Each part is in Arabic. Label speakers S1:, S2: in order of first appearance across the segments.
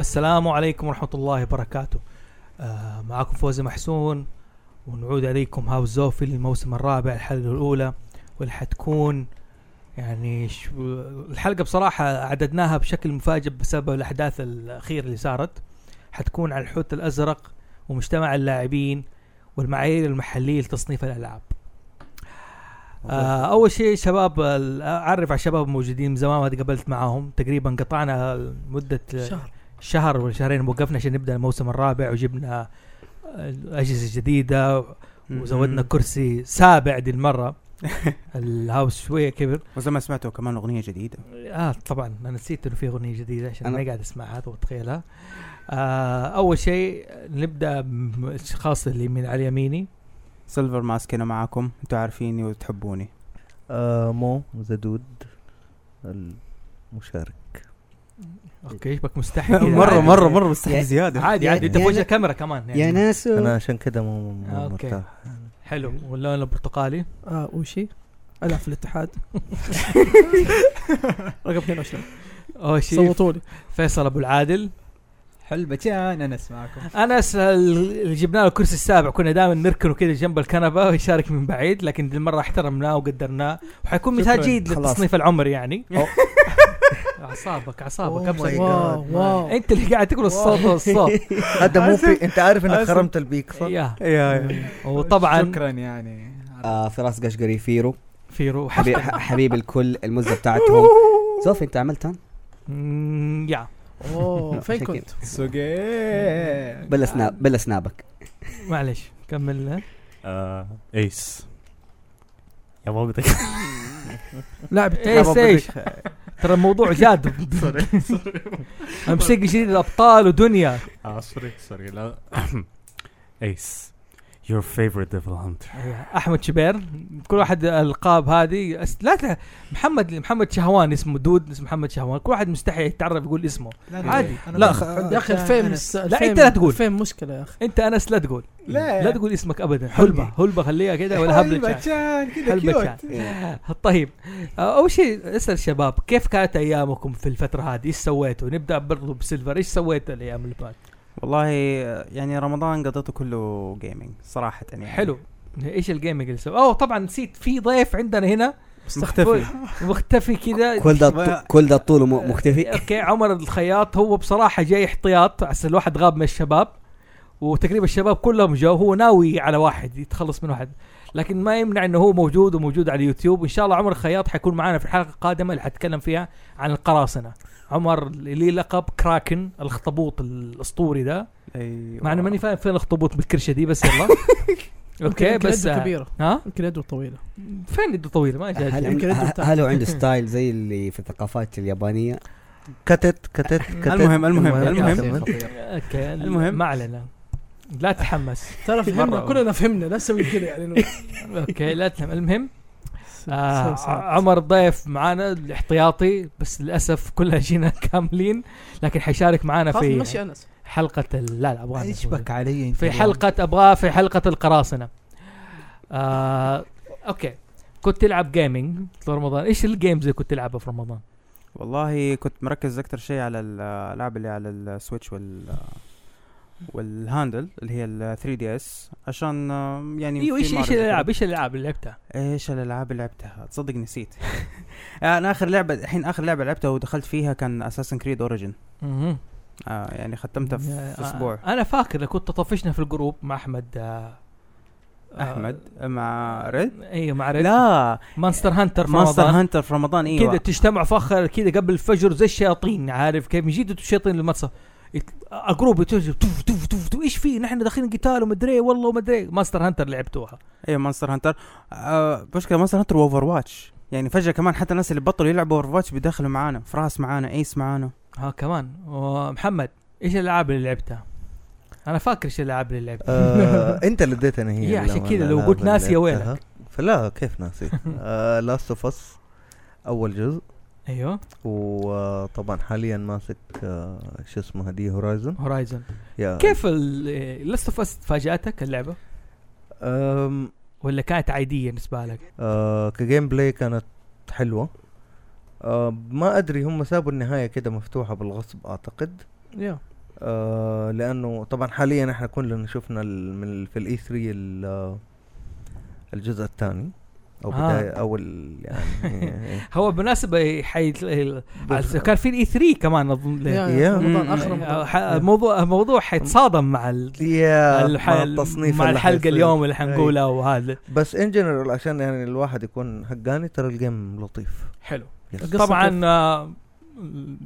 S1: السلام عليكم ورحمة الله وبركاته آه معكم فوزي محسون ونعود عليكم هاوس زوفي للموسم الرابع الحلقة الأولى واللي حتكون يعني شو الحلقة بصراحة عددناها بشكل مفاجئ بسبب الأحداث الأخيرة اللي صارت حتكون عن الحوت الأزرق ومجتمع اللاعبين والمعايير المحلية لتصنيف الألعاب آه اول شيء شباب ال- اعرف على الشباب الموجودين من زمان ما تقابلت معاهم تقريبا قطعنا مده
S2: شهر.
S1: شهر ولا شهرين وقفنا عشان نبدا الموسم الرابع وجبنا آه، اجهزه جديده وزودنا
S3: مم.
S1: كرسي سابع دي المره الهاوس شويه كبر
S3: وزي ما سمعتوا كمان اغنيه جديده
S1: اه طبعا انا نسيت انه في اغنيه جديده عشان
S3: أنا-
S1: انا قاعد اسمعها واتخيلها آه اول شيء نبدا بالاشخاص اللي من على يميني
S3: سيلفر ماسك انا معاكم انتوا عارفيني وتحبوني
S4: آه مو زدود المشارك
S1: اوكي شبك مستحي كده.
S3: مره
S1: عادي.
S3: مره مره مستحي زياده
S1: عادي عادي انت
S4: يعني-
S1: في وجه الكاميرا كمان
S4: يا
S1: يعني
S4: ناس انا عشان كده مو مو- مو
S1: أوكي.
S4: مرتاح
S1: حلو واللون البرتقالي
S2: اه اوشي العب في الاتحاد رقم 22
S1: اوشي
S2: صوتوا لي
S1: فيصل ابو العادل
S5: حلبتان انس معكم
S1: انس ال- اللي جبنا له الكرسي السابع كنا دائما نركنه كده جنب الكنبه ويشارك من بعيد لكن دي المره احترمناه وقدرناه وحيكون
S2: شكراً.
S1: مثال جيد
S4: خلاص.
S1: للتصنيف العمري يعني
S4: أو.
S1: اعصابك
S4: Oh
S1: اعصابك
S4: my
S1: أبصر.
S4: God.
S2: واو واو
S1: انت اللي قاعد تقول الصوت هو الصوت
S4: هذا مو في انت عارف انك خرمت البيك صح؟
S1: يا.
S3: يا يا.
S1: وطبعا
S5: شكرا يعني
S6: آه فراس قشقري فيرو
S1: في روح
S6: حبيب, حبيب الكل المزه بتاعتهم زوفي انت عملتها
S1: مم، يا
S2: اوه فين كنت؟
S5: سوقي
S6: بلا سناب بلا سنابك
S1: معلش كمل
S7: آه ايس يا موقتك
S2: لاعب
S1: ايش ايش ترى الموضوع جاد امسك شيء الابطال ودنيا
S7: اه سوري سوري لا ايس your favorite devil hunter
S1: أيوة. احمد شبير كل واحد القاب هذه أس... لا ت... محمد محمد شهوان اسمه دود اسمه محمد شهوان كل واحد مستحي يتعرف يقول اسمه عادي.
S6: إيه.
S1: لا، خ-
S2: يا اخي الفيم
S1: آه، لا، أنت لا تقول.
S2: الفيم مشكله يا اخي
S1: انت انس لا تقول
S5: لا
S1: لا تقول اسمك ابدا حلبه حلبه خليها كذا ولا هبله شعر.
S5: حلبتان كذا
S1: حلبه
S5: كيوت
S1: شعر. طيب آه، اول شيء اسال الشباب كيف كانت ايامكم في الفتره هذه ايش سويتوا نبدا برضو بسيلفر ايش سويت الايام اللي فاتت
S3: والله يعني رمضان قضيته كله جيمنج صراحه يعني
S1: حلو ايش الجيمنج اللي سويته اوه طبعا نسيت في ضيف عندنا هنا
S3: مختفي
S1: مختفي كذا
S6: كل ده الط- كل ده طوله م- مختفي
S1: اوكي عمر الخياط هو بصراحه جاي احتياط عشان الواحد غاب من الشباب وتقريبا الشباب كلهم جو هو ناوي على واحد يتخلص من واحد لكن ما يمنع انه هو موجود وموجود على اليوتيوب وان شاء الله عمر الخياط حيكون معنا في الحلقه القادمه اللي حتكلم فيها عن القراصنه عمر اللي ليه لقب كراكن الاخطبوط الاسطوري ده
S3: ايوه
S1: مع انه ماني فاهم فين الاخطبوط بالكرشه دي بس يلا اوكي
S2: يمكن
S1: بس
S2: يده
S1: آه،
S2: كبيره
S1: ها
S2: يمكن يده طويله
S1: فين يده طويله ما جاء
S6: هل
S1: شيء.
S2: يمكن
S6: عنده
S2: أنت بتاع.
S6: هل هو عنده ستايل زي اللي في الثقافات اليابانيه
S4: كتت كتت كتت
S3: المهم المهم المهم
S1: اوكي
S3: المهم.
S1: ما علينا لا تحمس
S2: ترى فهمنا
S3: مرة.
S2: كلنا فهمنا لا تسوي كذا يعني إنه-
S1: اوكي لا تحمس المهم
S2: سو-
S1: آه
S2: سو-
S1: عمر ضيف معانا الاحتياطي بس للاسف كلنا جينا كاملين لكن حيشارك معانا
S2: خلاص
S1: في
S2: مشي انس
S1: حلقه ال- لا لا ابغى
S5: ايش بك علي انت
S1: في
S5: اليوم؟
S1: حلقه ابغاه في حلقه القراصنه آه اوكي كنت تلعب جيمنج في رمضان ايش الجيمز اللي كنت تلعبها في رمضان
S3: والله كنت مركز اكثر شيء على الالعاب اللي على السويتش وال والهاندل اللي هي ال 3 دي اس عشان آم، يعني
S1: ايوه
S2: أيوة،
S3: في
S1: ايش
S3: معرض
S1: ايش
S3: كده.
S1: الالعاب ايش الالعاب اللي لعبتها
S3: ايش الالعاب اللي لعبتها تصدق نسيت انا اخر لعبه الحين اخر لعبه لعبتها ودخلت فيها كان اساسن كريد اوريجن
S1: مهم.
S3: آه يعني ختمتها في
S1: آه،
S3: في اسبوع
S1: انا فاكر كنت طفشنا في الجروب مع احمد آه آه،
S3: احمد مع ريد
S1: ايوه مع ريد
S3: لا
S1: مانستر هانتر في
S3: ماستر
S1: رمضان
S3: هانتر في رمضان ايوه
S1: كذا تجتمعوا في اخر كذا قبل الفجر زي الشياطين عارف كيف يجيدوا الشياطين للمدرسه الجروب يتوجه توف توف توف توف ايش في نحن داخلين قتال ومدري إيه والله ومدري ماستر هانتر لعبتوها
S3: ايوه ماستر هانتر آه مشكله ماستر هانتر واوفر واتش يعني فجاه كمان حتى الناس اللي بطلوا يلعبوا اوفر واتش بيدخلوا معانا فراس معانا ايس معانا
S1: ها كمان ومحمد ايش الالعاب اللي لعبتها؟ انا فاكر ايش الالعاب اللي لعبتها
S4: آه انت اللي اديتني هي
S1: يا عشان
S4: الأمانة
S1: كذا لو
S4: الألعاب
S1: قلت
S4: اللي
S1: ناسية
S4: لعبتها.
S1: ويلك.
S4: فلا كيف ناسي آه لاست اوف اس اول جزء
S1: ايوه
S4: وطبعا حاليا ماسك آه شو اسمه دي هورايزن
S1: هورايزون
S4: يا
S1: كيف لاست اوف اس فاجاتك اللعبه
S4: أم
S1: ولا كانت عاديه بالنسبه لك؟
S4: آه كجيم بلاي كانت حلوه آه ما ادري هم سابوا النهايه كده مفتوحه بالغصب اعتقد
S2: يا
S4: آه لانه طبعا حاليا احنا كلنا شفنا ال- من ال- في الاي 3 الجزء الثاني او
S1: آه.
S4: بدايه اول يعني
S1: هو بالمناسبه حي... كان في الاي 3 كمان اظن
S2: يا-
S1: له.
S2: يا
S4: يا.
S2: رمضان
S1: آه،
S2: اخر رمضان
S1: ح- موضوع موضوع حيتصادم مع ال...
S4: يا
S1: الح-
S4: مع التصنيف
S1: مع
S4: اللي
S1: الحلقه
S4: حيصير.
S1: اليوم اللي
S4: أي.
S1: حنقولها وهذا
S4: بس ان جنرال عشان يعني الواحد يكون حقاني ترى الجيم لطيف
S2: حلو
S4: يس.
S2: القصة
S1: طبعا
S2: كيف؟
S1: آه،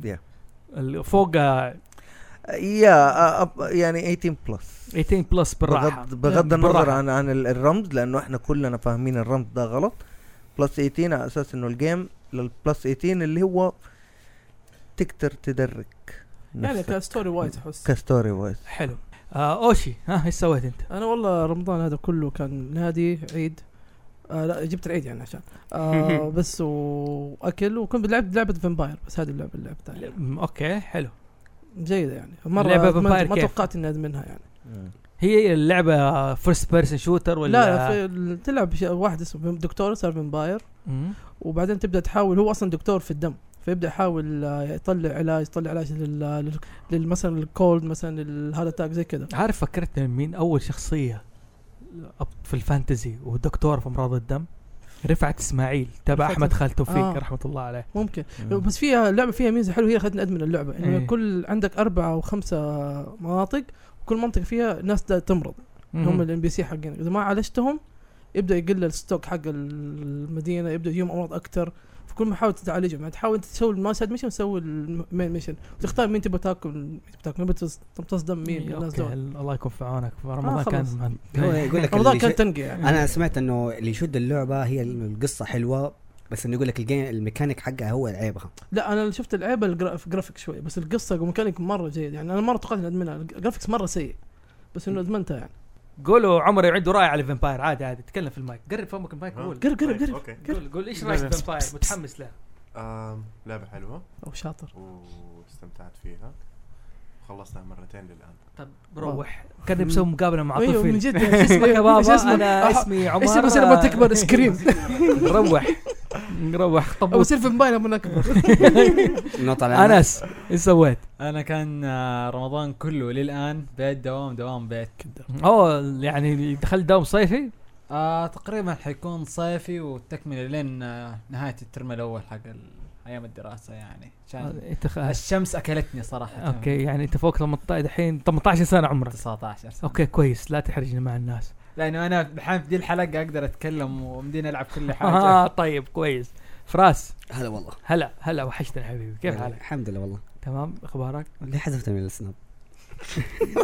S4: Yeah.
S1: ال- فوق آه،
S4: يا آه، أب- يعني 18 بلس
S1: 18 بلس بالراحه
S4: بغض, بغض النظر
S1: بالراحة.
S4: عن عن ال- الرمز لانه احنا كلنا فاهمين الرمز ده غلط بلس 18 على اساس انه الجيم للبلس 18 اللي هو تقدر تدرك
S2: يعني
S4: نفسك
S2: كستوري وايز احس
S4: كستوري وايز
S1: حلو آه اوشي ها ايش سويت انت؟
S2: انا والله رمضان هذا كله كان نادي عيد آه لا جبت العيد يعني عشان آه بس واكل وكنت لعبت لعبه فامباير بس هذه اللعبه اللي لعبتها
S1: م- اوكي حلو
S2: جيده يعني مره
S1: لعبة
S2: ما,
S1: Vampire
S2: ما
S1: كيف؟
S2: توقعت اني ادمنها يعني
S1: هي اللعبه فيرست بيرسون شوتر ولا
S2: لا لا في تلعب شيء- واحد اسمه دكتور صار فامباير
S1: مم.
S2: وبعدين تبدا تحاول هو اصلا دكتور في الدم فيبدا يحاول آه، يطلع علاج يطلع علاج لل- لل- لل مثلا الكولد مثلا الهارت اتاك زي كذا
S1: عارف فكرتني من مين اول شخصيه أب- في الفانتزي ودكتور في امراض الدم رفعت اسماعيل تبع
S2: رفعت-
S1: احمد خالد توفيق
S2: آه.
S1: رحمه الله عليه
S2: ممكن بس فيها اللعبه فيها ميزه حلوه هي خلتني ادمن اللعبه انه
S1: إيه.
S2: يعني كل عندك اربعه او خمسه مناطق وكل منطقه فيها ناس دا تمرض هم الام بي سي حقين اذا ما عالجتهم يبدا يقل الستوك حق المدينه يبدا يجيهم امراض اكثر فكل ما حاول تعالجهم يعني تحاول انت تسوي الماسد ميشن تسوي المين ميشن وتختار مين تبغى تاكل مين تبغى تاكل مين بتمتص- تمتص دم مين من الناس دول آه،
S1: الله يكون في عونك رمضان
S2: خلاص.
S1: كان مهم.
S6: هو يقول لك
S2: رمضان
S6: اللي
S2: كان
S6: شو-
S2: تنقي يعني
S6: انا سمعت انه اللي يشد اللعبه هي انه القصه حلوه بس انه يقول لك الجيم الميكانيك حقها هو عيبها
S2: لا انا اللي شفت العيبه الجرافيك شوي بس القصه والميكانيك مره جيد يعني انا مره توقعت اني ادمنها الجرافيكس مره سيء بس انه ادمنتها يعني
S1: قولوا عمري عنده راي على فامباير عادي عادي تكلم في المايك قرب فمك المايك
S8: ها؟
S1: قول
S2: قرب قرب
S8: طيب،
S2: قرب
S8: اوكي
S1: قول قول ايش رايك في فامباير متحمس له
S8: آم، لعبة حلوة
S2: او شاطر
S8: واستمتعت فيها خلصناها مرتين للآن
S1: طب طيب، روح كان مسوي مقابله مع
S2: ايوه من
S1: طفل
S2: جد
S1: إيش اسمك يا
S2: إيش
S1: بابا
S2: اسمك؟
S1: انا
S2: أح-
S1: اسمي عمر
S2: ايش بصير لما تكبر سكريم
S1: روح روح
S2: او
S1: طب
S2: يصير في موبايل لما نكبر
S6: انه طلع
S1: انس ايش سويت؟
S5: انا كان آه، رمضان كله للان بيت دوام دوام بيت
S1: اوه يعني دخلت دوم صيفي
S5: آه تقريبا حيكون صيفي والتكمله لين آه نهايه الترم الاول حق ال- ايام الدراسه يعني عشان
S1: انت خ-
S5: الشمس اكلتني صراحه
S1: اوكي يعني انت فوق 18 دحين 18 سنه عمرك
S5: 19 سنة.
S1: اوكي كويس لا تحرجني مع الناس
S5: لانه انا الحين في دي الحلقه اقدر اتكلم ومديني العب كل حاجه
S1: اه طيب كويس فراس
S6: هلا والله
S1: هلا هلا وحشتني حبيبي كيف حالك؟
S6: الحمد لله والله
S1: تمام اخبارك؟
S6: اللي حذفته من السناب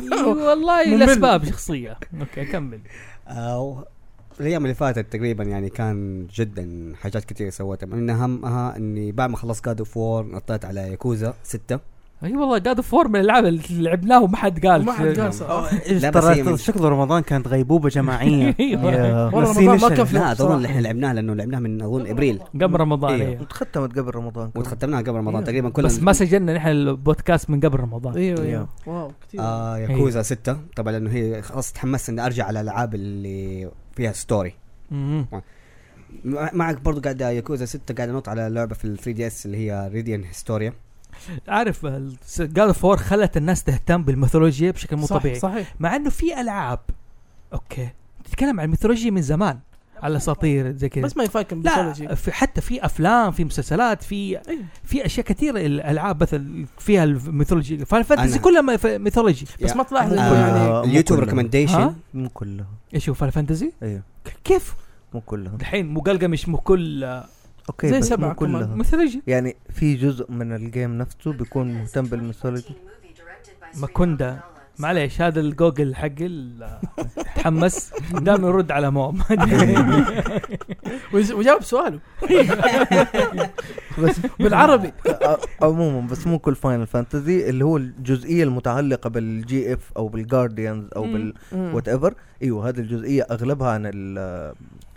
S1: أيوة والله
S2: ممل.
S1: لاسباب شخصيه اوكي كمل
S6: أو الايام آه، اللي فاتت تقريبا يعني كان جدا حاجات كثير سويتها من اهمها اني بعد ما خلصت جاد اوف وور نطيت على ياكوزا 6
S1: اي أيوة والله قاعد فور من الالعاب اللي لعبناها وما حد قال
S2: ما حد قال صراحة.
S6: لا، بس هي من-
S3: ترى شكله رمضان كانت غيبوبه جماعيه
S1: أيوة.
S2: والله
S3: نسينا
S2: رمضان
S3: شيء.
S2: ما كان في
S6: لا
S2: وقت
S6: اظن اللي
S2: صراحة.
S6: احنا لعبناها لانه لعبناها من اظن ابريل
S1: قبل رمضان
S6: إيه.
S1: أيوة.
S4: وتختمت قبل رمضان كمان.
S6: وختمناها قبل رمضان
S2: إيه.
S6: تقريبا كلنا
S1: بس ما سجلنا نحن البودكاست من قبل رمضان
S2: ايوه ايوه واو كثير
S6: آه
S2: إيه.
S6: ياكوزا 6 طبعا لانه هي خلاص تحمست اني ارجع على الالعاب اللي فيها ستوري
S1: مم.
S6: مع- معك برضو قاعد ياكوزا 6 قاعد انط على لعبه في ال 3 دي اس اللي هي ريديان هيستوريا
S1: عارف جاد فور خلت الناس تهتم بالميثولوجيا بشكل مو
S2: صح-
S1: طبيعي
S2: صحيح
S1: مع انه في العاب اوكي تتكلم عن الميثولوجيا من زمان على اساطير زي كذا
S2: بس ما
S1: لا
S2: يفاكم بالسولوجي
S1: في حتى في افلام في مسلسلات في
S2: أيوة.
S1: في اشياء كثيره الالعاب مثل فيها الميثولوجي فاين فانتسي
S6: أنا-
S1: كلها ميثولوجي
S2: بس ما تلاحظ انه يعني
S4: كلها.
S6: آه
S4: مو
S6: اليوتيوب
S4: كلها.
S1: ها؟
S6: ريكومنديشن
S4: مو كلها
S1: ايش هو فاين فانتسي؟
S4: ايوه
S1: كيف؟
S4: مو كلها
S1: الحين مو قلقمش مو كل آه،
S4: اوكي
S2: زي
S4: بس
S2: سبعة
S4: مو
S2: كمان.
S4: كلها
S1: ميثولوجي
S4: يعني في جزء من الجيم نفسه بيكون مهتم بالميثولوجي
S1: ماكوندا معليش هذا الجوجل حق ال- آه، تحمس دائما يرد على موم
S2: ويز- وجاوب سؤاله
S4: بس
S2: بالعربي
S4: أ- عموما بس مو كل فاينل فانتزي اللي هو الجزئيه المتعلقه بالجي اف او بالجارديانز او بال
S2: مم.
S4: وات ايفر ايوه هذه الجزئيه اغلبها عن ال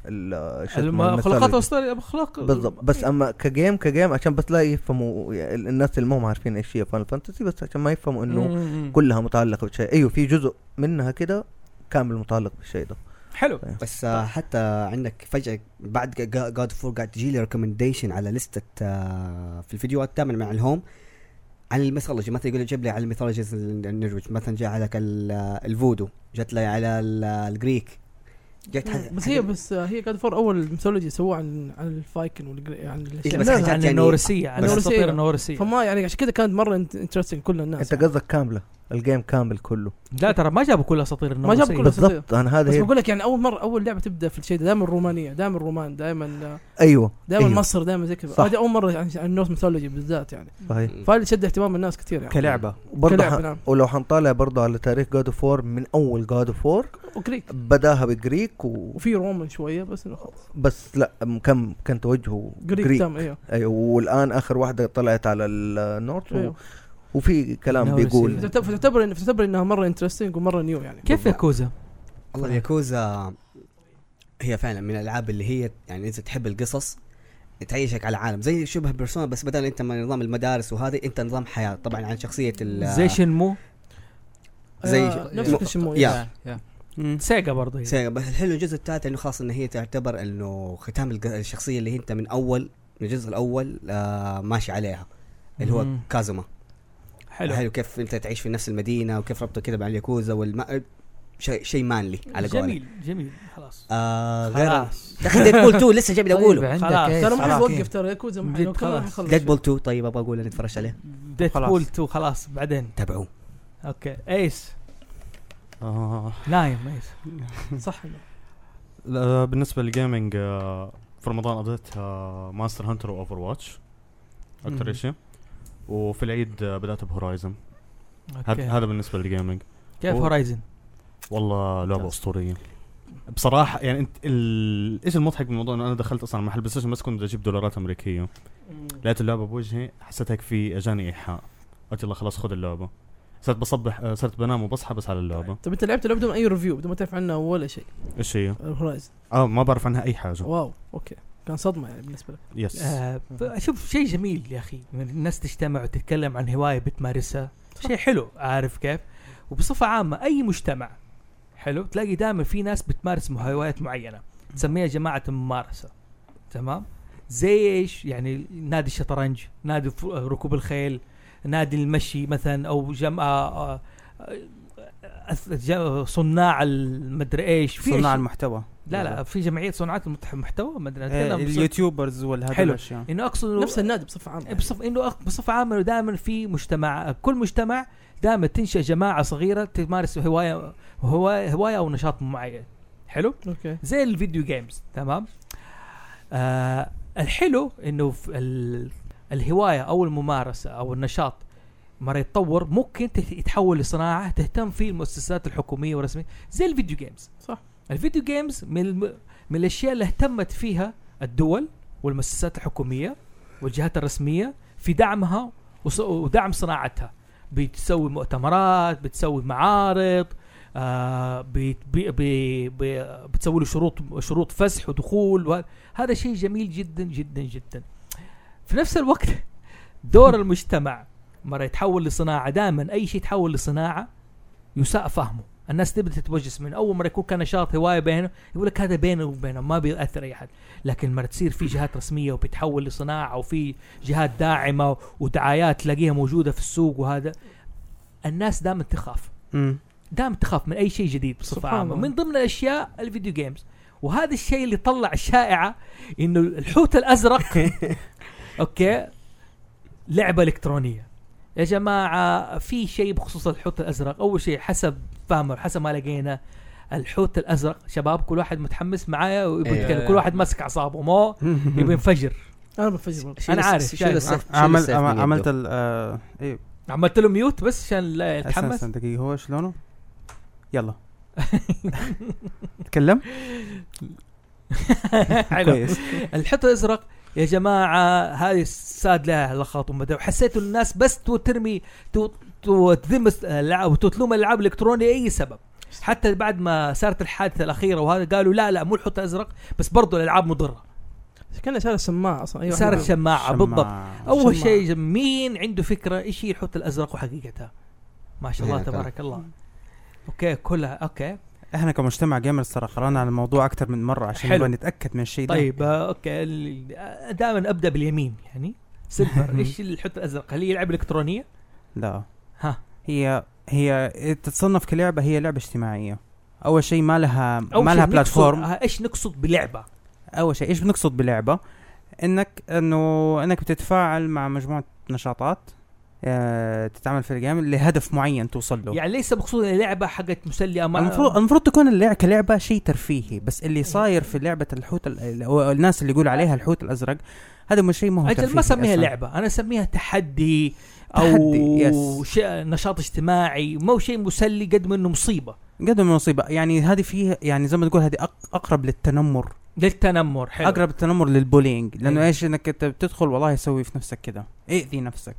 S4: ال شو اسمه
S1: المخلوقات
S4: الميثولوجي.
S1: الاسطوريه مخلوق
S4: بالضبط بس اما كجيم كجيم عشان بس لا يفهموا يعني الناس اللي مو عارفين ايش هي فاينل فانتسي بس عشان ما يفهموا انه
S1: مم.
S4: كلها متعلقه بشيء ايوه في جزء منها كده كامل متعلق بالشيء ده
S1: حلو
S6: بس آه حتى عندك فجاه بعد جاد فور قاعد تجي لي ريكومنديشن على لستة آه في الفيديوهات الثامن مع الهوم عن الميثولوجي مثلا يقول لي جيب لي على الميثولوجيز النرويج مثلا جاء عليك ال- الفودو جت لي على ال- الجريك جت حاجة-
S2: بس هي
S6: حاجة-
S2: بس هي قاعد فور اول مثولوجي سووه عن عن الفايكن والجري عن
S6: إيه،
S2: الاشياء
S6: بس
S1: لا،
S6: حاجات
S1: عن
S6: يعني-
S1: النورسيه عن
S2: بس-
S1: الاساطير النورسيه
S2: فما يعني عشان كذا كانت مره انترستنج كل الناس
S4: انت قصدك كامله الجيم كامل كله
S1: لا ترى ما جابوا كل اساطير النورسيه
S2: جابوا كل- أساطير.
S4: بالضبط انا هذا
S2: إيه،
S4: هي
S2: بس بقول لك يعني اول مره اول لعبه تبدا في الشيء ده دائما الرومانيه دائما الرومان دائما
S4: ايوه
S2: دائما
S6: أيوة.
S4: أيوه.
S2: مصر دائما زي
S4: صح.
S2: كذا هذه اول مره عن عن النورث ميثولوجي بالذات يعني
S4: صحيح
S2: فهذا شد اهتمام الناس كثير يعني
S3: كلعبه
S4: برضه
S2: كلعبة،
S4: ح...
S2: نعم.
S4: ولو حنطالع برضه على تاريخ جاد اوف وور من اول جاد اوف وور
S2: وكريك
S4: بداها بجريك و...
S2: وفي رومان شويه بس انه خلاص
S4: بس لا م- كم كان توجهه
S2: كريك
S4: جريك
S2: تام ايوه
S4: ايوه والان اخر واحده طلعت على النورث و...
S2: ايوه
S4: وفي كلام
S1: نورث
S4: بيقول
S1: ال-
S2: فتعتبر- فتعتبر إن- فتعتبر انها مره انترستنج ومره نيو يعني
S1: كيف ياكوزا؟
S6: والله الياكوزا هي فعلا من الالعاب اللي هي يعني اذا تحب القصص تعيشك على عالم زي شبه بيرسونا بس بدل انت من نظام المدارس وهذه انت نظام حياه طبعا عن شخصيه ال
S1: زي شنمو
S6: زي
S2: آه، نفس
S6: م-
S2: الشمو
S6: يا.
S5: يا- يا.
S1: سيجا برضه هي.
S6: سيئة. بس الحلو الجزء الثالث انه خاص ان هي تعتبر انه ختام الق- الشخصيه اللي هي انت من اول من الجزء الاول آه ماشي عليها اللي هو
S1: مم.
S6: كازوما
S1: حلو
S6: حلو كيف انت تعيش في نفس المدينه وكيف ربطه كده مع الياكوزا والما شيء شيء مانلي على قولك
S1: جميل جميل خلاص
S6: آه غير
S1: خلاص
S6: دخل ديد بول 2 لسه جاي بدي اقوله
S5: طيب،
S1: خلاص.
S5: عندك إيه؟
S2: ترى ما
S5: خلاص.
S2: حيوقف ترى ياكوزا ما
S1: جد،
S2: حيوقف كلنا
S1: خلاص.
S2: حنخلص.
S6: ديد بول 2 طيب ابغى اقول نتفرج عليه
S1: ديت
S3: خلاص.
S1: بول 2 خلاص بعدين
S6: تابعوه
S1: اوكي ايس
S7: آه
S1: نايم ايس
S2: صح
S7: لا، بالنسبه للجيمنج آه، في رمضان آه، ابديت ماستر هانتر واوفر واتش
S1: مم.
S7: اكثر شيء وفي العيد آه، بدات بهورايزن هذا
S1: اوكي
S7: هذا بالنسبه للجيمنج
S1: كيف
S7: هو-
S1: هورايزن؟
S7: والله لعبه اسطوريه بصراحه يعني انت ال- ايش المضحك بالموضوع انه انا دخلت اصلا محل بلاي ستيشن بس كنت بدي اجيب دولارات امريكيه لقيت اللعبه بوجهي حسيت هيك في اجاني ايحاء قلت يلا خلاص خذ اللعبه صرت بصبح آه، صرت بنام وبصحى بس على اللعبه
S2: طب انت لعبت اللعبه بدون اي ريفيو بدون ما تعرف عنها ولا شيء
S1: طيب.
S7: ايش هي؟
S2: هورايزن
S7: اه ما بعرف عنها اي حاجه
S2: واو اوكي كان صدمه يعني بالنسبه لك
S7: يس
S1: آه، ب- شوف شيء جميل يا اخي من الناس تجتمع وتتكلم عن هوايه بتمارسها شيء حلو عارف كيف وبصفه عامه اي مجتمع حلو تلاقي دائما في ناس بتمارس مه- هوايات معينه تسميها جماعه الممارسه تمام زي ايش يعني نادي الشطرنج نادي ف- ركوب الخيل نادي المشي مثلا او جمع آه، آه، أث- ج- صناع المدري ايش في
S3: صناع
S1: أشي-
S3: المحتوى
S1: لا لا في جمعيه صناعات المحت- المحتوى ما ادري
S3: آه،
S1: أتكلم بص-
S3: اليوتيوبرز والهذا
S1: حلو.
S3: الاشياء
S1: انه اقصد إنه-
S2: نفس النادي بصفه عامه يعني.
S1: بصف انه أق- بصفه عامه دائما في مجتمع كل مجتمع دائما تنشا جماعه صغيره تمارس هوايه هوايه هوايه او نشاط معين حلو
S2: اوكي
S1: زي الفيديو جيمز تمام آه الحلو انه في ال... الهوايه او الممارسه او النشاط مره يتطور ممكن تت- يتحول لصناعه تهتم فيه المؤسسات الحكوميه والرسميه زي الفيديو جيمز
S2: صح.
S1: الفيديو جيمز من الم... من الاشياء اللي اهتمت فيها الدول والمؤسسات الحكوميه والجهات الرسميه في دعمها وص... ودعم صناعتها بتسوي مؤتمرات بتسوي معارض آه بي بي بي بي بتسوي له شروط شروط فسح ودخول وه- هذا شيء جميل جدا جدا جدا في نفس الوقت دور المجتمع مرة يتحول لصناعة دائما أي شيء يتحول لصناعة يساء فهمه الناس تبدا تتوجس من اول مره يكون كان نشاط هوايه بينه يقول لك هذا بينه وبينه ما بيأثر اي احد لكن مرة تصير في جهات رسميه وبتحول لصناعه وفي جهات داعمه ودعايات تلاقيها موجوده في السوق وهذا الناس دائما تخاف
S3: مم.
S1: دائما تخاف من اي شيء جديد بصفه
S2: سبحان
S1: عامه
S2: الله.
S1: من ضمن الاشياء الفيديو جيمز وهذا الشيء اللي طلع الشائعه انه الحوت الازرق اوكي لعبه الكترونيه يا جماعه في شيء بخصوص الحوت الازرق اول شيء حسب فهمه حسب ما لقينا الحوت الازرق شباب كل واحد متحمس معايا ويبغى
S6: إيه.
S2: أيوة.
S1: يتكلم كل واحد ماسك اعصابه مو يبغى ينفجر
S2: انا بنفجر برضه
S6: شيل
S1: أنا
S6: الس-
S1: عارف،
S6: شيل
S1: شايف.
S6: السيف- شيل
S3: عمل
S6: السيف من
S3: عم-
S6: يده.
S3: عملت ال آه، ايه
S1: عملت له ميوت بس عشان لا
S3: استنى
S1: يتحمس
S3: استنى دقيقة هو ايش لونه؟ يلا تكلم
S1: حلو
S3: كويس
S1: الحيطه الازرق يا جماعه هذه الساد لها لخط ومدري حسيتوا الناس بس تو ترمي تو- تو- تذم الس- الالعاب وتتلوم الالعاب الالكترونيه اي سبب حتى بعد ما صارت الحادثه الاخيره وهذا قالوا لا لا مو الحوت الازرق بس برضو الالعاب مضره
S2: كان شال السماعه اصلا ايوه
S1: صارت
S2: أيوة.
S1: شماعه بالضبط
S3: شماعة.
S1: اول
S2: شماعة.
S1: شيء مين عنده فكره ايش هي الحوت الازرق وحقيقتها ما شاء الله
S6: إيه، تمام.
S1: تبارك الله اوكي كلها اوكي
S3: احنا كمجتمع جيمرز ترى قرانا على الموضوع اكثر من مرة عشان
S1: حلو.
S3: نبغى نتاكد من الشيء ده
S1: طيب آه، اوكي ال- آه، دائما ابدا باليمين يعني سيلفر ايش الحوت الازرق هل هي لعبه الكترونيه
S3: لا
S1: ها.
S3: هي هي تتصنف كلعبه هي لعبه اجتماعيه اول شيء ما لها
S1: أول
S3: ما
S1: شيء
S3: لها
S1: نقصد-
S3: بلاتفورم
S1: آه، ايش نقصد بلعبه؟
S3: اول شيء ايش بنقصد بلعبه انك انه انك بتتفاعل مع مجموعه نشاطات آه، تتعامل في الجيم لهدف معين توصل له
S1: يعني ليس مقصود لعبه حقت مسليه ما إيه.
S3: المفروض المفروض تكون اللعبه كلعبه شيء ترفيهي بس اللي صاير في لعبه الحوت ال- او الناس اللي يقولوا عليها الحوت الازرق هذا مش شيء ما هو
S1: اجل
S3: ترفيهي
S1: ما اسميها
S3: أصلاً.
S1: لعبه انا اسميها تحدي او
S3: تحدي، يس.
S1: شيء نشاط اجتماعي مو شيء مسلي قد ما انه مصيبه
S3: قد ما مصيبه يعني هذه فيها يعني زي ما تقول هذه أق- اقرب للتنمر
S1: للتنمر حلو
S3: اقرب التنمر للبولينج لانه
S1: أيوة.
S3: ايش انك انت بتدخل والله يسوي في نفسك كذا اذي نفسك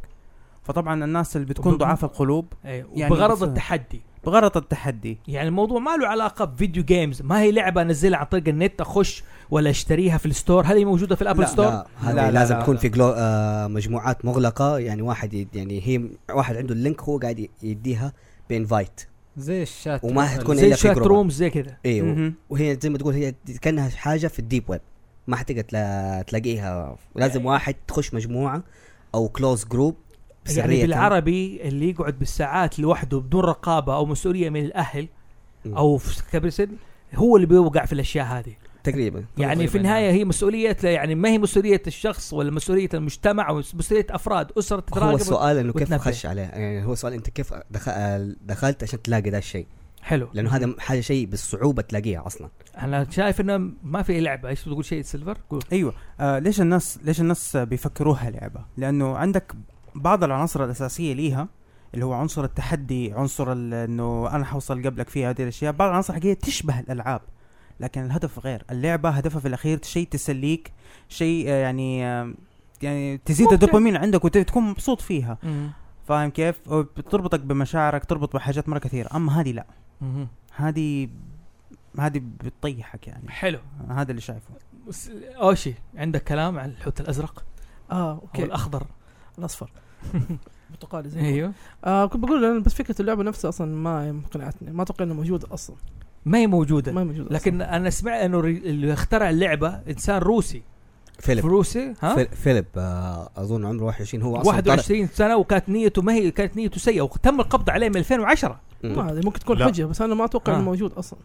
S3: فطبعا الناس اللي بتكون
S1: وب-
S3: ضعاف القلوب
S1: يعني
S3: يعني
S1: بغرض
S3: بص-
S1: التحدي
S3: بغرض التحدي
S1: يعني الموضوع ما له علاقه بفيديو جيمز ما هي لعبه انزلها عن طريق النت اخش ولا اشتريها في الستور هل هي موجوده في الابل
S6: لا
S1: ستور
S6: لا هذه
S3: لا، لا،
S6: لازم
S3: لا،
S6: تكون
S3: لا.
S6: في جلو آه مجموعات مغلقه يعني واحد يد يعني هي واحد عنده اللينك هو قاعد ي- يديها بانفايت
S5: زي الشات
S6: وما حتكون
S1: زي
S6: إلا في
S1: شات
S6: جروب.
S1: رومز زي كذا
S6: ايوه
S3: مهم.
S6: وهي زي ما تقول هي كانها حاجه في الديب ويب ما حتقدر تلا- تلاقيها ولازم واحد تخش مجموعه او كلوز جروب
S1: يعني بالعربي اللي يقعد بالساعات لوحده بدون رقابه او مسؤوليه من الاهل
S6: مم. طيب،
S1: او في كبير سن هو اللي بيوقع في الاشياء هذه
S6: تقريبا
S1: يعني في
S5: تقريباً
S1: النهايه هي مسؤوليه يعني ما هي مسؤوليه الشخص ولا مسؤوليه المجتمع او مسؤوليه افراد اسره
S6: هو
S1: تتراقب
S6: السؤال انه كيف
S1: وتنبه.
S6: خش عليه يعني هو السؤال انت كيف دخل دخلت عشان تلاقي ذا الشيء
S1: حلو
S6: لانه هذا حاجه شيء بالصعوبه تلاقيها اصلا
S1: انا شايف انه ما في لعبه ايش تقول شيء سيلفر قول
S3: ايوه آه ليش الناس ليش الناس بيفكروها لعبه لانه عندك بعض العناصر الاساسيه ليها اللي هو عنصر التحدي عنصر ال- انه انا حوصل قبلك في هذه الاشياء بعض العناصر حقيقيه تشبه الالعاب لكن الهدف غير اللعبه هدفها في الاخير شيء تسليك شيء آه، يعني آه، يعني تزيد
S1: ممتع.
S3: الدوبامين عندك وتكون مبسوط فيها فاهم كيف بتربطك بمشاعرك تربط بحاجات مره كثيره اما هذه لا
S1: مهم.
S3: هذه هذه بتطيحك يعني
S1: حلو
S3: هذا اللي شايفه
S1: بس- اوشي عندك كلام عن الحوت الازرق
S2: اه
S1: او
S2: اوكي
S1: الاخضر
S2: الاصفر برتقالي زي
S1: إيه. أيوه.
S2: ما- آه كنت بقول أنا بس فكره اللعبه نفسها اصلا ما قنعتني ما اتوقع انها موجوده اصلا
S1: ما هي موجوده
S2: ما هي موجوده
S1: لكن انا سمعت انه الري- اللي اخترع اللعبه انسان روسي في
S6: فيليب
S1: روسيا ها
S6: فيل- فيليب آه اظن عمره 21 هو اصلا
S1: 21 سنه وكانت نيته ما هي كانت نيته سيئه وتم القبض عليه من 2010
S2: أصلاً. ما
S6: طلع-
S2: أدري، ممكن تكون
S7: لا.
S2: حجه بس انا ما اتوقع
S1: آه.
S2: انه موجود اصلا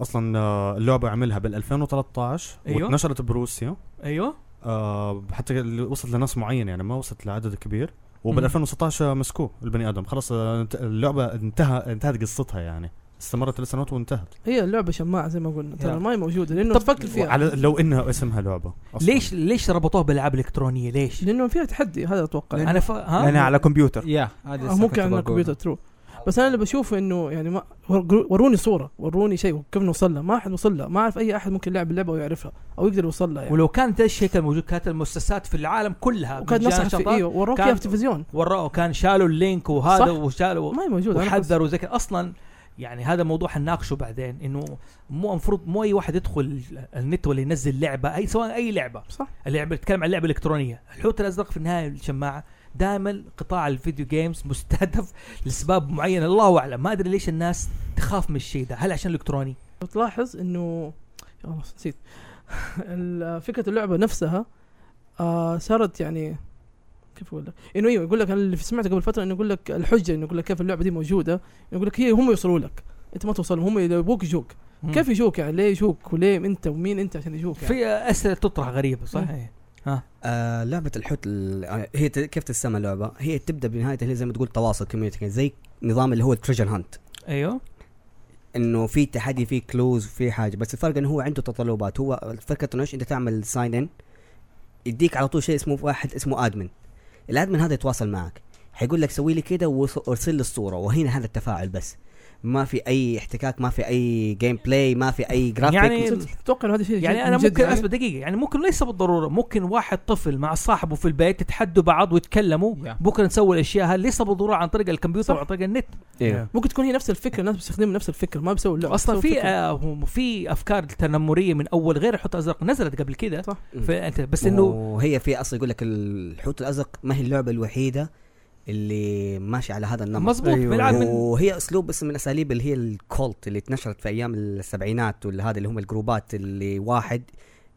S7: اصلا آه، اللعبه عملها بال 2013
S1: أيوه.
S7: ونشرت بروسيا
S1: ايوه
S7: آه حتى ال- وصلت لناس معين يعني ما وصلت لعدد كبير وبال
S1: مم.
S7: 2019 مسكوه البني ادم خلاص آه، انت- اللعبه انتهى انتهت قصتها يعني استمرت ثلاث سنوات وانتهت
S2: هي اللعبه شماعه زي ما قلنا ترى
S1: يلا.
S2: ما هي موجوده لانه
S1: طب
S2: تفكر فيها
S7: على لو انها اسمها لعبه أصلاً.
S1: أيوه. ليش ليش ربطوها بالالعاب الالكترونيه ليش؟
S2: لانه فيها تحدي هذا اتوقع
S1: انا ف... ها
S3: لانها على كمبيوتر
S5: يا هذا
S2: أو ممكن على الكمبيوتر ترو بس انا اللي بشوفه انه يعني ما ور- وروني صوره وروني شيء وكيف نوصل لها ما احد وصل لها ما اعرف اي احد ممكن يلعب اللعبه ويعرفها او يقدر يوصل لها يعني
S1: ولو كانت هذا الشيء كان موجود كانت المؤسسات في العالم كلها
S2: وكان
S1: مجانا
S2: نصح في
S1: شطار.
S2: ايوه وروك
S1: كان-
S2: اياها في التلفزيون
S1: وراه كان شالوا اللينك وهذا
S2: صح.
S1: وشالوا
S2: ما هي موجوده أنا بس-
S1: وحذروا زي كده اصلا يعني هذا موضوع حنناقشه بعدين انه مو المفروض مو اي واحد يدخل النت ولا ينزل لعبه اي سواء اي لعبه
S2: صح
S1: اللعبه بتتكلم عن لعبه الكترونيه الحوت الازرق في النهايه الشماعه دائما قطاع الفيديو جيمز مستهدف لاسباب معينه الله اعلم ما ادري ليش الناس تخاف من الشيء ده هل عشان الكتروني
S2: لو تلاحظ انه يا الله نسيت ال- فكره اللعبه نفسها آه صارت يعني كيف اقول لك؟ انه ايوه يقول لك انا اللي سمعته قبل فتره انه يقول لك الحجه انه يقول لك كيف اللعبه دي موجوده يقول لك هي هم يوصلوا لك انت ما توصل هم إذا يبوك يجوك
S1: مم.
S2: كيف يجوك يعني ليه يجوك وليه انت ومين انت عشان يجوك يعني
S1: في اسئله تطرح غريبه صح
S6: آه لعبه الحوت ال- آه، هي ت- كيف تسمى اللعبه؟ هي تبدا بنهايتها هي زي ما تقول تواصل كوميونتي زي نظام اللي هو التريجر هانت
S2: أيوه.
S1: ايوه
S6: انه في تحدي في كلوز في حاجه بس الفرق انه هو عنده تطلبات هو الفكره انه ايش انت تعمل ساين ان يديك على طول شيء اسمه واحد اسمه ادمن الادمن هذا يتواصل معك حيقول لك سوي لي كده وص- وارسل لي الصوره وهنا هذا التفاعل بس ما في اي احتكاك ما في اي جيم بلاي ما في اي جرافيك
S1: يعني
S2: اتوقع انه هذا شيء
S1: يعني انا
S2: جد
S1: ممكن
S2: يعني.
S1: اصبر دقيقه يعني ممكن ليس بالضروره ممكن واحد طفل مع صاحبه في البيت يتحدوا بعض ويتكلموا
S5: Yeah.
S1: بكره نسوي الاشياء هذه ليس بالضروره عن طريق الكمبيوتر
S2: صح.
S1: وعن طريق النت
S6: إيه.
S2: ممكن تكون هي نفس الفكره الناس بيستخدموا نفس الفكره ما بيسووا اللعبه
S1: اصلا
S2: بيسووا
S1: في
S2: فكرة.
S1: آه هم- في افكار تنمريه من اول غير الحوت الازرق نزلت قبل كده
S2: صح.
S1: في- أنت- بس انه
S6: وهي في اصلا يقول لك الحوت الازرق ما هي اللعبه الوحيده اللي ماشي على هذا النمط
S1: مزبوط
S3: أيوة.
S1: بيلعب من
S6: وهي اسلوب بس من اساليب اللي هي الكولت اللي اتنشرت في ايام السبعينات واللي هذا اللي هم الجروبات اللي واحد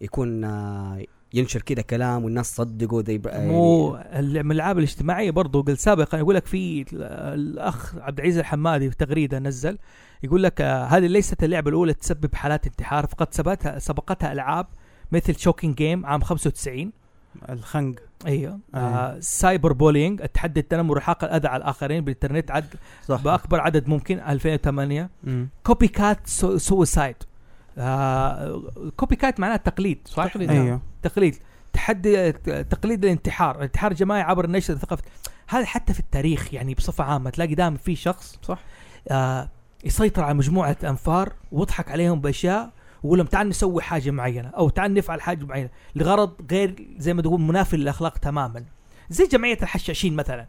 S6: يكون آه، ينشر كده كلام والناس تصدقه زي بر-
S1: مو
S6: يعني-
S1: ال- من الالعاب الاجتماعيه برضو قلت سابقا يقول لك في ال- الاخ عبد العزيز الحمادي في تغريده نزل يقول لك آه، هذه ليست اللعبه الاولى تسبب حالات انتحار فقد سبقتها سبقتها العاب مثل شوكينج جيم عام 95
S3: الخنق
S1: ايوه آه سايبر بولينج التحدي التنمر وحق الاذى على الاخرين بالانترنت عد
S4: صح
S1: باكبر عدد ممكن 2008
S3: مم.
S1: كوبي كات سو- سوسايد آه كوبي كات معناه تقليد صح؟ تقليد
S3: ايوه
S1: تقليد تحدي تقليد الانتحار الانتحار جماعي عبر نشر ثقافة هذا حتى في التاريخ يعني بصفة عامة تلاقي دائما في شخص
S2: صح.
S1: آه يسيطر على مجموعة أنفار ويضحك عليهم بأشياء ويقول لهم تعال نسوي حاجة معينة أو تعال نفعل حاجة معينة لغرض غير زي ما تقول منافي للأخلاق تماما زي جمعية الحشاشين مثلا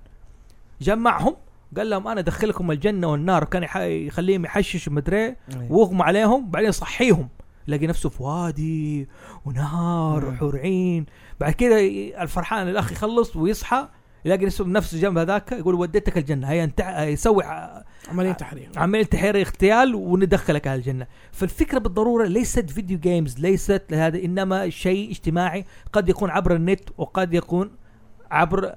S1: جمعهم قال لهم أنا أدخلكم الجنة والنار وكان يح- يخليهم يحششوا مدري إيه. واغمى عليهم بعدين صحيهم يلاقي نفسه في وادي ونهار
S2: مم.
S1: وحور عين بعد كده ي- الفرحان الاخ يخلص ويصحى يلاقي نفسه نفسه جنب هذاك يقول وديتك الجنه هي انت يسوي ع-
S2: عمليه تحرير
S1: عمليه تحرير اغتيال وندخلك على الجنه فالفكره بالضروره ليست فيديو جيمز ليست هذا انما شيء اجتماعي قد يكون عبر النت وقد يكون عبر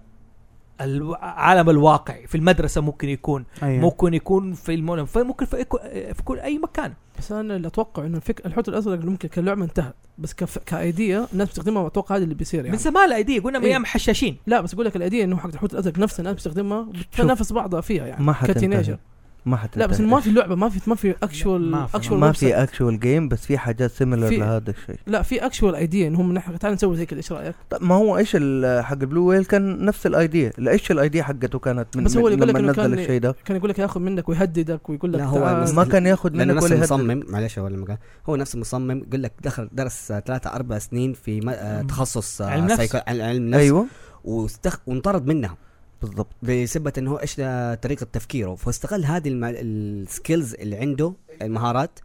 S1: الو- عالم الواقع في المدرسه ممكن يكون
S3: ايوه
S1: ممكن يكون في المول فممكن في, أكو- في كل اي مكان
S2: بس انا اللي اتوقع انه الفك... الحوت الازرق اللي ممكن كلعبه انتهت بس كف... كايديا الناس بتستخدمها واتوقع هذا اللي بيصير
S1: من
S2: يعني
S1: زمان الايدي قلنا من
S2: إيه.
S1: ايام حشاشين
S2: لا بس اقول لك الايديا انه حق الحوت الازرق نفسها الناس بتستخدمها بتنافس بعضها فيها يعني
S4: ما
S2: كتينيجر
S4: حتنتهي ما حتنتهي
S2: لا بس إنه ما في لعبه ما في ما في اكشوال
S5: ما في-
S2: اكشوال
S4: ما في اكشوال جيم بس في حاجات سيميلر
S2: في-
S4: لهذا الشيء
S2: لا في اكشوال ايديا انهم من ناحيه تعال نسوي زي كذا ايش رايك؟
S4: طب ما هو ايش ال- حق بلو ويل كان نفس الايديا لا، ايش الايديا حقته كانت من,
S2: بس هو
S4: من
S2: يقول لك
S4: لما
S2: إنه كان- آه.
S4: نزل الشيء ده
S2: كان يقول لك ياخذ منك ويهددك ويقول لك
S6: لا، هو
S2: تعال.
S6: بس-
S4: ما كان ياخذ
S6: لانه
S4: منك
S6: نفس
S4: ولا يهدد
S6: المصمم معلش هو لما قال هو نفس المصمم يقول لك دخل درس آه، ثلاثة أربع سنين في ما- آه،
S1: مم.
S6: تخصص آه،
S1: علم نفس.
S6: سايكو- عل- علم
S3: أيوة.
S6: نفس
S4: ايوه
S6: واستخ... وانطرد منها
S4: بالضبط
S6: بسبة انه هو ايش آه، طريقة تفكيره فاستغل هذه الم... السكيلز اللي عنده المهارات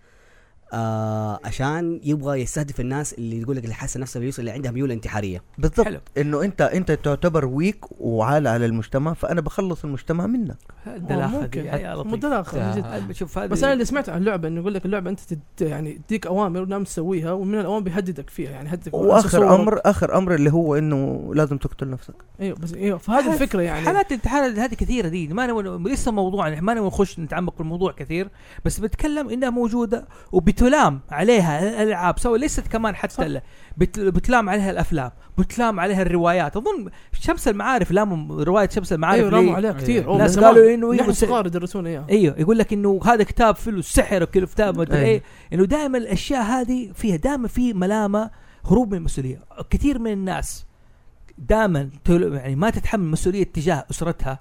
S6: آه عشان يبغى يستهدف الناس اللي يقول لك اللي حاسه نفسها بيوصل اللي عندها ميول انتحاريه
S4: بالضبط
S1: حلو.
S4: انه انت انت تعتبر ويك وعال على المجتمع فانا بخلص المجتمع منك
S1: الدلاخه دي
S2: ممكن.
S1: يا
S2: مو
S1: لطيف
S2: دلاخة، من جد.
S5: آه.
S1: طيب، شوف هذه
S2: بس انا اللي سمعته عن اللعبه انه يقول لك اللعبه انت تد... يعني تديك اوامر ونام تسويها ومن الاوامر بيهددك فيها يعني يهددك صورك.
S4: واخر امر اخر امر اللي هو انه لازم تقتل نفسك
S2: ايوه بس ايوه فهذه
S1: حلف-
S2: الفكره يعني
S1: حالات الانتحار هذه كثيره دي ما نبغى لسه موضوع يعني ما نبغى نخش نتعمق في الموضوع كثير بس بتكلم انها موجوده وبتلام عليها الالعاب سواء ليست كمان حتى ال- بت- بتلام عليها الافلام بتلام عليها الروايات اظن شمس المعارف لاموا روايه شمس المعارف
S2: ايوه
S1: ليه؟
S2: راموا عليها كثير
S1: ناس
S2: بس
S1: قالوا
S2: زمان
S1: إنه إيه
S2: نحن
S1: بس-
S2: صغار يدرسونا اياها
S1: ايوه يقول لك انه هذا كتاب فيه له سحر وكذا كتاب مدري
S4: أيوة.
S1: ايه انه دائما الاشياء هذه فيها دائما في ملامه هروب من المسؤوليه كثير من الناس دائما تل- يعني ما تتحمل مسؤوليه تجاه اسرتها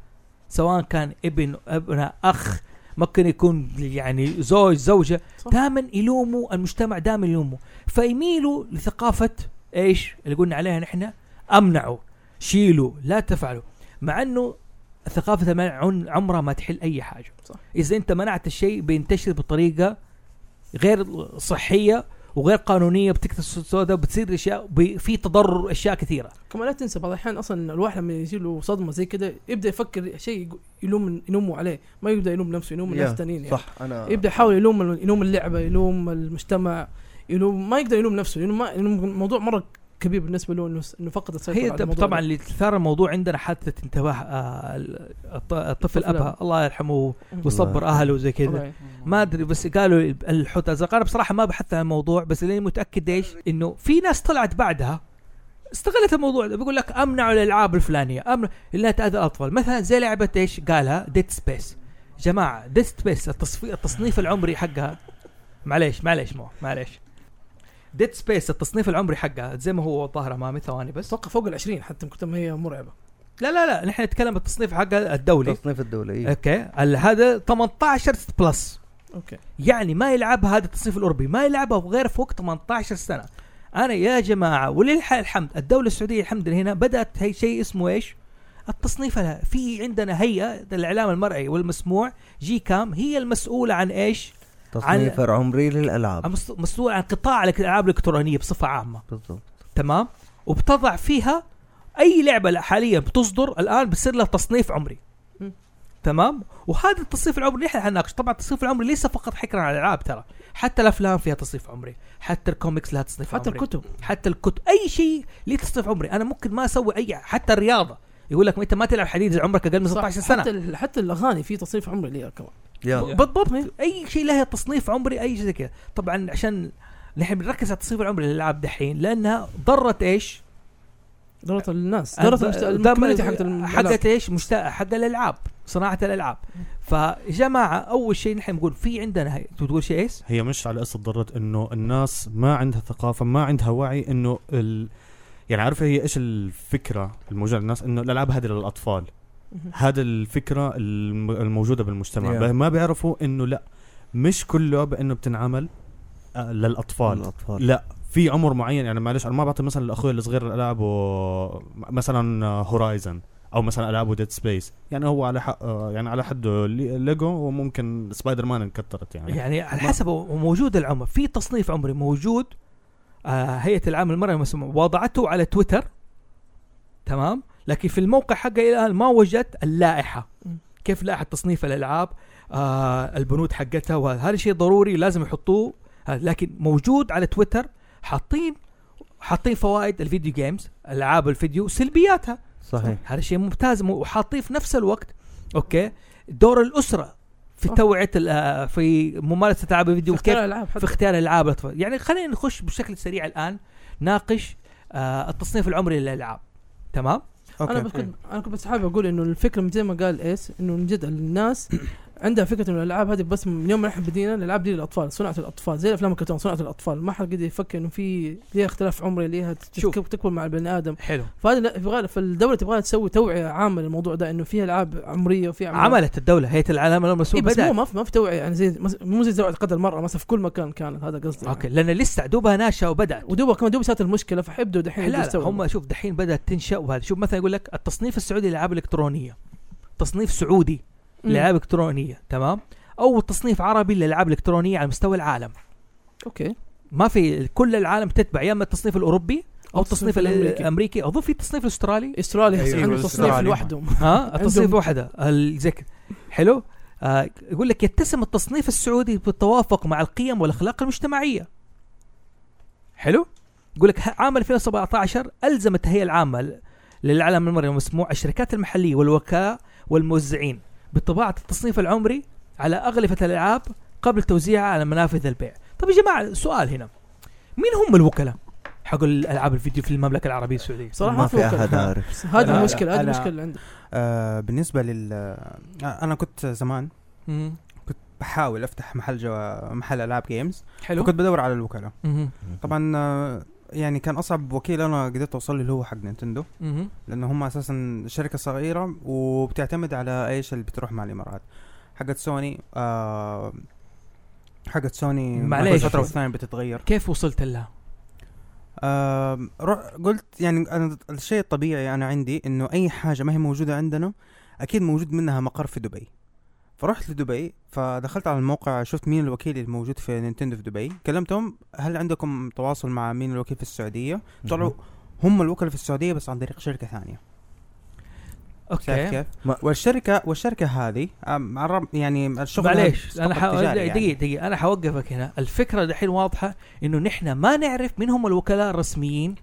S1: سواء كان ابن ابن اخ ممكن يكون يعني زوج زوجه
S2: صح.
S1: دائما يلوموا المجتمع دائما يلوموا فيميلوا لثقافه ايش اللي قلنا عليها نحن امنعوا شيلوا لا تفعلوا مع انه ثقافه المنع عن- عمرها ما تحل اي حاجه
S2: صح.
S1: اذا انت منعت الشيء بينتشر بطريقه غير صحيه وغير قانونيه بتكتسب السوداء بتصير اشياء بي- في تضرر اشياء كثيره
S2: كمان لا تنسى بعض الاحيان اصلا الواحد لما يجي له صدمه زي كده يبدا يفكر شيء يقو- يلوم يلومه عليه ما يبدا يلوم نفسه يلوم الناس
S4: يا،
S2: الثانيين يعني.
S4: صح انا
S2: يبدا يحاول يلوم ال- يلوم اللعبه يلوم المجتمع يلوم ما يقدر يلوم نفسه لانه ما لأنه الموضوع مره كبير بالنسبه له انه س- انه فقد السيطره
S1: هي
S2: على
S1: ده
S2: طيب، الموضوع
S1: طبعا
S2: ده.
S1: اللي ثار الموضوع عندنا حادثه انتباه آه، ال- الط- الطفل
S2: الطفل
S1: ابها
S2: أبها.
S1: الله يرحمه
S2: مم.
S1: ويصبر اهله وزي كذا
S2: طبعاً.
S1: ما ادري بس قالوا الحوت الازرق انا بصراحه ما بحثت عن الموضوع بس اللي أنا متاكد ايش انه في ناس طلعت بعدها استغلت الموضوع ده بيقول لك امنعوا الالعاب الفلانيه امن اللي تاذى الاطفال مثلا زي لعبه ايش قالها ديد سبيس جماعه ديد سبيس التصفي... التصنيف العمري حقها معليش معليش مو معليش ديد سبيس التصنيف العمري حقها زي ما هو ظاهر امامي ثواني بس
S2: اتوقع فوق ال 20 حتى من كتر ما هي مرعبه
S1: لا لا لا نحن نتكلم التصنيف حقها الدولي
S4: تصنيف إيه. الدولي
S1: اوكي ال- هذا 18 بلس
S2: اوكي
S1: يعني ما يلعبها هذا التصنيف الاوروبي ما يلعبها غير في وقت 18 سنه انا يا جماعه ولله الحمد الدوله السعوديه الحمد لله هنا بدات هي شيء اسمه ايش التصنيف لها في عندنا هيئه الاعلام المرئي والمسموع جي كام هي المسؤوله عن ايش
S4: تصنيف عمري للالعاب
S1: المس- مسؤوله عن قطاع الك- الالعاب الالكترونيه بصفه عامه
S4: بالضبط
S1: تمام وبتضع فيها اي لعبه لا- حاليا بتصدر الان بتصير لها تصنيف عمري
S2: مم.
S1: تمام وهذا التصنيف العمري اللي احنا حنناقش طبعا التصنيف العمري ليس فقط حكرا على الالعاب ترى حتى الافلام فيها تصنيف عمري حتى الكوميكس لها تصنيف
S2: حتى
S1: عمري
S2: الكتب
S1: حتى الكتب اي شيء ليه تصنيف عمري انا ممكن ما اسوي اي حتى الرياضه يقول لك انت ما تلعب حديد اذا عمرك اقل من 16
S2: صح،
S1: سنه
S2: حتى, ال- حتى الاغاني في تصنيف عمري ليها كمان
S4: يلا
S5: Yeah.
S1: بالضبط اي شيء لها تصنيف عمري اي شيء زي كذا طبعا عشان نحن بنركز على التصنيف العمري للالعاب دحين لانها ضرت ايش؟
S2: دورة
S1: أه.
S2: الناس دورة المجت... الكوميونتي حقت الم-
S1: حقت ايش؟ مشتا... حق الالعاب صناعه الالعاب فجماعه اول شيء نحن بنقول في عندنا هي- تقول شيء ايش؟
S7: هي مش على قصه ضرت انه الناس ما عندها ثقافه ما عندها وعي انه ال... يعني عارفه هي ايش الفكره الموجوده عند الناس انه الالعاب هذه للاطفال
S2: مهم.
S7: هذا الفكره الم- الموجوده بالمجتمع
S4: Yeah.
S7: yeah. ما بيعرفوا انه لا مش كل لعبه انه بتنعمل آه، للاطفال
S4: الاطفال
S7: لا في عمر معين يعني معلش انا ما بعطي مثلا لاخوي الصغير العاب مثلا هورايزن او مثلا العابه ديد سبيس يعني هو على حق آه، يعني على حده لي- ليجو وممكن سبايدر مان انكترت يعني
S1: يعني على حسب هو موجود العمر في تصنيف عمري موجود آه هيئه العام المرأة والمسموع وضعته على تويتر تمام لكن في الموقع حقه الى الان ما وجدت اللائحه
S2: مم.
S1: كيف لائحه تصنيف الالعاب آه البنود حقتها وهذا شيء ضروري لازم يحطوه آه لكن موجود على تويتر حاطين حاطين فوائد الفيديو جيمز العاب الفيديو سلبياتها
S2: طيب.
S4: صحيح
S1: طيب. هذا شيء ممتاز مو- وحاطين في نفس الوقت اوكي دور الاسره في
S2: صح.
S1: توعيه ال- آه، في ممارسه العاب الفيديو
S2: في
S1: كيف
S2: اختيار الالعاب
S1: في
S2: حتى
S1: اختيار الالعاب للاطفال يعني خلينا نخش بشكل سريع الان ناقش آه التصنيف العمري للالعاب تمام
S2: انا بس كنت انا كنت بس حابب اقول انه الفكره من زي ما قال ايس انه من جد الناس عندها فكره انه الالعاب هذه بس من يوم ما نحن بدينا الالعاب دي للاطفال صناعه الاطفال زي الافلام الكرتون صناعه الاطفال ما حد قدر يفكر انه في ليها اختلاف عمري ليها
S1: شوف.
S2: تك- تكبر مع البني ادم
S1: حلو
S2: فهذا لا- يبغى فالدوله تبغى تسوي توعيه عامه للموضوع ده انه في العاب عمريه وفي
S1: عملت الدوله هيئه العالم
S2: إيه
S1: المسؤول
S2: بس مو
S1: بدات
S2: ما في ما في توعيه يعني زي مس- مو زي توعيه قدر المراه مثلا في كل مكان كانت هذا قصدي
S1: اوكي لان لسه دوبها ناشئه وبدات
S2: يعني. ودوبها كمان دوب صارت المشكله فحيبدوا دحين
S1: لا, لا
S2: يستوعبوا.
S1: هم شوف دحين بدات تنشا وهذا شوف مثلا يقول لك التصنيف السعودي للالعاب الالكترونيه تصنيف سعودي
S2: مم.
S1: للالعاب الالكترونيه تمام او تصنيف عربي للالعاب الالكترونيه على مستوى العالم
S2: اوكي
S1: ما في كل العالم تتبع يا اما التصنيف الاوروبي او التصنيف الامريكي, الأمريكي. اظن في التصنيف الاسترالي
S2: استراليا
S8: أيوة،
S2: يحصل عنده تصنيف
S8: أستراليا.
S2: لوحدهم
S1: ها التصنيف
S2: عندهم-
S1: وحده الذكر حلو آه يقول لك يتسم التصنيف السعودي بالتوافق مع القيم والاخلاق المجتمعيه حلو يقول لك ه- عام 2017 الزمت الهيئه العامه للعالم المرئي المسموع الشركات المحليه والوكلاء والموزعين بطباعه التصنيف العمري على اغلفه الالعاب قبل توزيعها على منافذ البيع طب يا جماعه سؤال هنا مين هم الوكلاء حق الالعاب الفيديو في المملكه العربيه السعوديه
S2: صراحه
S4: ما في
S2: وكلاء.
S4: احد عارف
S2: هذه
S3: أنا-
S2: المشكله هذه
S3: أنا-
S2: المشكله اللي عندك
S3: آه بالنسبه لل آه انا كنت زمان بحاول افتح محل جوا محل العاب جيمز
S1: حلو
S3: وكنت بدور على الوكلاء
S1: مهم.
S3: طبعا آه يعني كان اصعب وكيل انا قدرت اوصل له اللي هو حق نينتندو
S1: مهم.
S3: لانه هم اساسا شركه صغيره وبتعتمد على ايش اللي بتروح مع الامارات حقت سوني آه حقت سوني
S1: معليش.
S3: كل فتره والثانيه بتتغير
S1: كيف وصلت لها؟
S3: آم، رح قلت يعني انا الشيء الطبيعي انا عندي انه اي حاجه ما هي موجوده عندنا اكيد موجود منها مقر في دبي فرحت لدبي فدخلت على الموقع شفت مين الوكيل الموجود في نينتندو في دبي كلمتهم هل عندكم تواصل مع مين الوكيل في السعوديه طلعوا هم الوكلاء في السعوديه بس عن طريق شركه ثانيه شايف
S1: اوكي
S3: كيف
S4: ما-
S3: والشركه والشركه هذه آم، عرب- يعني الشغل
S1: معليش
S3: هذا
S1: انا
S3: فقط
S1: ح...
S3: تجاري
S1: دقيقة,
S3: يعني.
S1: دقيقة دقيقة انا حوقفك هنا الفكرة دحين واضحة انه نحن ما نعرف مين هم الوكلاء الرسميين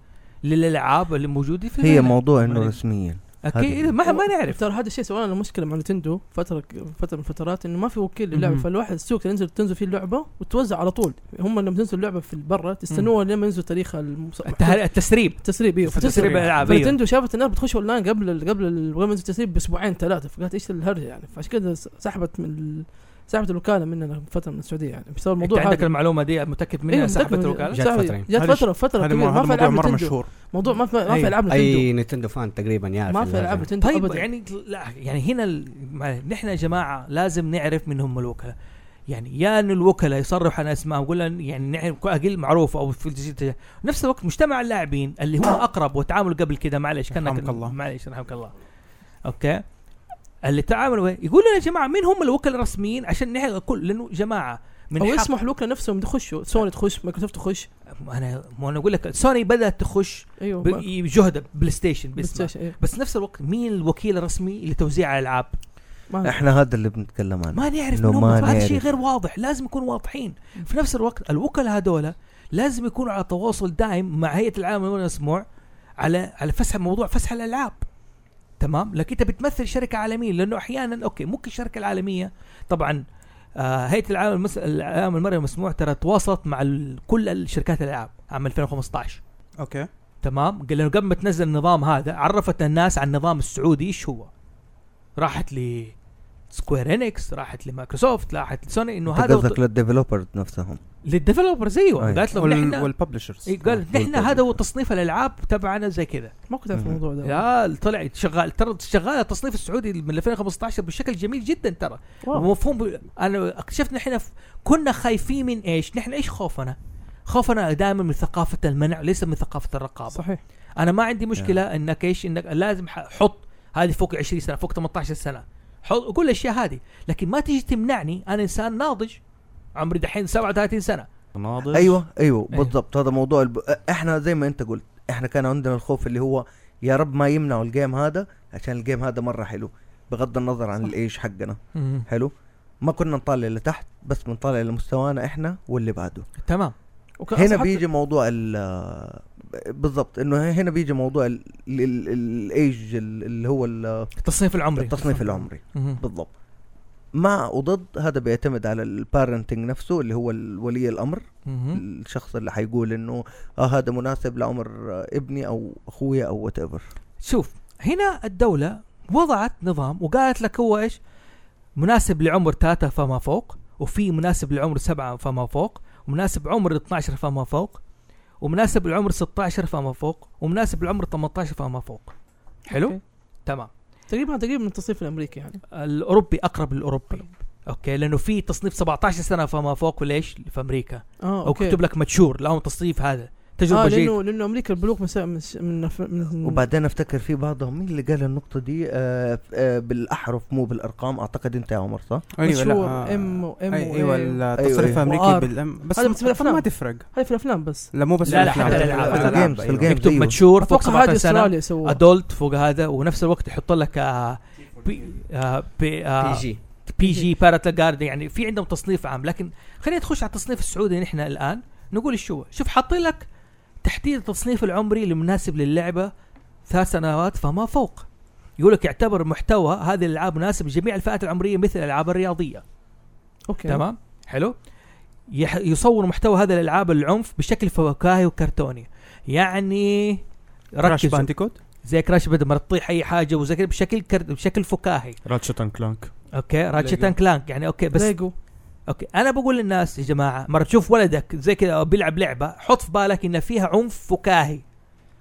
S1: للالعاب اللي موجودة في
S4: هي
S1: البلد.
S4: موضوع انه
S7: ماني-
S4: رسميا
S1: اكيد ما ما نعرف
S2: ترى هذا الشيء سوى لنا مشكله مع نتندو فتره فتره من الفترات انه ما في وكيل للعبه
S1: مهم.
S2: فالواحد السوق تنزل تنزل فيه اللعبه وتوزع على طول هم لما تنزل اللعبه في برا تستنوها لما ينزل تاريخها المس...
S1: التهل- التسريب
S2: التسريب ايوه
S1: تسريب
S2: فتسريب
S1: الالعاب أيوه.
S2: فنتندو شافت الناس بتخش اونلاين قبل ال- قبل ال- قبل ما ينزل التسريب باسبوعين ثلاثه فقالت ايش الهرجه يعني فعشان كذا س- سحبت من ال- سحبت الوكاله مننا فتره من السعوديه يعني بسبب
S1: انت
S2: الموضوع
S1: عندك
S2: هذا
S1: المعلومة دي متأكد منها
S2: أيوة،
S1: سحبت
S2: متأكد من-
S1: الوكالة؟
S6: جات
S2: سحبت-
S6: فترة.
S2: جات
S3: هذا-
S2: فتره فتره
S3: هذا
S2: كبيره
S3: مو-
S2: ما
S3: هذا
S2: في
S3: موضوع
S2: العاب
S3: مره
S2: نتندو
S3: مشهور
S2: موضوع ما في ما في
S6: أي-
S2: العاب نتندو
S6: اي نينتندو فان تقريبا يعرف
S2: ما في
S6: الهرجة.
S2: العاب نتندو
S1: طيب
S2: ابدا
S1: يعني لا يعني هنا ال- معليش، نحن يا جماعة لازم نعرف مين هم الوكلاء يعني يا ان الوكلاء يصرح عن اسماء ولا يعني نعرف اقل معروف او في الجزيرة نفس الوقت مجتمع اللاعبين اللي هم اقرب وتعاملوا قبل كده معليش كانك
S3: رحمك الله.
S1: معليش رحمك الله اوكي اللي تعاملوا يقول لنا يا جماعه مين هم الوكلاء الرسميين عشان نحن كل لانه جماعه من
S2: او
S1: حق-
S2: يسمح لوكلا نفسهم يخشوا سوني تخش مايكروسوفت تخش
S1: انا ما انا اقول لك سوني بدات تخش
S2: ايوه ما-
S1: بجهد بلاي ستيشن
S2: بلاي
S1: باسمها
S2: ستيشن، أيوة.
S1: بس نفس الوقت مين الوكيل الرسمي لتوزيع الالعاب
S2: ما
S4: احنا هذا اللي بنتكلم عنه
S1: ما نعرف
S4: إنه
S1: من هم
S4: ما
S1: هذا شيء
S4: نعرف.
S1: غير واضح لازم يكونوا واضحين في نفس الوقت الوكلاء هذولا لازم يكونوا على تواصل دائم مع هيئه العالم للامن والمسموع على على فسح موضوع فسح الالعاب تمام لكن انت بتمثل شركه عالميه لانه احيانا اوكي ممكن الشركه العالميه طبعا آه هيئه العالم المس... العالم المرئي والمسموع ترى تواصلت مع ال... كل الشركات الالعاب عام 2015
S3: اوكي
S1: تمام قال لانه قبل ما تنزل النظام هذا عرفت الناس عن النظام السعودي ايش هو راحت ل سكوير انكس راحت لمايكروسوفت راحت لسوني انه
S4: انت
S1: هذا
S4: قصدك
S1: وط...
S4: للديفلوبرز نفسهم
S1: للديفلوبرز ايوه
S4: أيوة.
S1: قالت لهم
S3: وال...
S1: نحن
S3: والببلشرز
S1: إيه، قالت نحن
S4: والببلشر.
S1: هذا هو تصنيف الالعاب تبعنا زي كذا
S2: ما كنت اعرف
S4: مم.
S2: الموضوع ده
S1: لا طلعت شغال ترى شغاله التصنيف السعودي من 2015 بشكل جميل جدا ترى
S2: واو.
S1: مفهوم ب... انا اكتشفت نحن ف... كنا خايفين من ايش؟ نحن ايش خوفنا؟ خوفنا دائما من ثقافه المنع ليس من ثقافه الرقابه
S2: صحيح
S1: انا ما عندي مشكله انك ايش انك لازم ح- حط هذه فوق 20 سنه فوق 18 سنه حط كل الاشياء هذه لكن ما تيجي تمنعني انا انسان ناضج عمري دحين 37 سنه
S7: ناضج
S4: ايوه ايوه
S1: أيوة.
S4: بالضبط هذا موضوع الب... احنا زي ما انت قلت احنا كان عندنا الخوف اللي هو يا رب ما يمنعوا الجيم هذا عشان الجيم هذا مره حلو بغض النظر عن الايش حقنا حلو ما كنا نطالع لتحت بس بنطالع لمستوانا احنا واللي بعده
S1: تمام
S2: وكان
S4: هنا
S2: أصلاً حتى-
S4: بيجي موضوع ال بالضبط انه هنا بيجي موضوع ال- ال- ال- الايج ال- اللي هو ال-
S1: التصنيف العمري
S4: التصنيف العمري
S1: مم.
S4: بالضبط مع وضد هذا بيعتمد على البارنتنج نفسه اللي هو ال- ولي الامر
S1: مم.
S4: الشخص اللي حيقول انه اه هذا مناسب لعمر آه، ابني او اخويا او وات ايفر
S1: شوف هنا الدوله وضعت نظام وقالت لك هو ايش مناسب لعمر ثلاثة فما فوق وفي مناسب لعمر سبعة فما فوق ومناسب عمر 12 فما فوق ومناسب لعمر 16 فما فوق ومناسب لعمر 18 فما فوق حلو
S2: أوكي.
S1: تمام
S2: تقريبا تقريبا من التصنيف الامريكي يعني
S1: الاوروبي اقرب للاوروبي اوكي لانه في تصنيف 17 سنه فما فوق وليش في امريكا
S2: اه
S1: او
S2: اوكي
S1: كتب لك ماتشور لهم تصنيف هذا تجربه
S2: آه
S1: آه جيده
S2: لانه لانه امريكا البلوغ مسا- من س- من نف- من
S4: وبعدين افتكر في بعضهم مين اللي قال النقطه دي آه آه بالاحرف مو بالارقام اعتقد انت يا عمر صح؟
S3: ايوه لا
S2: مشهور
S1: أيوة،
S3: آه،
S2: ام وام
S3: أي-
S4: أيوة،
S3: ايوه التصريف
S4: أيوة.
S3: الامريكي
S2: وآر.
S3: بالام بس
S2: هذا بس في
S3: ما
S2: الأفلام.
S3: تفرق
S2: هاي في الافلام بس
S3: لا مو بس
S1: لا، لا،
S3: الأفلام.
S1: حتى الألعاب.
S3: في
S4: في الجيمز، في
S3: أيوة.
S4: الجيمز.
S1: يكتب
S4: أيوه.
S1: ماتشور فوق
S2: اتوقع
S1: 17
S2: هذه
S1: سنه
S2: استراليا سووها
S1: ادولت فوق هذا ونفس الوقت يحط لك آه بي آه بي آه
S6: بي جي
S1: بي جي باراتل جارد يعني في عندهم تصنيف عام لكن خلينا نخش على التصنيف السعودي نحن الان نقول ايش هو شوف حاطين لك تحديد التصنيف العمري المناسب للعبه ثلاث سنوات فما فوق يقول لك يعتبر محتوى هذه الالعاب مناسب لجميع الفئات العمريه مثل الالعاب الرياضيه
S2: اوكي
S1: تمام حلو يح... يصور محتوى هذه الالعاب العنف بشكل فواكهي وكرتوني يعني
S3: كراش
S1: ركزوا
S3: بانديكوت
S1: زي كراش بدل ما تطيح اي حاجه وزي كده بشكل كر... بشكل فكاهي
S7: راتشت اند كلانك
S1: اوكي راتشت اند كلانك يعني اوكي بس
S2: ليجو
S1: اوكي انا بقول للناس يا جماعه مره تشوف ولدك زي كذا أو بيلعب لعبه حط في بالك ان فيها عنف فكاهي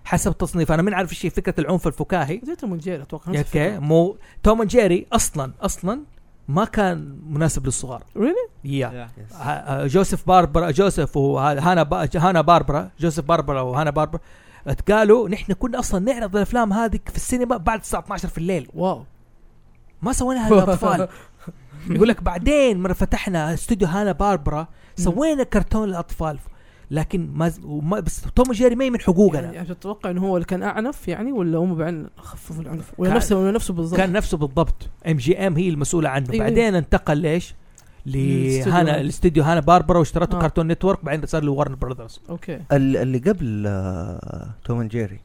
S1: حسب تصنيف انا من عارف ايش هي فكره العنف الفكاهي
S2: زي توم جيري اتوقع نفس
S1: اوكي
S2: الفكرة.
S1: مو توم أند جيري اصلا اصلا ما كان مناسب للصغار
S2: Really؟
S1: يا ه- آه، جوزيف باربرا جوزيف وهانا با هانا باربرا جوزيف باربرا وهانا باربرا قالوا نحن كنا اصلا نعرض الافلام هذه في السينما بعد الساعه 12 في الليل
S2: واو يعني-
S1: ما سويناها للاطفال يقول لك بعدين مره فتحنا استوديو هانا باربرا سوينا كرتون للاطفال لكن ما, ز... وما بس توم جيري ما هي من حقوقنا
S2: يعني تتوقع انه هو اللي كان اعنف يعني ولا هم بعين خففوا العنف ولا
S1: كان-
S2: نفسه ولا نفسه بالضبط
S1: كان نفسه بالضبط ام جي ام هي المسؤوله عنه
S2: أيوة.
S1: بعدين انتقل ليش؟
S2: للاستوديو
S1: لهانا
S2: هذا.
S1: الاستوديو هانا باربرا واشترته
S2: آه.
S1: كرتون نتورك بعدين صار له ورن براذرز
S2: اوكي
S4: ال- اللي قبل آه، توم اند جيري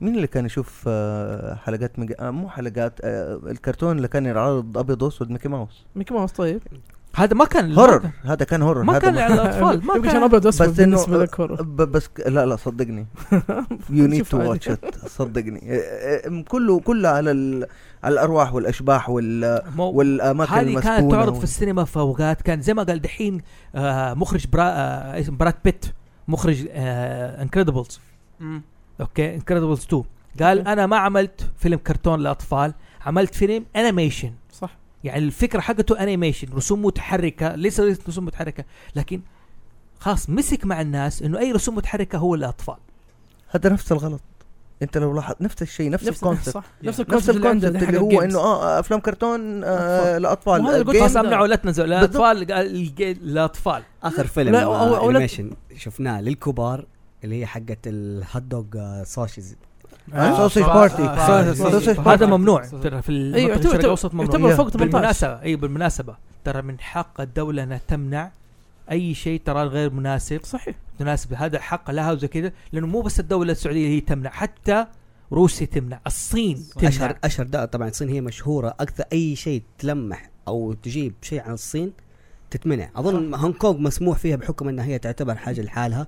S4: مين اللي كان يشوف آه، حلقات ميجا آه، مو حلقات آه، الكرتون اللي كان ينعرض ابيض واسود ميكي ماوس
S2: ميكي ماوس طيب
S1: هذا ما كان
S4: هورر هذا كان هورر
S1: ما
S4: هذا
S1: كان للاطفال ما
S2: يمكن عشان
S1: كان
S2: ابيض واسود
S4: بس إنه-
S2: بالنسبه لك هورر.
S4: ب- بس ك- لا لا صدقني يو نيد
S2: شوف
S4: تو
S2: عادي.
S4: واتش ات صدقني آه، آه، كله كله على ال- على الارواح والاشباح وال
S1: مو-
S4: والاماكن
S1: هذه
S4: المسكونه
S1: كانت تعرض
S4: وال-
S1: في السينما في اوقات كان زي ما قال دحين آه مخرج برا آه اسم براد بيت مخرج آه، انكريدبلز اوكي انكريدبلز 2 قال
S2: أوكي.
S1: انا ما عملت فيلم كرتون لاطفال عملت فيلم انيميشن
S2: صح
S1: يعني الفكره حقته انيميشن رسوم متحركه ليس رسوم متحركه لكن خلاص مسك مع الناس انه اي رسوم متحركه هو للاطفال
S4: هذا نفس الغلط انت لو لاحظت نفس الشيء نفس
S2: نفس
S4: الكونسبت
S2: صح نفس
S4: نفس
S2: الكونسبت اللي عندنا
S4: الكونسبت
S2: حق
S4: اللي هو
S2: الجيمز.
S4: انه اه افلام كرتون آه
S2: أطفال.
S4: لاطفال
S2: وهذا اللي قلت
S4: الجيم-
S1: خلاص
S2: ده.
S1: امنعوا لا تنزلوا
S4: بالضبط.
S1: الاطفال الاطفال
S6: اخر فيلم
S2: لا، أو-
S6: آه،
S2: أولاد-
S6: انيميشن شفناه للكبار اللي هي حقت الهوت دوج آه، سوشيز
S4: آه، سوسيج
S1: آه،
S4: بارتي
S1: آه،
S4: سوسيج-
S1: سوسيج
S4: سوسيج
S1: بارتي.
S4: بارتي.
S1: هذا ممنوع
S5: سوسيج.
S1: ترى في المنطقة
S2: ايوه
S1: الشرق
S2: يعتبر
S1: الاوسط ممنوع
S2: يعتبر فوق 18
S1: بالمناسبة اي بالمناسبة ترى من حق الدولة انها تمنع اي شيء ترى غير مناسب
S2: صحيح
S1: تناسب هذا حق لها وزي كذا لانه مو بس الدولة السعودية هي تمنع حتى روسيا تمنع الصين
S5: صح.
S1: تمنع
S6: اشهر اشهر ده طبعا الصين هي مشهوره اكثر اي شيء تلمح او تجيب شيء عن الصين تتمنع اظن هونغ كونغ مسموح فيها بحكم انها هي تعتبر حاجه لحالها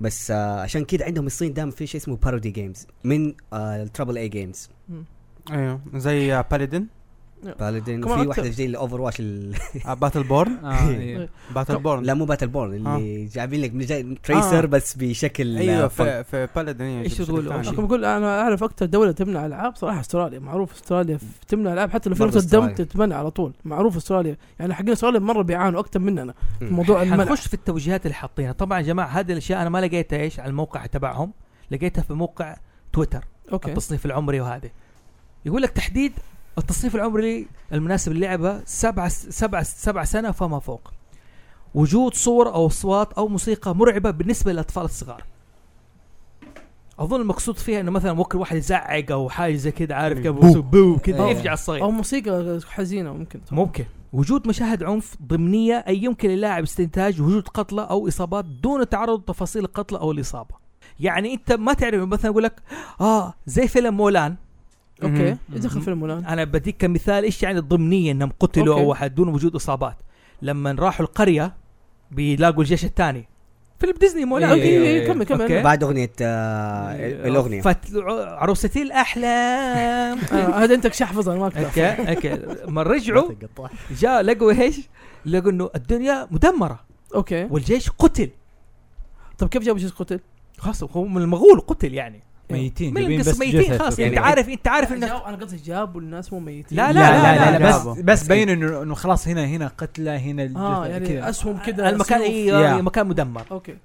S6: بس آه عشان كذا عندهم الصين دائما في شيء اسمه بارودي جيمز من آه التربل اي جيمز
S3: ايوه زي باليدن
S6: بالدين
S2: كمان
S6: في
S2: أكثر.
S6: واحده جديده الاوفر واتش
S3: باتل بورن
S5: آه، إيه.
S3: باتل بورن
S6: لا مو باتل بورن اللي جايبين لك جاي تريسر
S3: آه.
S6: بس بشكل آه،
S3: ايوه
S6: فن.
S3: في في باليدن ايوه
S1: إيش
S3: بشكل
S1: تقول؟
S3: ثاني.
S1: شيء.
S2: لكن بقول انا اعرف اكثر دوله تمنع العاب صراحه استراليا معروف استراليا ف- تمنع العاب حتى لو
S6: برضو
S2: فيلم الدم
S6: أستراليا.
S2: تتمنع على طول معروف استراليا يعني حقين استراليا مره بيعانوا اكثر مننا في
S6: مم.
S2: موضوع المنع
S1: حنخش في التوجيهات اللي حاطينها طبعا يا جماعه هذه الاشياء انا ما لقيتها ايش على الموقع تبعهم لقيتها في موقع تويتر
S2: اوكي
S1: التصنيف العمري وهذه يقول لك تحديد التصنيف العمري المناسب للعبه سبعة سبعة سبعة سنه فما فوق وجود صور او اصوات او موسيقى مرعبه بالنسبه للاطفال الصغار اظن المقصود فيها انه مثلا ممكن واحد يزعق او حاجه زي كده عارف كيف بو, بو كذا
S5: إيه.
S1: يفجع الصغير
S2: او موسيقى حزينه ممكن
S1: ممكن وجود مشاهد عنف ضمنية أي يمكن للاعب استنتاج وجود قتلى أو إصابات دون تعرض تفاصيل القتلى أو الإصابة يعني أنت ما تعرف مثلا أقول لك آه زي فيلم مولان
S2: اوكي
S5: مم.
S2: دخل فيلم الان
S1: أنا بديك كمثال إيش يعني الضمنية إنهم قتلوا
S2: أوكي.
S1: أو واحد دون وجود إصابات لما راحوا القرية بيلاقوا الجيش الثاني فيلم ديزني مولان
S2: اوكي
S5: إيه،
S2: إيه،
S5: إيه.
S2: كمل
S1: أوكي.
S2: كمل
S6: بعد اغنيه آه
S1: أيوة.
S6: الاغنيه
S1: فت- عروستي الأحلام
S2: آه، هذا انت شحفظ انا ما اقدر
S1: اوكي اوكي لما رجعوا جاء لقوا ايش؟ لقوا انه الدنيا مدمره
S2: اوكي
S1: والجيش قتل
S2: طب كيف جابوا شيء قتل؟
S1: خلاص هو من المغول قتل يعني
S5: ميتين
S1: من
S5: جايبين
S1: القصة
S5: بس
S1: ميتين
S5: جثث
S1: خلاص يعني
S5: وكذا.
S1: انت عارف انت عارف
S2: لا،
S1: انه
S2: جاو- انا قصدي جابوا الناس مو ميتين
S1: لا،
S5: لا لا لا,
S1: لا،
S5: بس
S3: جابوا.
S5: بس بين انه انه خلاص هنا هنا قتلى هنا الجثة
S2: اه يعني
S5: كذا.
S2: اسهم كذا
S1: المكان
S2: سيوف.
S1: اي
S7: Yeah.
S1: مكان مدمر
S2: اوكي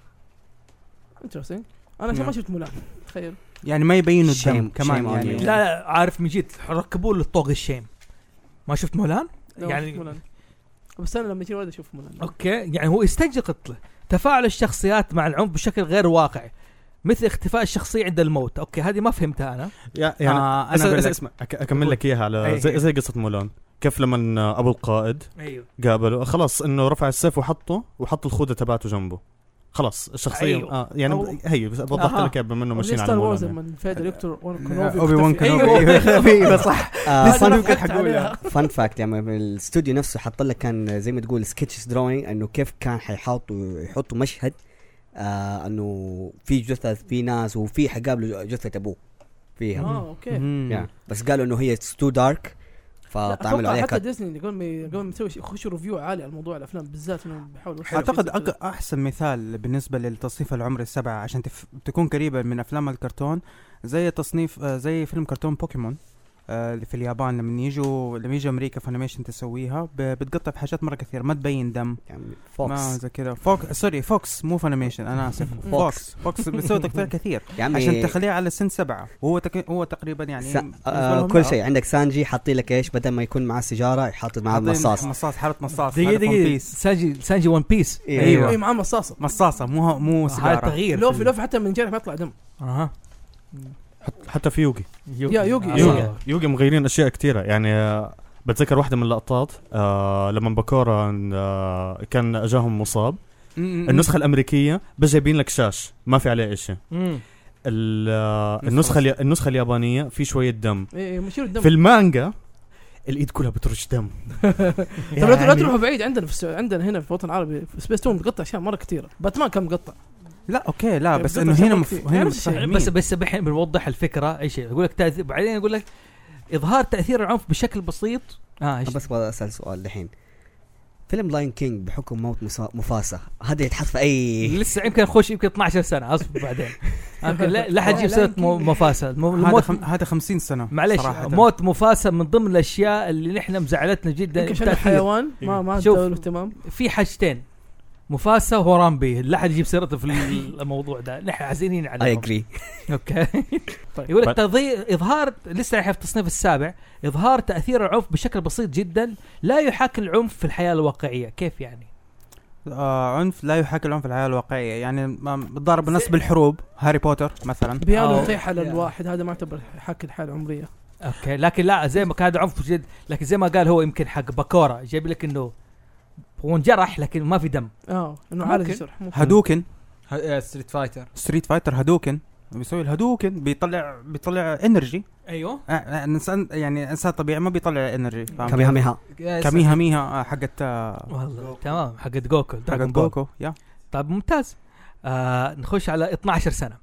S2: انترستنج انا عشان ما
S3: نعم.
S2: شفت مولان تخيل
S3: يعني ما يبينوا
S6: Shame-
S3: الدم كمان
S6: shame on
S3: يعني
S6: you.
S1: لا لا عارف من جد ركبوا له طوق الشيم ما شفت مولان؟
S2: لا، ما
S1: يعني-
S2: شفت مولان. بس انا لما يجيني ولد اشوف مولان
S1: اوكي يعني هو يستنتج قتله تفاعل الشخصيات مع العنف بشكل غير واقعي مثل اختفاء الشخصية عند الموت اوكي هذه ما فهمتها انا
S7: يا- يعني
S3: آه، أنا
S7: أس-
S3: أقول
S7: أس-
S3: لك.
S7: اسمع أك- اكمل لك اياها
S1: أي.
S7: على زي, زي قصه مولان كيف لما ابو القائد
S1: ايوه
S7: قابله خلاص انه رفع السيف وحطه وحط الخوذه تبعته جنبه خلاص الشخصيه
S1: أيوه.
S7: أيوه. آه يعني
S1: أو-
S7: هي بس وضحت
S1: أها.
S7: لك إياها بما انه
S2: زي
S7: ماشيين على يعني.
S2: ستار وورز
S7: مولان نعم.
S2: لما فيدر يقتل وان كنوفي أيوه،
S3: اوبي وان
S2: واختفى.
S3: كانوبي صح
S6: آه
S3: لسه
S6: فن-
S3: أنا كنت حقولها.
S6: فان فاكت يعني الاستوديو نفسه حط لك كان زي ما تقول سكتش دروينج انه كيف كان حيحطوا يحطوا مشهد آه انه في جثث في ناس وفي حقابله جثه ابوه فيها
S7: أيوه.
S2: اه اوكي
S6: yeah. بس قالوا انه هي تو دارك
S7: آه،
S6: فطعملوا
S2: اتوقع
S6: عليها
S2: حتى
S6: كات
S2: ديزني اللي قبل ما ي- قبل ما يسوي شيء يخشوا ريفيو عالي على موضوع الافلام بالذات انهم بيحاولوا
S3: اعتقد أك... احسن مثال بالنسبه للتصنيف العمري السبعه عشان تف... تكون قريبه من افلام الكرتون زي تصنيف آه، زي فيلم كرتون بوكيمون آه، اللي في اليابان لما يجوا لما يجي امريكا فانيميشن تسويها ب... بتقطع في حاجات مره كثير ما تبين دم
S6: يعني
S3: ما
S6: فوكس
S3: زي كذا فوكس سوري فوكس مو فانيميشن انا اسف
S6: فوكس.
S3: فوكس فوكس بتسوي تقطيع كثير
S6: يا عمي
S3: عشان تخليه على سن سبعه وهو تك... هو تقريبا يعني
S6: يعني سا-
S3: بالنسبة
S6: آه
S3: لهم
S6: كل شيء عندك سانجي حاطين لك ايش بدل ما يكون معاه سيجاره يحط معاه
S3: حاطين
S6: مصاص
S3: مصاص حاله مصاص
S1: دقيقة
S3: هذا One
S1: دقيقة
S3: Piece. إيه.
S1: سانجي سانجي أيوه. ون بيس
S7: أيوه.
S2: ايوه معاه مصاصه
S3: مصاصه مو مو
S1: هذا
S3: سيجاره
S1: تغيير
S2: لوفي لوفي حتى من جرح ما يطلع دم
S1: اها
S7: حت- حتى في يوغي
S2: يا
S1: آه.
S2: يوغي.
S7: يوغي, يوغي مغيرين اشياء كثيره يعني آه، بتذكر واحده من اللقطات آه لما باكورا آه كان اجاهم مصاب النسخه الامريكيه بس جايبين لك شاش ما في عليه شيء
S1: مم.
S7: ال- آه،
S3: نسخة
S7: النسخه اليا- النسخه اليابانيه في شويه دم
S2: ايه مشير الدم
S7: في المانجا الايد كلها بترش دم
S2: طب لا
S7: يعني-
S2: لا تروحوا بعيد عندنا في السعوديه عندنا هنا في الوطن العربي في سبيس تون مقطع اشياء مره كثيره باتمان كان مقطع
S3: لا اوكي لا بس
S2: بتقطع
S3: انه هنا
S2: شغل
S3: مف...
S2: كتير.
S3: هنا
S2: نفس الشيء.
S3: متفاهمين.
S1: بس بس الحين بنوضح الفكره ايش يقول لك تأثير بعدين يقول لك اظهار تاثير العنف بشكل بسيط اه ايش
S6: بس ابغى اسال سؤال الحين فيلم لاين كينج بحكم موت مسا- مufasa هذا يتحط في اي
S1: لسه يمكن اخش يمكن 12 سنه اصبر بعدين يمكن لا لا حد يجيب سيره مو- مفاسا الم-
S3: هذا
S1: الموت
S3: خم... هذا 50 سنه
S1: معلش
S3: صراحة.
S1: موت مفاسا من ضمن الاشياء اللي نحن مزعلتنا جدا
S2: يمكن عشان
S1: التأثير.
S2: الحيوان ما ما
S1: شوف.
S2: ادوا له اهتمام
S1: في حاجتين مفاسا ورامبي لا حد يجيب سيرته في ال- الموضوع ده نحن حزينين
S6: اي
S1: عليهم
S6: اجري
S1: اوكي يقول لك
S7: بل-
S1: تضي... اظهار لسه احنا في التصنيف السابع اظهار تاثير العنف بشكل بسيط جدا لا يحاكي العنف في الحياه الواقعيه كيف يعني
S3: آه عنف لا يحاكي العنف الحياه الواقعيه يعني ما- بتضارب الناس بالحروب هاري بوتر مثلا
S2: بيانو
S1: أو-
S2: يطيح على
S1: يعني.
S2: الواحد هذا ما يعتبر حق الحاله العمريه
S1: اوكي لكن لا زي ما كان عنف جد لكن زي ما قال هو يمكن حق باكورا جايب لك انه هو انجرح لكن ما في دم
S2: اه انه عالج
S1: ممكن.
S2: الجرح ممكن.
S3: هادوكن
S5: ستريت فايتر
S3: ستريت فايتر هادوكن بيسوي الهادوكن بيطلع بيطلع انرجي
S1: ايوه
S3: انسان يعني انسان طبيعي ما بيطلع انرجي فاهم؟
S6: كميها ميها
S3: كاميها ميها آه، حقت آه،
S1: والله تمام حقت جوكو
S3: حقت
S1: دراجون بول
S3: جوكو يا
S1: طيب ممتاز آه نخش على 12 سنه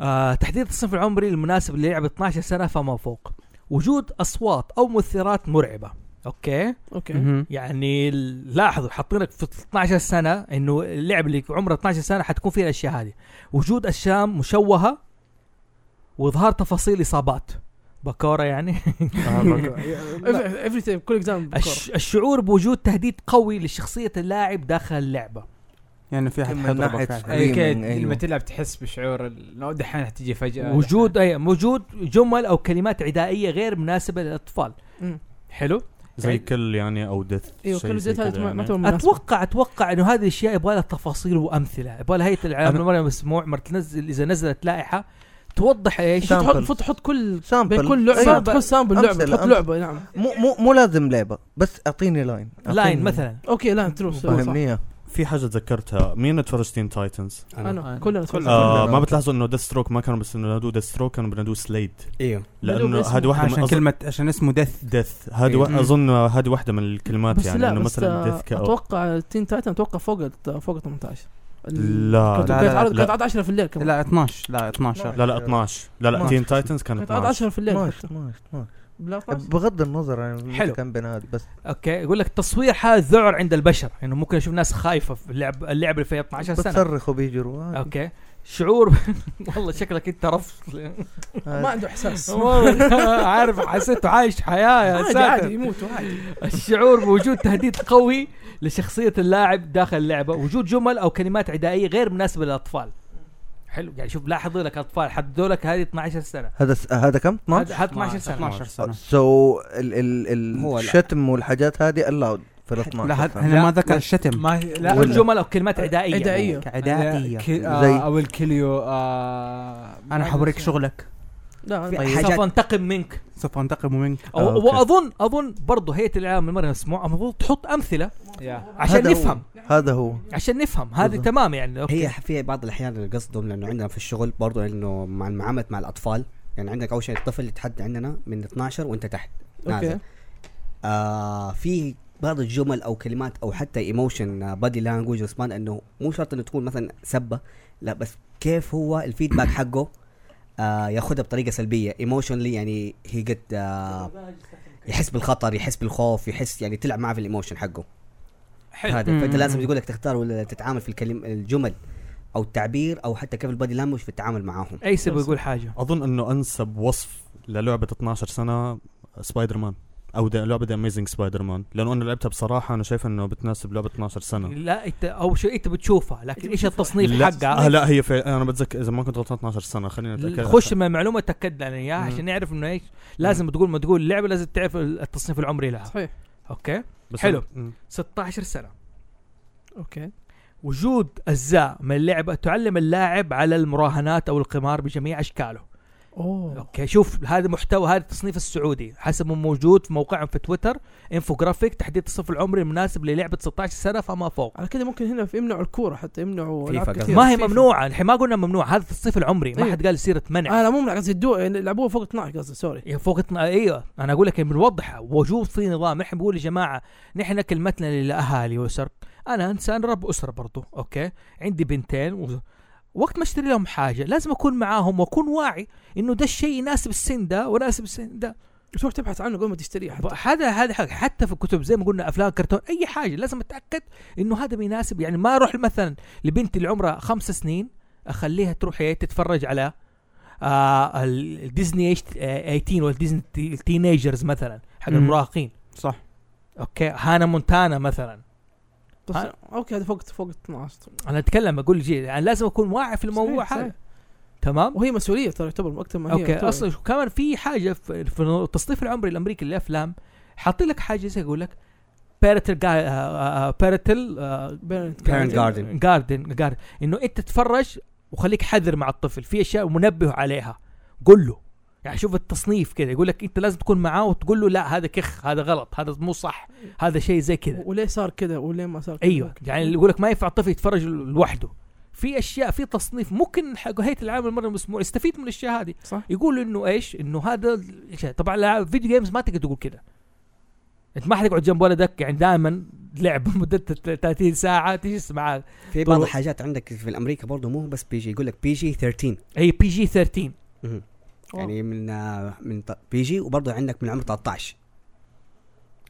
S1: آه تحديد الصنف العمري المناسب للعب 12 سنه فما فوق وجود اصوات او مؤثرات مرعبه اوكي
S2: اوكي
S3: مهم.
S1: يعني ال- لاحظوا حاطينك في 12 سنه انه اللعب اللي عمره 12 سنه حتكون فيه الاشياء هذه وجود اشياء مشوهه واظهار تفاصيل اصابات بكوره يعني
S2: افري تايم كل اكزام
S1: الش- الشعور بوجود تهديد قوي لشخصيه اللاعب داخل اللعبه
S3: يعني في احد
S4: من
S3: حيضربك
S4: ناحية
S3: فعلاً.
S5: اي
S4: Screaming،
S5: كده
S4: أيوه.
S5: لما تلعب تحس بشعور ال- لو دحين حتيجي فجاه
S1: وجود اي وجود جمل او كلمات عدائيه غير مناسبه للاطفال
S2: مم.
S1: حلو
S7: زي كل يعني او دث
S2: ايوه إيه. كل زيت هذا
S7: يعني.
S3: يعني.
S2: ما- ما تعتبر مناسبة.
S1: اتوقع اتوقع انه هذه الاشياء يبغى لها تفاصيل وامثله يبغى لها هيئه العالم
S3: أنا-
S1: المرئي المسموع مره تنزل اذا نزلت لائحه توضح ايش
S4: سامبل.
S2: تحط فوت- تحط كل بين
S4: سامبل
S2: كل لعبه
S4: أيوة.
S2: تحط سامبل لعبه
S4: أمثلة،
S2: تحط
S4: أمثلة.
S2: لعبه نعم
S4: مو مو مو لازم لعبه بس اعطيني لاين أعطيني-
S1: لاين مثلا
S2: اوكي لا ترو
S4: فهمني
S2: صح
S4: إياه.
S7: في حاجه تذكرتها مين اتفرج تين تايتنز؟
S2: انا
S5: أنا.
S2: كلنا
S4: كلنا.
S2: آه.
S7: آه ما بتلاحظوا انه ديث ستروك ما كانوا بس بينادوه ديث ستروك كانوا بينادوه سليد
S6: ايوه
S7: لانه
S2: باسمه.
S7: هذه واحده من
S3: عشان
S7: أظن-
S3: كلمه عشان اسمه دث
S7: ديث هذه
S6: إيه.
S7: وا- اظن هذه واحده من الكلمات
S2: بس
S7: يعني
S2: لا
S7: انه
S2: بس
S7: مثلا
S2: آه،
S7: ديث كأو
S2: اتوقع تين تايتن اتوقع فوق ال- فوق 18 ال-
S7: لا
S2: كانت
S3: لا،
S2: كانت
S3: لا،
S2: عرض-
S7: لا.
S2: كانت عرض 10 في الليل كمان
S3: لا 12 لا 12
S7: لا لا 12 لا لا
S4: 12.
S7: تين تايتنز كانت
S2: كانت عرض
S7: 12
S2: 10 في الليل
S4: ماشي
S2: حتى.
S4: ماشي ماشي
S2: بلا 12.
S4: بغض النظر عن
S1: حلو.
S4: حلو كان بنادي بس
S1: اوكي يقول لك تصوير حاله ذعر عند البشر انه يعني ممكن اشوف ناس خايفه في اللعب اللعب اللي فيها 12 سنه
S4: بتصرخ وبيجروا آه،
S1: اوكي شعور والله شكلك انت رفض
S4: آه،
S2: ما عنده احساس
S1: والله عارف حسيته عايش حياه يا
S2: عادي
S1: ساتر
S2: عادي يموت عادي
S1: الشعور بوجود تهديد قوي لشخصية اللاعب داخل اللعبة وجود جمل أو كلمات عدائية غير مناسبة للأطفال حلو يعني شوف لاحظوا لك أطفال حددوا لك هذه 12 سنة
S4: هذا س- هذا كم 12
S1: هذا هذا 12 سنة
S3: 12 سنه
S4: سو ال ال ال
S6: هو لا.
S4: الشتم والحاجات هذه الاود في ال 12
S3: لا هذا-
S4: سنة.
S3: هنا ما ذكر الشتم
S5: ما لا
S1: وجود جمل أو كلمات عدائية
S2: عدائيه
S3: عدائيه
S5: ك-
S4: زي-
S5: آه او الكليو آه
S3: انا حوريك شغلك
S2: لا
S6: في
S2: أنا-
S6: حاجات-
S1: سوف أنتقم منك
S3: سوف انتقم منك
S1: أو
S7: أوكي.
S1: وأظن أظن برضه هيئة الإعلام المرئي المسموع المفروض تحط أمثلة
S5: يا.
S1: عشان
S4: هذا هو.
S1: نفهم
S4: هذا هو
S1: عشان نفهم هذه
S4: بالضبط.
S1: تمام يعني أوكي.
S6: هي في بعض الاحيان قصدهم لانه عندنا في الشغل برضو انه مع المعامله مع الاطفال يعني عندك اول شيء الطفل يتحدى عندنا من 12 وانت تحت
S2: اوكي
S6: نازل آه في بعض الجمل او كلمات او حتى آه، ايموشن بادي لانجوج رسمان انه مو شرط انه تكون مثلا سبه لا بس كيف هو الفيدباك حقه آه ياخذها بطريقه سلبيه ايموشنلي يعني هي قد آه يحس بالخطر يحس بالخوف يحس يعني تلعب معاه في الايموشن حقه
S1: حلو أمم.
S6: هذا فانت
S3: مم.
S6: لازم يقول لك تختار ولا تتعامل في الكلم الجمل او التعبير او حتى كيف البادي لانجوج في التعامل معاهم
S1: أيسب يقول حاجة
S7: اظن انه انسب وصف للعبه 12 سنه سبايدر مان او ده لعبه ذا اميزنج سبايدر مان لانه انا لعبتها بصراحه انا شايف انه بتناسب لعبه 12 سنه
S1: لا انت او شيء انت بتشوفها لكن ايش التصنيف
S7: نعم. لا آه
S1: حقها
S7: لا هي في انا بتذكر اذا ما كنت غلطان 12 سنه خلينا نتاكد
S1: خش من معلومه تاكد لنا اياها
S7: مم.
S1: يعني، عشان نعرف انه ايش لازم تقول ما تقول اللعبه لازم تعرف التصنيف العمري لها
S2: صحيح
S1: اوكي
S7: بس
S1: حلو.
S7: مم.
S1: 16 سنه
S2: اوكي
S1: وجود اجزاء من اللعبه تعلم اللاعب على المراهنات او القمار بجميع اشكاله
S2: اوه
S1: اوكي شوف هذا محتوى هذا التصنيف السعودي حسب ما موجود في موقعهم في تويتر انفوجرافيك تحديد التصنيف العمري المناسب للعبه 16 سنه فما فوق
S2: على كده ممكن هنا يمنعوا الكوره حتى يمنعوا
S6: فيفا
S2: العاب
S6: قصدك.
S2: كثير
S1: ما هي
S2: فيفا.
S1: ممنوعه الحين ما قلنا ممنوع هذا التصنيف العمري ما
S2: أيوة.
S1: حد قال سيره منع
S2: اه لا مو ممنوع قصدي الدو- يلعبوها فوق 12 قصدي سوري
S1: يا فوق اتنا- ايوه انا اقول لك بنوضح وجود في نظام نحن بنقول يا جماعه نحن كلمتنا للاهالي واسر انا انسان رب اسره برضو اوكي عندي بنتين و... وقت ما اشتري لهم حاجه لازم اكون معاهم واكون واعي انه ده الشيء يناسب السن ده ويناسب السن ده
S2: تروح تبحث عنه قبل ما تشتريه حتى
S1: ب- هذا هذا حق حتى في الكتب زي ما قلنا افلام كرتون اي حاجه لازم اتاكد انه هذا بيناسب يعني ما اروح مثلا لبنتي اللي عمرها خمس سنين اخليها تروح هي تتفرج على آه ال- الديزني إيش- آه، 18 والديزني تي- تينيجرز مثلا حق
S3: مم.
S1: المراهقين
S3: صح
S1: اوكي هانا مونتانا مثلا
S2: بس
S1: ها.
S2: اوكي هذا فوق فوق 12
S1: انا اتكلم اقول جي يعني لازم اكون واعي في الموضوع
S2: صحيح،
S1: هذا
S2: صحيح.
S1: تمام
S2: وهي مسؤوليه ترى يعتبر اكثر ما هي
S1: اوكي
S2: يعتبر.
S1: اصلا شو- كمان في حاجه في في التصنيف العمري الامريكي للافلام حاطين لك آه، حاجه زي يقول لك بيرتل بيرتل
S2: بيرنت
S6: Parent Garden.
S1: جاردن جاردن انه انت تتفرج وخليك حذر مع الطفل في اشياء منبه عليها قل له يعني شوف التصنيف كذا يقول لك انت لازم تكون معاه وتقول له لا هذا كخ هذا غلط هذا مو صح هذا شيء زي كذا
S2: وليه صار كذا وليه ما صار كذا
S1: ايوه يعني اللي يقول لك ما ينفع الطفل يتفرج لوحده في اشياء في تصنيف ممكن حق هيئه العاب المرن المسموع يستفيد من الاشياء هذه
S2: صح.
S1: يقول انه ايش انه هذا الشيء طبعا لاعب فيديو جيمز ما تقدر تقول كذا انت ما حتقعد جنب ولدك يعني دائما لعبه مدتها 30 ساعه تجلس معاه
S6: في بعض
S1: طرق.
S6: الحاجات عندك في امريكا برضه مو بس بي جي يقول لك بي جي 13
S1: اي بي جي 13
S6: مهم.
S2: أوه.
S6: يعني من آه، من بي جي وبرضه عندك من عمر 13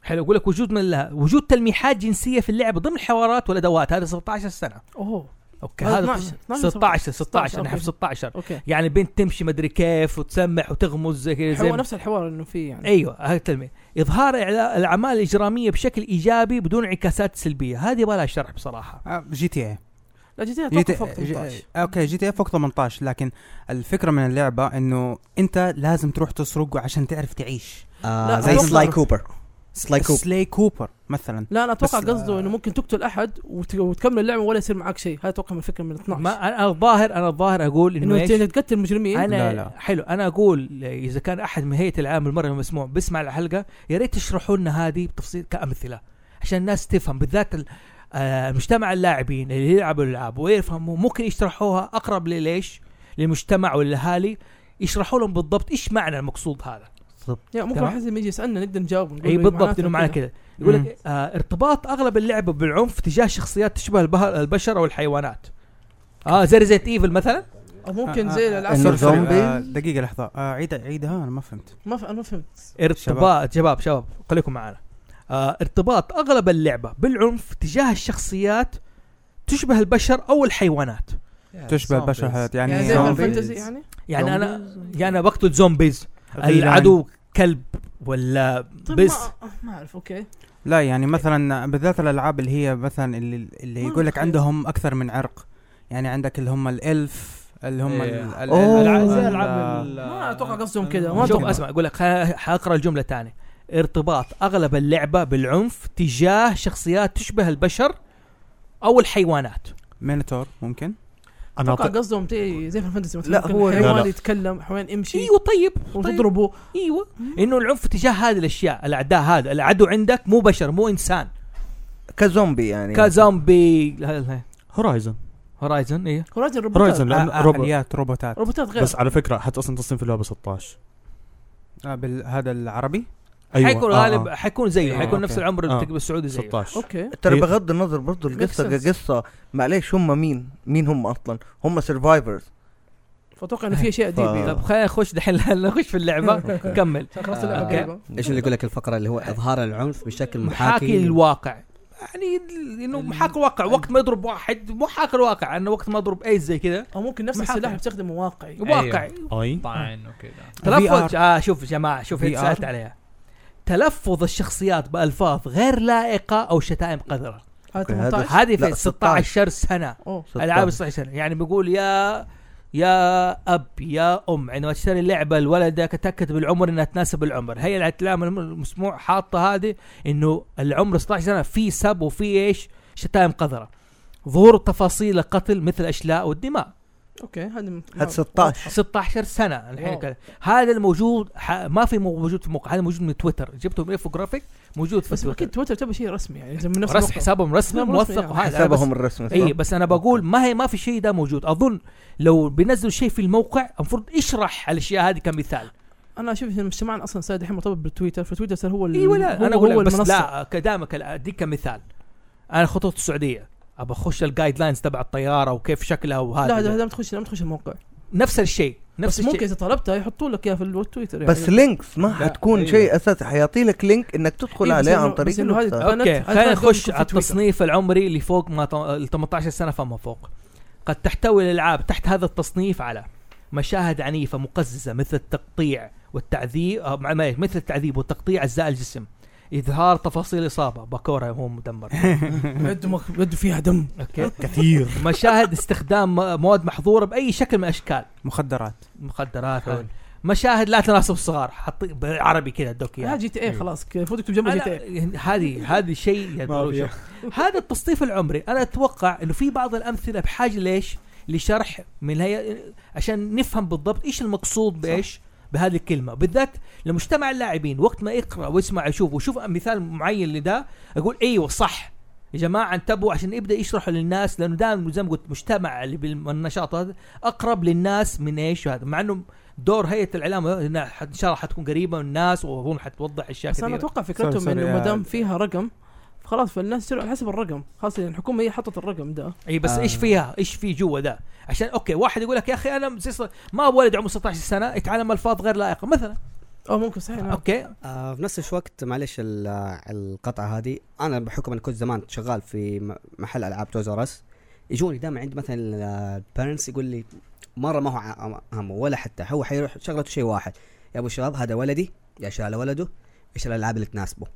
S1: حلو يقول لك وجود من لها وجود تلميحات جنسيه في اللعبه ضمن الحوارات والادوات هذا 17 سنه
S2: اوه
S1: اوكي
S2: هذا
S1: هذا
S2: 12
S1: 16 16 انا
S2: أوكي.
S1: حفظ 16
S2: اوكي
S1: يعني بنت تمشي مدري كيف وتسمح وتغمز زي كذا زي
S2: هو نفس الحوار انه في يعني
S1: ايوه هذا التلميح اظهار إعلا- الاعمال الاجراميه بشكل ايجابي بدون انعكاسات سلبيه هذه يبغى لها شرح بصراحه
S3: آه، جي تي اي
S2: لا جي تي
S3: جي
S2: اتوقع
S3: تي
S2: فوق 18
S3: اوكي جي تي اي فوق 18 لكن الفكره من اللعبه انه انت لازم تروح تسرق عشان تعرف تعيش
S2: لا،
S6: آه زي
S2: أتوقع-
S6: سلاي كوبر سلاي كوبر
S3: سلاي كوبر مثلا
S2: لا انا اتوقع
S3: بس-
S2: قصده انه ممكن تقتل احد وت- وتكمل اللعبه ولا يصير معك شيء هذا اتوقع من الفكره من 12
S1: ما انا الظاهر انا الظاهر اقول انه
S2: انه
S1: إيش؟
S2: ت- تقتل مجرمين
S1: انا
S3: لا، لا.
S1: حلو انا اقول اذا كان احد من هيئه العام المرئي المسموع بيسمع الحلقه يا ريت تشرحوا لنا هذه بتفصيل كامثله عشان الناس تفهم بالذات ال- آه، مجتمع اللاعبين اللي يلعبوا الالعاب ويفهموا ممكن يشرحوها اقرب لليش للمجتمع والاهالي يشرحوا لهم بالضبط ايش معنى المقصود هذا
S2: يعني ممكن
S1: تمام.
S2: واحد يجي يسالنا نقدر نجاوبه نقول
S1: اي
S2: له
S1: بالضبط
S2: معناته
S1: انه معنى
S2: كذا.
S1: كذا يقول
S3: مم.
S1: لك آه ارتباط اغلب اللعبه بالعنف تجاه شخصيات تشبه البه- البشر او الحيوانات اه زي ريزيت ايفل مثلا
S2: او ممكن زي
S3: آه، آه،
S2: الالعاب
S4: إنه
S3: سوري، سوري،
S4: زومبي؟
S3: آه، دقيقه لحظه آه، عيد عيدها انا ما فهمت
S2: ما ف- انا ما فهمت
S1: ارتباط شباب شباب خليكم معنا آه ارتباط اغلب اللعبه بالعنف تجاه الشخصيات تشبه البشر او الحيوانات
S3: تشبه البشر حيوانات، آه، يعني
S2: يعني زي
S3: زومبي.
S2: فاينل فانتزي يعني
S1: يعني انا يعني انا بقتل زومبيز العدو كلب ولا
S2: طيب
S1: بس
S2: ما, ما اعرف اوكي
S3: لا يعني مثلا بالذات الالعاب اللي هي مثلا اللي, اللي
S2: ما
S3: يقول لك
S2: أتخيل.
S3: عندهم اكثر من عرق يعني عندك اللي هم الالف اللي هم
S5: إيه.
S3: ال- ال-
S4: أوه.
S3: الع-
S5: العاب زي
S3: ال-
S5: العاب ال-
S2: ما أتوقع قصدهم كده، ما
S5: ما
S1: شوف
S2: أتوقع.
S1: اسمع اقول لك خ- حاقرا الجمله تاني ارتباط اغلب اللعبه بالعنف تجاه شخصيات تشبه البشر او الحيوانات
S3: مينتور ممكن
S7: انا
S2: اتوقع
S7: أعط-
S2: قصدهم زي زي فاينل فانتزي مثلا
S4: لا،
S2: ممكن
S4: هو- لا،
S2: حيوان
S7: لا.
S2: يتكلم حيوان يمشي
S1: ايوه طيب طيب.
S2: وتضربه
S1: ايوه انه العنف تجاه هذه الاشياء الاعداء هذا العدو عندك مو بشر مو انسان
S4: كزومبي يعني
S1: كزومبي
S7: هورايزن
S1: هورايزن ايه
S2: هورايزن روبوتات
S7: هورايزن لأن
S3: آه، آه،
S7: روبوت
S3: اليات روبوتات
S2: روبوتات غير
S7: بس على فكره حتى اصلا تصنيف اللعبه 16
S3: آه، بال- هذا العربي
S7: ايوه
S1: حيكون
S7: آه،
S1: غالب
S7: آه.
S1: حيكون زيه
S5: أيوة،
S1: حيكون نفس
S3: أوكي.
S1: العمر
S7: آه.
S1: التقب السعودي زيه
S7: 16
S2: اوكي
S4: ترى
S7: هي-
S4: بغض النظر برضو القصه
S2: sense.
S4: قصه معليش هم مين مين هم اصلا هم سرفايفرز
S2: فاتوقع انه في اشياء دي
S4: آه.
S1: طب خلينا نخش دحين نخش في اللعبه كمل
S2: طيب، خلاص
S6: آه،
S2: اللعبه
S6: أوكي.
S2: قريبة.
S6: ايش اللي يقول لك الفقره اللي هو اظهار العنف بشكل
S1: محاكي
S6: محاكي
S1: للواقع يعني انه محاكي الواقع وقت ما يضرب واحد محاكي الواقع انه وقت ما يضرب ايس زي كذا
S2: او ممكن نفس
S1: محاكي.
S2: السلاح بتستخدمه واقعي
S5: أيوه.
S1: واقعي
S7: اي
S5: طعن وكذا
S1: تلفظ اه شوف يا جماعه شوف هيك
S3: VR.
S1: سالت عليها تلفظ الشخصيات بالفاظ غير لائقه او شتائم قذره
S2: هذا
S4: أوكي، هذا
S2: 18
S1: هذه
S4: لا،
S1: في 16 سنه
S2: اوه
S1: العاب 16 سنه يعني بيقول يا يا اب يا ام عندما تشتري لعبه لولدك تاكد بالعمر انها تناسب العمر هي الاعلام المسموع حاطه هذه انه العمر 16 سنه في سب وفي ايش شتائم قذره ظهور تفاصيل القتل مثل الاشلاء والدماء
S2: اوكي هذا
S4: هذا 16
S1: 16 سنه الحين
S2: واو.
S1: كذا هذا الموجود ح... ما في مو- موجود في موقع هذا موجود من تويتر جبتهم انفوجرافيك موجود في
S2: بس اكيد
S1: تويتر
S2: تويتر تبى شيء رسمي يعني زي من نفس
S1: رسم
S2: الموقع.
S1: حسابهم رسمي
S2: حسابهم رسمي،
S1: موثق
S2: آه.
S1: وهذا بس-
S4: حسابهم الرسمي
S1: اي بس انا بقول ما هي ما في شيء ده موجود اظن لو بينزلوا شيء في الموقع المفروض يشرح الاشياء هذه كمثال
S2: انا اشوف ان مجتمعنا اصلا صار دحين مرتبط بالتويتر فتويتر صار هو ال-
S1: اي ولا
S2: هو
S1: انا
S2: هو
S1: اقول بس
S2: المنصه
S1: لا كدامك ال- دي كمثال انا خطوط السعوديه ابى اخش الجايد لاينز تبع الطياره وكيف شكلها وهذا
S2: لا لا لا تخش لا تخش الموقع
S1: نفس الشيء نفس
S2: بس
S1: الشيء
S2: ممكن اذا طلبتها يحطوا لك اياها في التويتر يعني
S4: بس لينكس ما
S5: لا،
S4: حتكون
S5: أيوة.
S4: شيء اساسي حيعطي لك لينك انك تدخل
S2: إيه، بس
S4: عليه عن
S2: إنه- بس
S4: طريق
S2: إنه هذه
S4: الويب
S2: البنات-
S1: اوكي
S2: هذه
S1: خلينا
S2: البنات
S1: نخش
S2: تكون في
S1: على
S2: تويتر.
S1: التصنيف العمري اللي فوق ما ط- ال 18 سنه فما فوق قد تحتوي الالعاب تحت هذا التصنيف على مشاهد عنيفه مقززه مثل التقطيع والتعذيب آه، مع- معليش، مثل التعذيب وتقطيع اجزاء الجسم اظهار تفاصيل اصابه باكورا هو مدمر
S2: يد يد فيها دم
S1: اوكي كثير مشاهد استخدام م- مواد محظوره باي شكل من الاشكال
S3: مخدرات
S1: مخدرات
S5: حلو.
S1: مشاهد لا تناسب الصغار حاطين بالعربي كذا ادوك
S2: لا
S1: اياه
S2: جي تي اي خلاص كذا فوتك تجمع جي تي إيه. اي
S1: أنا- يعني هذه هذه شيء
S7: ما في.
S1: يا هذا التصنيف العمري انا اتوقع انه في بعض الامثله بحاجه ليش؟ لشرح من هي عشان نفهم بالضبط ايش المقصود بايش؟ بهذه الكلمه بالذات لمجتمع اللاعبين وقت ما يقرا ويسمع يشوف وشوف مثال معين لده اقول ايوه صح يا جماعه انتبهوا عشان يبدا يشرحوا للناس لانه دائما زي ما قلت مجتمع اللي بالنشاط هذا اقرب للناس من ايش هذا مع انه دور هيئه الاعلام هنا ح- ان شاء الله حتكون قريبه من الناس واظن حتوضح اشياء
S2: بس انا
S1: كثيره
S2: اتوقع فكرتهم
S3: سوري، سوري،
S2: انه
S3: آه.
S2: ما دام فيها رقم خلاص فالناس تصير على حسب الرقم خاصة يعني الحكومة هي حطت الرقم ده
S1: اي إيه، بس
S6: آه.
S1: ايش فيها ايش في جوا ده عشان اوكي واحد يقول لك يا اخي انا زي ص- ما ابغى ولد عمره 16 سنه يتعلم الفاظ غير لائقه مثلا
S2: اه ممكن صحيح نعم.
S1: اوكي
S6: آه في نفس الوقت معلش ال- آه، القطعه هذه انا بحكم انا كنت زمان شغال في م- محل العاب توز ار اس يجوني دائما عند مثلا البيرنتس يقول لي مره ما هو ع- همه ولا حتى هو حيروح شغلته شيء واحد يا ابو شباب هذا ولدي يا شال ولده ايش الالعاب اللي تناسبه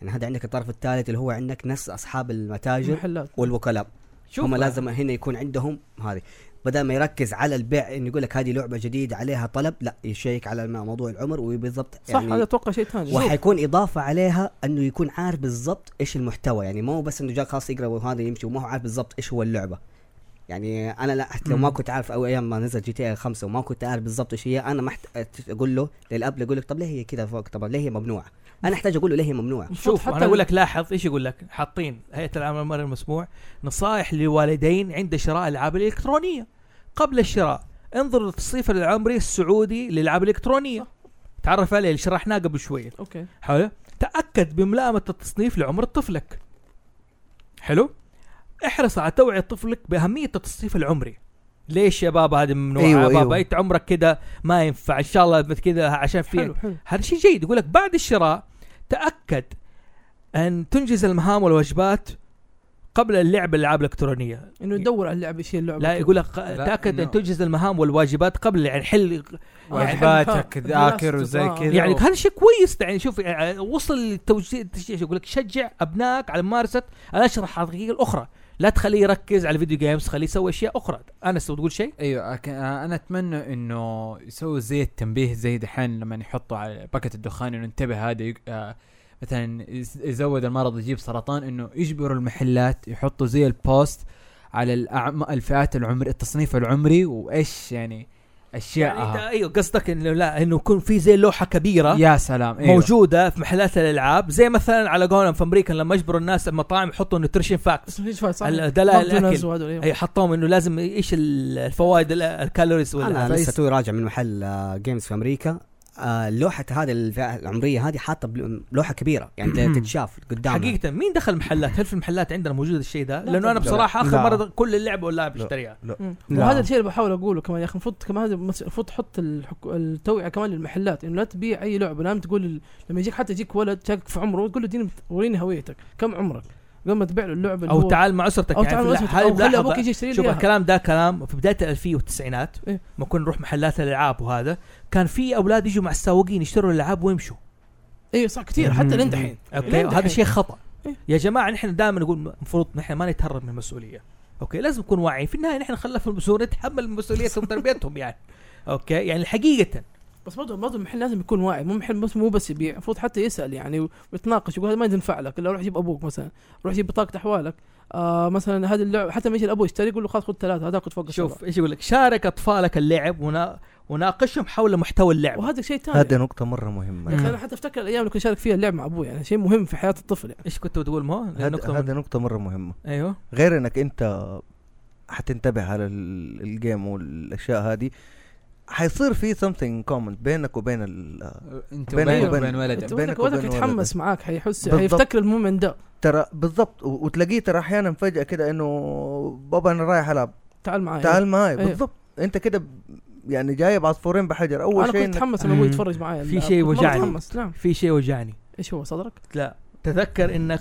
S6: يعني هذا عندك الطرف الثالث اللي هو عندك ناس اصحاب المتاجر
S2: المحلات
S6: والوكلاء
S1: شوف
S6: هم لازم هنا يكون عندهم هذه بدل ما يركز على البيع انه يقول لك هذه لعبه جديده عليها طلب لا يشيك على الم- موضوع العمر وبالضبط يعني
S2: صح
S1: يعني
S2: هذا اتوقع شيء ثاني
S6: وحيكون اضافه عليها انه يكون عارف بالضبط ايش المحتوى يعني مو بس انه جاك خلاص يقرا وهذا يمشي وما هو عارف بالضبط ايش هو اللعبه يعني انا لا حتى لو ما كنت عارف او ايام ما نزل جي تي اي 5 وما كنت عارف بالضبط ايش هي انا ما حت... اقول له للاب اقول لك طب ليه هي كذا فوق طب ليه هي ممنوعه انا احتاج اقول له ليه هي ممنوعه
S2: المفروض
S1: شوف انا
S2: حتى
S1: اقول لك لاحظ ايش يقول لك حاطين هيئه العمل المسموع نصائح للوالدين عند شراء الالعاب الالكترونيه قبل الشراء انظر للتصنيف العمري السعودي للالعاب الالكترونيه تعرف عليه اللي شرحناه قبل شويه
S2: اوكي
S1: حلو تأكد بملائمة التصنيف لعمر طفلك حلو احرص على توعية طفلك بأهمية التصنيف العمري ليش يا بابا هذه ممنوعة
S4: أيوة،
S1: أيوة بابا
S4: أيوة.
S1: أيوة. انت عمرك كده ما ينفع ان شاء الله بس كده عشان في
S2: حلو حلو
S1: هذا شيء جيد يقول لك بعد الشراء تأكد ان تنجز المهام والواجبات قبل اللعب الالعاب الالكترونيه
S2: انه يدور على اللعبه شيء اللعبه
S1: لا
S2: كذا.
S1: يقول لك
S5: لا،
S1: تاكد
S5: إنه-
S1: ان تنجز المهام والواجبات قبل يعني حل
S2: يعني-
S9: واجباتك ذاكر وزي كذا
S1: يعني هذا شيء كويس يعني شوف يعني وصل للتوجيه التشجيع يقول لك شجع ابنائك على ممارسه الاشرطه الحقيقيه الاخرى لا تخليه يركز على الفيديو جيمز خليه يسوي اشياء اخرى انس تبغى تقول شيء
S5: ايوه أك- آه، انا اتمنى انه يسووا زي التنبيه زي دحين لما يحطوا على باكت الدخان انه انتبه هذا يق- آه، مثلا يز- يزود المرض يجيب سرطان انه يجبروا المحلات يحطوا زي البوست على الأعم- الفئات العمر التصنيف العمري وايش يعني
S1: يعني
S5: اشياء
S1: ايوه قصدك انه لا انه يكون في زي لوحه كبيره
S5: آه. يا سلام أيوة.
S1: موجوده في محلات الالعاب زي مثلا على قولهم في امريكا لما يجبروا الناس المطاعم يحطوا نوتريشن فاكتس
S2: بس ما فيش فايدة، صح
S1: الدلائل
S2: ماكدونالدز
S1: الاكل
S2: وهذول، أيوة.
S1: اي حطوهم انه لازم ايش ال- الفوائد ال- الكالوريز ولا
S6: انا آه، لسه توي راجع من محل آه، جيمز في امريكا آه، لوحه هذه الفئه العمريه هذه حاطه بل- لوحه كبيره يعني تتشاف قدامها
S1: حقيقة مين دخل محلات؟ هل في المحلات عندنا موجود الشيء ده؟ لأنه أنا
S2: طبعاً.
S1: بصراحة آخر
S3: لا.
S1: مرة كل اللعبة ولا بشتريها
S2: مم.
S3: لا.
S2: وهذا الشيء اللي بحاول اقوله كمان يا اخي المفروض كمان هذا مس- المفروض تحط الحك... التوعيه كمان للمحلات انه لا تبيع اي لعبه لازم تقول ال... لما يجيك حتى يجيك ولد شاكك في عمره تقول له اديني وريني هويتك كم عمرك قبل ما تبيع له اللعبه اللي
S1: او
S2: هو-
S1: تعال مع اسرتك
S2: او
S1: يعني
S2: تعال
S1: في-
S2: واسمتك،
S1: هاي
S2: او خلي
S1: اللحظة-
S2: ابوك يجي يشتري
S1: شوف
S2: لي إياها.
S1: الكلام ده كلام في بدايه الالفيه والتسعينات
S2: إيه.
S1: ما كنا نروح محلات الالعاب وهذا كان في اولاد يجوا مع السواقين يشتروا الالعاب ويمشوا
S2: ايوه صح كثير حتى لين دحين
S1: اوكي
S2: لين
S1: هذا
S2: دحين.
S1: شيء خطا
S2: إيه.
S1: يا جماعه نحن دائما نقول المفروض نحن ما نتهرب من المسؤوليه اوكي لازم نكون واعيين في النهايه نحن خلف المسؤولين نتحمل مسؤوليتهم وتربيتهم يعني اوكي يعني حقيقه
S2: بس برضه برضه المحل لازم يكون واعي مو محل بس مو بس يبيع المفروض حتى يسال يعني ويتناقش يقول هذا ما ينفع لك الا روح جيب ابوك مثلا روح جيب بطاقه احوالك آه مثلا هذه اللعبه حتى ما يجي الابو يشتري يقول له خلاص خذ ثلاثه هذا خذ فوق
S1: شوف
S2: السبعة.
S1: ايش يقول لك شارك اطفالك اللعب ونا- وناقشهم حول محتوى اللعب
S2: وهذا شيء ثاني
S4: هذه نقطة مرة مهمة
S2: يا اخي انا حتى افتكر الايام اللي كنت اشارك فيها اللعب مع ابوي يعني شيء مهم في حياه الطفل يعني
S1: ايش كنت بتقول مو
S4: هذه
S1: النقطه
S4: هذه نقطة مرة مهمة
S1: ايوه
S4: غير انك انت حتنتبه على ال- الجيم والاشياء هذه حيصير في something common بينك وبين ال-
S5: انت
S4: بينك وبين-
S5: وبين وبين
S2: انت
S5: ولدك
S4: بينك
S2: ولدك ولدك
S4: وبين
S2: يتحمس معاك حيحس
S4: بالضبط.
S2: حيفتكر المومنت ده
S4: ترى بالضبط و- وتلاقيه ترى احيانا فجأة كده انه بابا انا رايح العب
S2: تعال معاي
S4: تعال معي
S2: أيوه.
S4: بالضبط انت كده ب- يعني جايب عصفورين بحجر اول
S2: انا
S4: شيء
S2: كنت
S4: إنك-
S2: اتحمس لما ابوي
S1: مم.
S2: يتفرج معايا
S1: في شيء
S2: مرة
S1: وجعني.
S2: اتحمس نعم
S1: في شيء وجعني
S2: ايش هو صدرك؟
S1: لا تذكر انك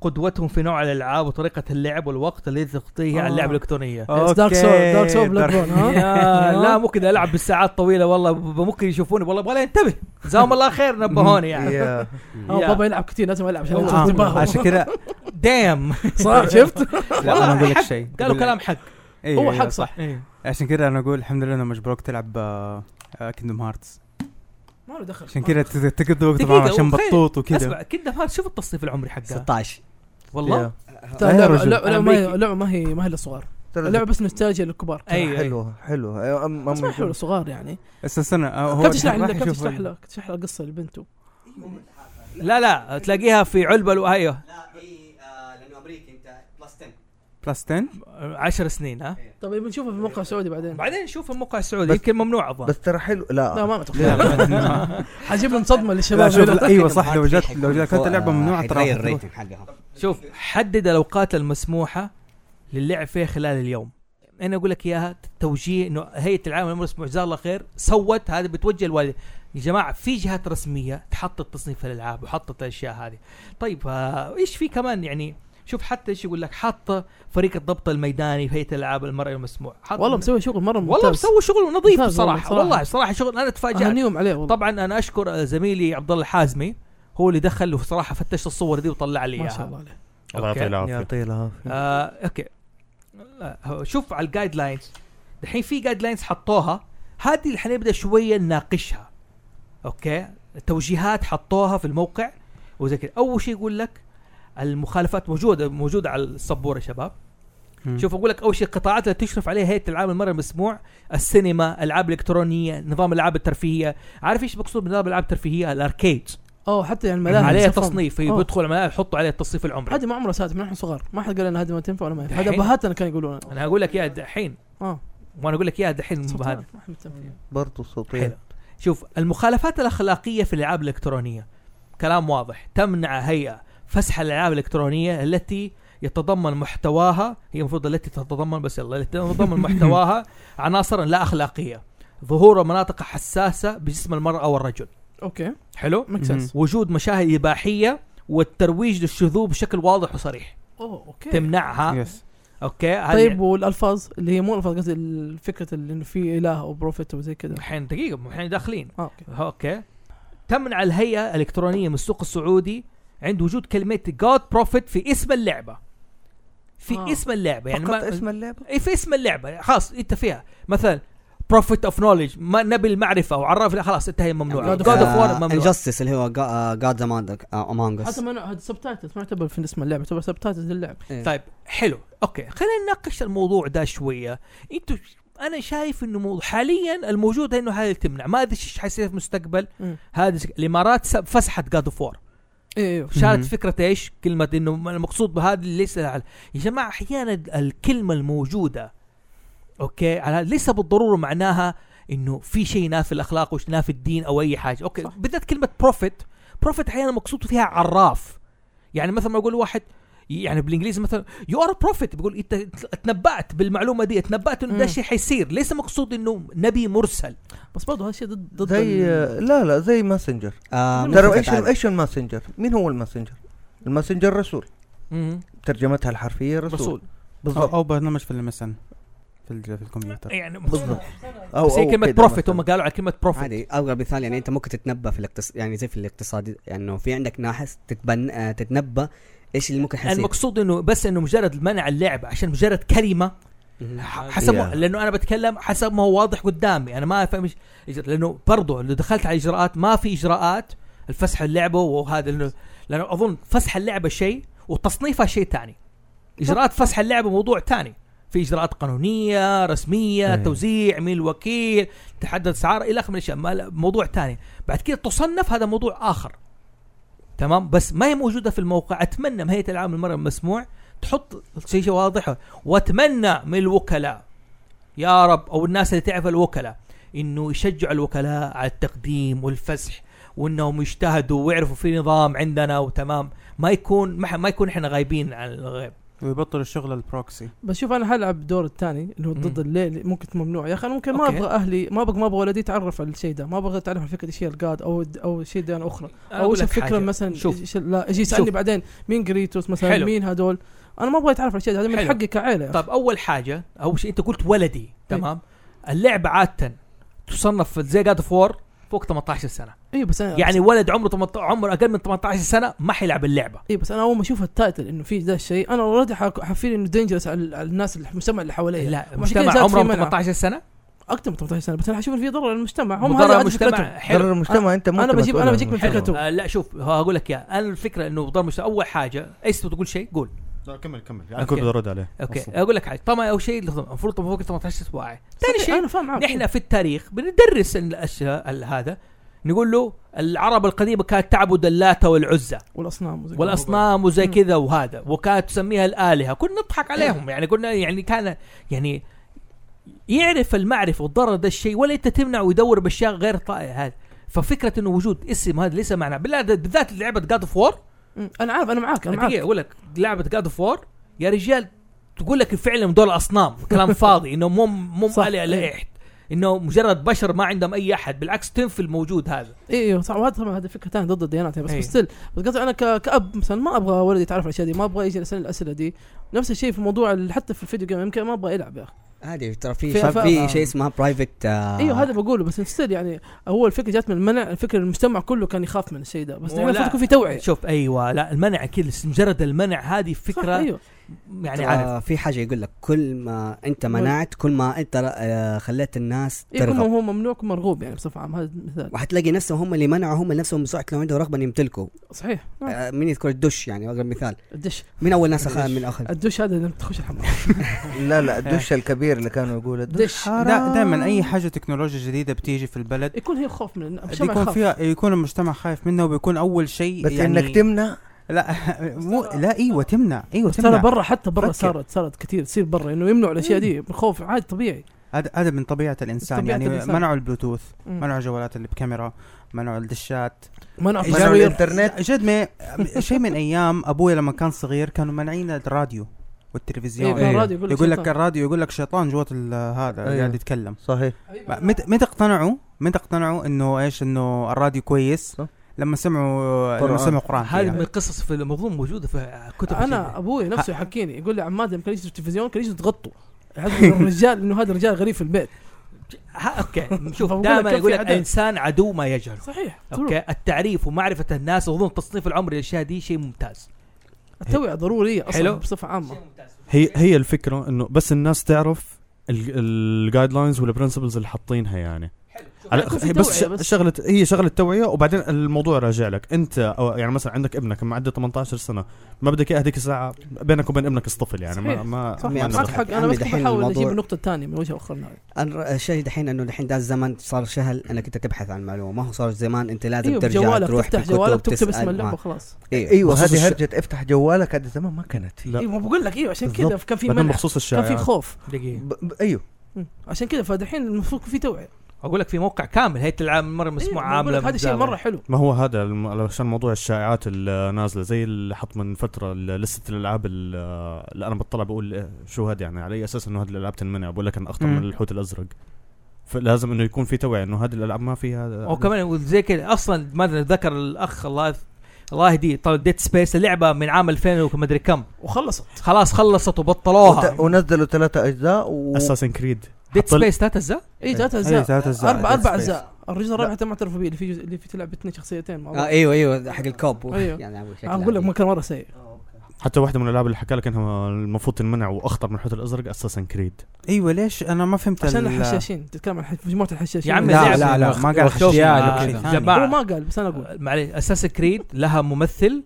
S1: قدوتهم في نوع الالعاب وطريقه اللعب والوقت الذي تقضيه على اللعب
S3: آه.
S1: الالكترونيه
S2: دارك سول دارك سول بلاك بون
S1: يا
S2: ها؟
S1: لا ممكن العب بالساعات طويله والله ب- ممكن يشوفوني والله ابغى انتبه جزاهم الله خير نبهوني يعني
S4: يا-
S2: آه،
S1: يا.
S2: بابا يلعب كثير لازم العب عشان
S1: آه،
S2: ألفت انتباهه.
S9: عشان كذا
S1: دايم
S2: صح شفت؟
S9: لا انا اقول لك شيء
S1: قالوا
S9: أقول لك-
S1: كلام حق
S9: إيه،
S2: هو
S9: إيه،
S2: حق صح
S1: إيه.
S9: عشان كذا انا اقول الحمد لله انه مجبروك تلعب آه،
S3: كيندم هارتس
S2: ما له دخل
S3: عشان كذا تقضي وقت
S1: دقيقة،
S3: معه عشان
S1: وخير.
S3: بطوط وكذا
S1: اسمع كذا هذا شوف التصنيف العمري حقها
S6: 16
S1: والله
S4: يا.
S2: لا
S3: يا
S2: لا
S3: رجل.
S2: لا لا ما هي
S1: أمريكي.
S2: لا ما هي ما هي للصغار
S4: ترى
S2: اللعبه بس نوستالجيا للكبار
S1: أي.
S4: حلوه حلوه أي- أم- أم-
S2: أيوه، بس ما حلو صغار يعني
S3: بس استنى آه، هو
S2: كانت تشرح
S3: راح
S2: لك كانت
S3: يشوف
S2: تشرح لك تشرح لك قصه لبنته
S1: لا لا تلاقيها في علبه لو- ايوه
S6: لا هي لانه امريكي انت بلس 10
S3: بلس 10
S1: 10 سنين ها
S2: طب يبي نشوفها طيب، في الموقع السعودي بعدين
S1: بعدين نشوف الموقع السعودي
S4: بس-
S1: يمكن ممنوع اظن
S4: بس ترى حلو لا
S2: لا ما
S4: لا،
S2: اتوقع
S4: لا،
S2: حجيب لهم صدمه
S3: لا
S2: للشباب
S3: شوف
S2: هنا.
S3: لا، ايوه صح لو جت لو جت كانت اللعبه
S1: آه،
S3: ممنوعه ترى
S6: تغير
S3: راح تروح.
S6: الريتنج حقها
S1: شوف حدد الاوقات المسموحه للعب فيها خلال اليوم انا اقول لك اياها توجيه انه هيئه العالم للمرسم جزاها الله خير سوت هذا بتوجه الوالد يا جماعه في جهات رسميه تحطط تصنيف الالعاب وحطت الاشياء هذه طيب آه، ايش في كمان يعني شوف حتى ايش يقول لك حط فريق الضبط الميداني في هيئه الالعاب المرئي المسموع حط
S2: والله مسوي شغل مره ممتاز
S1: والله مسوي شغل نظيف
S2: ممتاز والله
S1: بصراحه
S2: بصراحة.
S1: والله بصراحه شغل انا تفاجات
S2: اهنيهم عليه والله
S1: طبعا انا اشكر آه، زميلي عبد الله الحازمي هو اللي دخل وصراحه فتش الصور دي وطلع لي
S2: ما شاء
S1: اياها
S2: الله عليه
S7: الله
S1: أوكي.
S7: يعطيه العافيه
S4: يعطيه العافيه
S1: آه، اوكي لا، هو- شوف على الجايد لاينز دحين في جايد لاينز حطوها هذه اللي حنبدا شويه نناقشها اوكي توجيهات حطوها في الموقع وزي كذا اول شيء يقول لك المخالفات موجوده موجوده على السبوره يا شباب
S3: مم.
S1: شوف اقول لك اول شيء القطاعات اللي تشرف عليها هيئه العاب المرئي المسموع السينما العاب الكترونيه نظام الالعاب الترفيهيه عارف ايش مقصود بنظام الالعاب الترفيهيه الاركيد
S2: اوه حتى يعني الملاهي
S1: عليها
S2: صفن.
S1: تصنيف
S2: أوه.
S1: يدخل الملاعب يحطوا عليها التصنيف العمري
S2: هذه ما عمرها سات من احنا صغار ما حد قال لنا هذه ما تنفع ولا ما ينفع هذا
S1: دحين؟
S2: ابهاتنا كانوا يقولون
S1: انا اقول لك يا دحين
S2: اه
S1: وانا اقول لك يا دحين هذا
S2: ما حد مهتم فيها.
S4: برضه
S1: حلو.
S4: صوتيه
S1: شوف المخالفات الاخلاقيه في الالعاب الالكترونيه كلام واضح تمنع هيئه فسح الالعاب الالكترونيه التي يتضمن محتواها هي المفروض التي تتضمن بس يلا التي تتضمن محتواها عناصر لا اخلاقيه ظهور مناطق حساسه بجسم المراه او الرجل
S2: اوكي
S1: حلو
S2: ميك
S3: مم.
S2: سنس
S1: وجود مشاهد اباحيه والترويج للشذوذ بشكل واضح وصريح
S2: اوه اوكي
S1: تمنعها
S3: يس
S1: اوكي هذه-
S2: إيه. طيب والالفاظ اللي هي مو الفاظ قصدي الفكره اللي انه في اله او بروفيت وزي كذا
S1: الحين دقيقه الحين داخلين
S2: اه اوكي
S1: اوكي تمنع الهيئه الالكترونيه من السوق السعودي عند وجود كلمه جاد بروفيت في اسم اللعبه في
S2: آه.
S1: آه. اسم اللعبه يعني
S4: يعني فقط
S1: ما
S4: اسم اللعبه
S1: إيه في اسم اللعبه خلاص انت فيها مثلا بروفيت اوف نولج ما نبي المعرفه وعرف لا خلاص انتهي ممنوع
S2: God
S1: جاد
S2: of
S1: اوف وور ممنوع
S6: انجستس يعني، آه، اللي هو آه، جاد امونج
S2: حتى
S6: اس
S2: ما أنا- هذا سبتايتلز ما يعتبر في اسم اللعبه يعتبر سبتايتلز للعبه
S1: طيب حلو اوكي خلينا نناقش الموضوع ده شويه انتوا انا شايف انه موضوع حاليا الموجود انه هذه تمنع ما ادري ايش حيصير في المستقبل
S2: مم.
S1: هذه الامارات سب- فسحت جاد اوف وور
S2: ايوه
S1: شالت
S3: مهم.
S1: فكره ايش؟ كلمه انه م- المقصود بهذا ليس على يا جماعه احيانا الكلمه الموجوده اوكي على ليس بالضروره معناها انه في شيء نافي الاخلاق ونافي الدين او اي حاجه اوكي
S2: صح.
S1: بالذات كلمه بروفيت بروفيت احيانا مقصود فيها عراف يعني مثلا ما يقول واحد يعني بالانجليزي مثلا يو ار بروفيت بيقول انت تنبأت بالمعلومه دي تنبأت انه ده
S2: مم.
S1: شيء حيصير ليس مقصود انه نبي مرسل
S2: بس برضه هذا الشيء ضد ضد
S4: زي
S2: ال-
S4: لا لا زي ماسنجر
S6: آه،
S4: ترى ايش ايش الماسنجر؟ مين هو الماسنجر؟ الماسنجر رسول ترجمتها الحرفيه رسول,
S1: رسول
S3: او
S4: بالضبط
S3: أو برنامج في المسن في ال- في الكمبيوتر
S1: يعني
S4: بالضبط
S1: بس هي كلمه
S4: كده
S1: بروفيت
S4: مثلاً.
S1: هم قالوا على كلمه بروفيت
S6: عادي او بالثاني يعني انت ممكن تتنبا في الاقتصاد يعني زي في الاقتصاد يعني انه في عندك ناحس تتبن آه، تتنبا ايش اللي ممكن يحصل
S1: المقصود انه بس انه مجرد منع اللعبه عشان مجرد كلمه ح- حسب
S4: Yeah.
S1: لانه انا بتكلم حسب ما هو واضح قدامي انا ما افهم إيش- إيش- لانه برضه لو دخلت على اجراءات ما في اجراءات الفسح اللعبه وهذا لانه لانه اظن فسح اللعبه شيء وتصنيفها شيء ثاني اجراءات فسح اللعبه موضوع ثاني في اجراءات قانونيه رسميه
S7: إيه.
S1: توزيع مين الوكيل تحدد اسعار الى اخره من الاشياء ما- موضوع ثاني بعد كده تصنف هذا موضوع اخر تمام بس ما هي موجوده في الموقع اتمنى من هيئه العام المرئي المسموع تحط شيء واضح واتمنى من الوكلاء يا رب او الناس اللي تعرف الوكلاء انه يشجعوا الوكلاء على التقديم والفسح وانهم يجتهدوا ويعرفوا في نظام عندنا وتمام ما يكون ما, ح- ما يكون احنا غايبين عن الغيب
S3: ويبطل الشغل البروكسي
S2: بس شوف انا حلعب الدور الثاني اللي هو ضد
S1: مم.
S2: الليل ممكن ممنوع يا اخي انا ممكن ما
S1: أوكي.
S2: ابغى اهلي ما ابغى ما ابغى ولدي يتعرف على الشيء ده ما ابغى يتعرف على فكره ايش هي الجاد او او شيء ديانه اخرى او
S1: أقول
S2: ايش
S1: لك
S2: الفكره
S1: حاجة.
S2: مثلا
S1: شوف
S2: إيش- لا يجي يسالني
S1: شوف.
S2: بعدين مين جريتوس مثلا
S1: حلو.
S2: مين هذول انا ما ابغى يتعرف على الشيء ده هذا من
S1: حلو.
S2: حقي كعائله يا أخي.
S1: طب اول حاجه اول شيء انت قلت ولدي تمام اللعبه عاده تصنف زي جاد فور فوق 18 سنه
S2: ايوه بس انا
S1: يعني ولد عمره 18 عمره اقل من 18 سنه ما حيلعب اللعبه
S2: اي إيه، بس انا اول ما اشوف التايتل انه في ذا الشيء انا اوريدي حفيل انه دينجرس على على الناس اللي- المجتمع اللي حواليا
S1: لا
S2: وعشان كذا
S1: مجتمع
S2: زاد في
S1: عمره
S2: منع.
S1: 18 سنه
S2: اكتر من 18 سنه بس انا حشوف إن في ضرر للمجتمع هم
S1: مضرة
S2: هذا
S1: المجتمع
S2: مجتمع
S1: حلو
S4: ضرر المجتمع انت ما
S2: أنا
S4: أنت
S2: بجيب-
S4: مسؤول
S2: أنا
S4: عنه.
S2: بجيك من
S4: حلو.
S2: فكرته.
S1: آه لا شوف ها اقول لك يا انا الفكره انه ضرر المجتمع اول حاجه ايش تقول شيء قول
S7: لا كمل كمل
S1: أوكي.
S7: انا كنت بدي ارد عليه
S1: اوكي
S7: أصلاً.
S1: اقول لك حاجه طبعا اول شيء لحظة، المفروض طبعا فوق 18 اسبوع ثاني
S2: ثاني
S1: شيء
S2: شيء انا فاهم معك
S1: نحن في التاريخ بندرس الاشياء ال- هذا نقول له العرب القديمه كانت تعبد اللات والعزى
S2: والاصنام وزي كذا.
S1: والاصنام وزي
S2: مم.
S1: كذا وهذا وكانت تسميها الالهه كنا نضحك عليهم يعني كنا يعني كان يعني يعرف المعرفه والضرر ده الشيء ولا انت تمنع ويدور باشياء غير طائع هذا ففكره انه وجود اسم هذا ليس معناه بالله ده- بالذات لعبه جاد اوف وور
S2: مم. انا عارف انا معاك انا
S1: دقيقه
S2: معاك
S1: اقول لك لعبه جاد اوف وور يا رجال تقول لك فعلا دول اصنام كلام فاضي انه مو مو
S2: صح.
S1: علي على احد انه مجرد بشر ما عندهم اي احد بالعكس تنفي الموجود هذا
S2: ايوه صح وهذا طبعا هذه فكره ثانيه ضد الديانات يعني بس
S1: إيه.
S2: بس still. بس قصدي انا ك- كاب مثلا ما ابغى ولدي يتعرف على الاشياء دي ما ابغى يجي يسالني الاسئله دي نفس الشيء في موضوع ال- حتى في الفيديو جيم يمكن ما ابغى العب يا اخي
S6: عادي ترى في
S2: في
S6: شيء-
S2: أفا-
S6: في شيء اسمها آه، برايفت
S3: آه.
S2: ايوه هذا بقوله بس ستيل يعني هو الفكره جات من المنع الفكره المجتمع كله كان يخاف من الشيء ده بس
S1: ولا-
S2: احنا المفروض يكون في توعيه
S1: شوف ايوه لا المنع كل مجرد المنع هذه
S2: صح،
S1: فكره
S2: ايوه
S1: يعني عارف
S6: في حاجه يقول لك كل ما انت
S2: مم.
S6: منعت كل ما انت آه، خليت الناس
S2: إيه، كل ما
S6: ترغب
S2: هو ممنوع كل ما مرغوب يعني بصفه عامه هذا مثال
S6: وحتلاقي نفسهم هم اللي منعوا هم نفسهم بسرعه لو عنده رغبه إنه يمتلكوا
S2: صحيح نعم.
S6: آه، مين يذكر الدش يعني اقرب مثال
S2: الدش
S6: مين اول ناس اخذ من اخذ
S2: الدش هذا لما تخش الحمام
S4: لا لا الدش الكبير اللي كانوا يقول الدش
S2: الدش
S3: دا دائما اي حاجه تكنولوجيا جديده بتيجي في البلد
S2: يكون هي خوف من المجتمع
S3: بيكون
S2: يخاف.
S3: فيها يكون المجتمع خايف منها وبيكون اول شيء يعني
S4: بس انك تمنع
S3: لا مو لا ايوه تمنع ايوه
S2: بس ترى
S3: تمنع
S2: برا حتى برا
S3: فكر. إيه.
S2: صارت صارت كثير تصير برا انه يمنعوا الاشياء دي من خوف عادي طبيعي
S3: هذا هذا من طبيعه الانسان
S2: طبيعة
S3: يعني
S2: الإنسان.
S3: منعوا البلوتوث
S2: مم.
S3: منعوا الجوالات اللي بكاميرا منعوا الدشات
S2: منع
S3: إيجابي.
S4: منعوا
S2: تصوير
S4: الانترنت
S3: جد ما شيء من ايام ابوي لما كان صغير كانوا مانعين الراديو
S2: إيه،
S3: والتلفزيون
S2: كان
S5: إيه.
S2: راديو يقول لك
S3: يقول لك
S2: شيطان.
S3: الراديو يقول لك شيطان جوة ال- هذا
S4: أيوه.
S3: قاعد يتكلم
S4: صحيح
S2: أيوة.
S3: متى متى اقتنعوا متى اقتنعوا انه ايش انه الراديو كويس
S4: صح.
S3: لما سمعوا لما
S4: قرآن.
S3: سمعوا قران
S1: هذه من
S3: يعني.
S1: القصص في المظلوم موجوده في كتب
S2: انا ابوي نفسه يحكيني يقول لي عماد لما كان يجلس في التلفزيون كان يجلس تغطوا الرجال انه هذا رجال غريب في البيت
S1: ها اوكي شوف
S2: فبقول لك
S1: دائما
S2: كيف
S1: يقول لك
S2: في عدد.
S1: الانسان عدو ما يجهل
S2: صحيح اوكي
S1: اوكي التعريف ومعرفه الناس واظن تصنيف العمر للاشياء دي شيء ممتاز
S2: التوعيه ضروريه اصلا
S1: حلو.
S2: بصفه عامه
S7: هي هي الفكره انه بس الناس تعرف الجايد لاينز والبرنسبلز اللي حاطينها يعني على
S2: يكون في
S7: هي بس,
S2: توعية
S7: ش-
S2: بس.
S7: شغله هي شغله توعيه وبعدين الموضوع راجع لك انت أو يعني مثلا عندك ابنك معدي 18 سنه ما بدك اياه هذيك الساعه بينك وبين ابنك اصطفل يعني
S2: صحيح.
S7: ما ما
S2: صح
S6: عمي،
S7: ما
S6: أنا
S2: معك
S7: نقدر.
S2: حق انا
S6: عمي،
S2: بس
S6: دحين
S2: بحاول اجيب
S6: الموضوع-
S2: النقطه الثانيه من وجه اخرنا
S6: أنا- الشيء دحين انه دحين ده الزمن صار سهل انك انت تبحث عن معلومه ما هو صار زمان انت لازم
S2: ايوه
S6: ترجع
S2: بجوالك
S6: تروح
S2: تفتح
S6: في كتب،
S2: جوالك تكتب اسم أيوه.
S6: تسأل.
S2: اللعبه
S6: آه.
S2: خلاص
S4: ايوه
S7: بخصوص
S4: هذه
S7: الش-
S4: هرجه افتح جوالك هذه زمان ما كانت
S7: لا.
S2: ايوه ما بقول لك ايوه عشان كذا
S7: بالضبط.
S2: كان في
S7: بعدين
S2: منع
S7: بخصوص
S2: كان
S7: الشائعات
S2: في خوف
S1: دقيقه
S4: ب... ب... ايوه
S2: مم. عشان كذا فدحين المفروض يكون في توعيه
S1: اقول لك في موقع كامل هيئه العام مره مسموع
S2: إيه، بقول
S1: عامله
S2: لك هذا شيء
S1: بالزاوية.
S2: مره حلو
S7: ما هو هذا الم- عشان موضوع الشائعات النازله زي اللي حط من فتره ال- لسته الالعاب ال- اللي انا بطلع بقول إيه شو هذا يعني على اي اساس انه هذه الالعاب تنمنع بقول لك انا اخطر من
S3: مم.
S7: الحوت الازرق فلازم انه يكون في توعيه انه هذه الالعاب ما فيها
S1: او كمان زي كذا اصلا ما أدري ذكر الاخ الله الله يهديه طيب، طلع ديد سبيس اللعبه من عام 2000 وما ادري كم
S2: وخلصت
S1: خلاص خلصت وبطلوها
S4: وت... ونزلوا ثلاثة اجزاء و...
S7: اساسن كريد
S1: ديد سبيس ثلاث اجزاء
S2: اي ثلاث
S3: أيوة،
S2: اجزاء
S3: ثلاث اجزاء
S2: اربع اربع
S3: Dead Space.
S2: اجزاء الرجل الرابع حتى ما اعترف به اللي في جزء- اللي في تلعب اثنين شخصيتين مع
S6: آه
S2: بعض
S6: ايوه ايوه ده حق الكوب
S2: أيوه.
S6: يعني أبو شكل
S2: اقول لك
S6: عادي.
S2: ما كان مره سيء
S7: حتى واحده من الالعاب اللي حكى لك انها المفروض تنمنع واخطر من الحوت الازرق اساسن كريد
S3: ايوه ليش انا ما فهمت ال-
S2: عشان الحشاشين تتكلم عن حش- مجموعه الحشاشين
S1: يا عمي
S3: لا
S1: زعل.
S3: لا لا ما قال
S5: وخشوش
S3: حشاشين
S5: مع-
S3: شيء ثاني.
S2: هو
S1: جماعه
S2: ما قال بس انا اقول
S1: معلش اساس كريد لها ممثل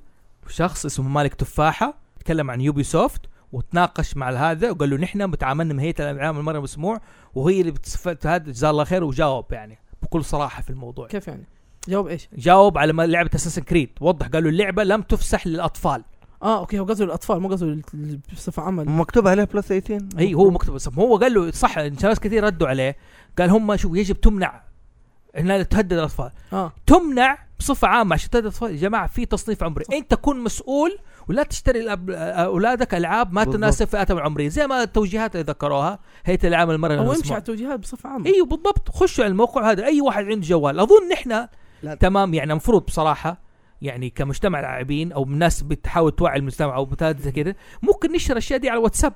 S1: شخص اسمه مالك تفاحه تكلم عن يوبي سوفت وتناقش مع هذا وقال له نحن متعاملنا مع هيئه العام المره مسموع وهي اللي بتصفت هذا جزاه الله خير وجاوب يعني بكل صراحه في الموضوع
S2: كيف يعني جاوب ايش
S1: جاوب على ما- لعبه اساس كريد وضح قالوا اللعبه لم تفسح للاطفال
S2: اه اوكي هو قصده الاطفال مو قصده ال- ال- بصفه عامه
S4: مكتوب عليها بلس 18
S1: اي هو مكتوب اسم هو قال له صح ناس كثير ردوا عليه قال هم شوف يجب تمنع انها تهدد الاطفال
S2: اه
S1: تمنع بصفه عامه عشان تهدد الاطفال يا جماعه في تصنيف عمري
S2: صح.
S1: انت كن مسؤول ولا تشتري لأب- اولادك العاب ما
S4: بالضبط.
S1: تناسب فئاتهم العمريه زي ما التوجيهات اللي ذكروها هيئه العام المرأة
S2: او امشي
S1: والمسمار.
S2: على التوجيهات بصفه عامه
S1: ايوه بالضبط خشوا على الموقع هذا اي واحد عنده جوال اظن نحن
S6: لا.
S1: تمام يعني المفروض بصراحه يعني كمجتمع لاعبين او ناس بتحاول توعي المجتمع او بتاع زي كده ممكن نشر الاشياء دي على الواتساب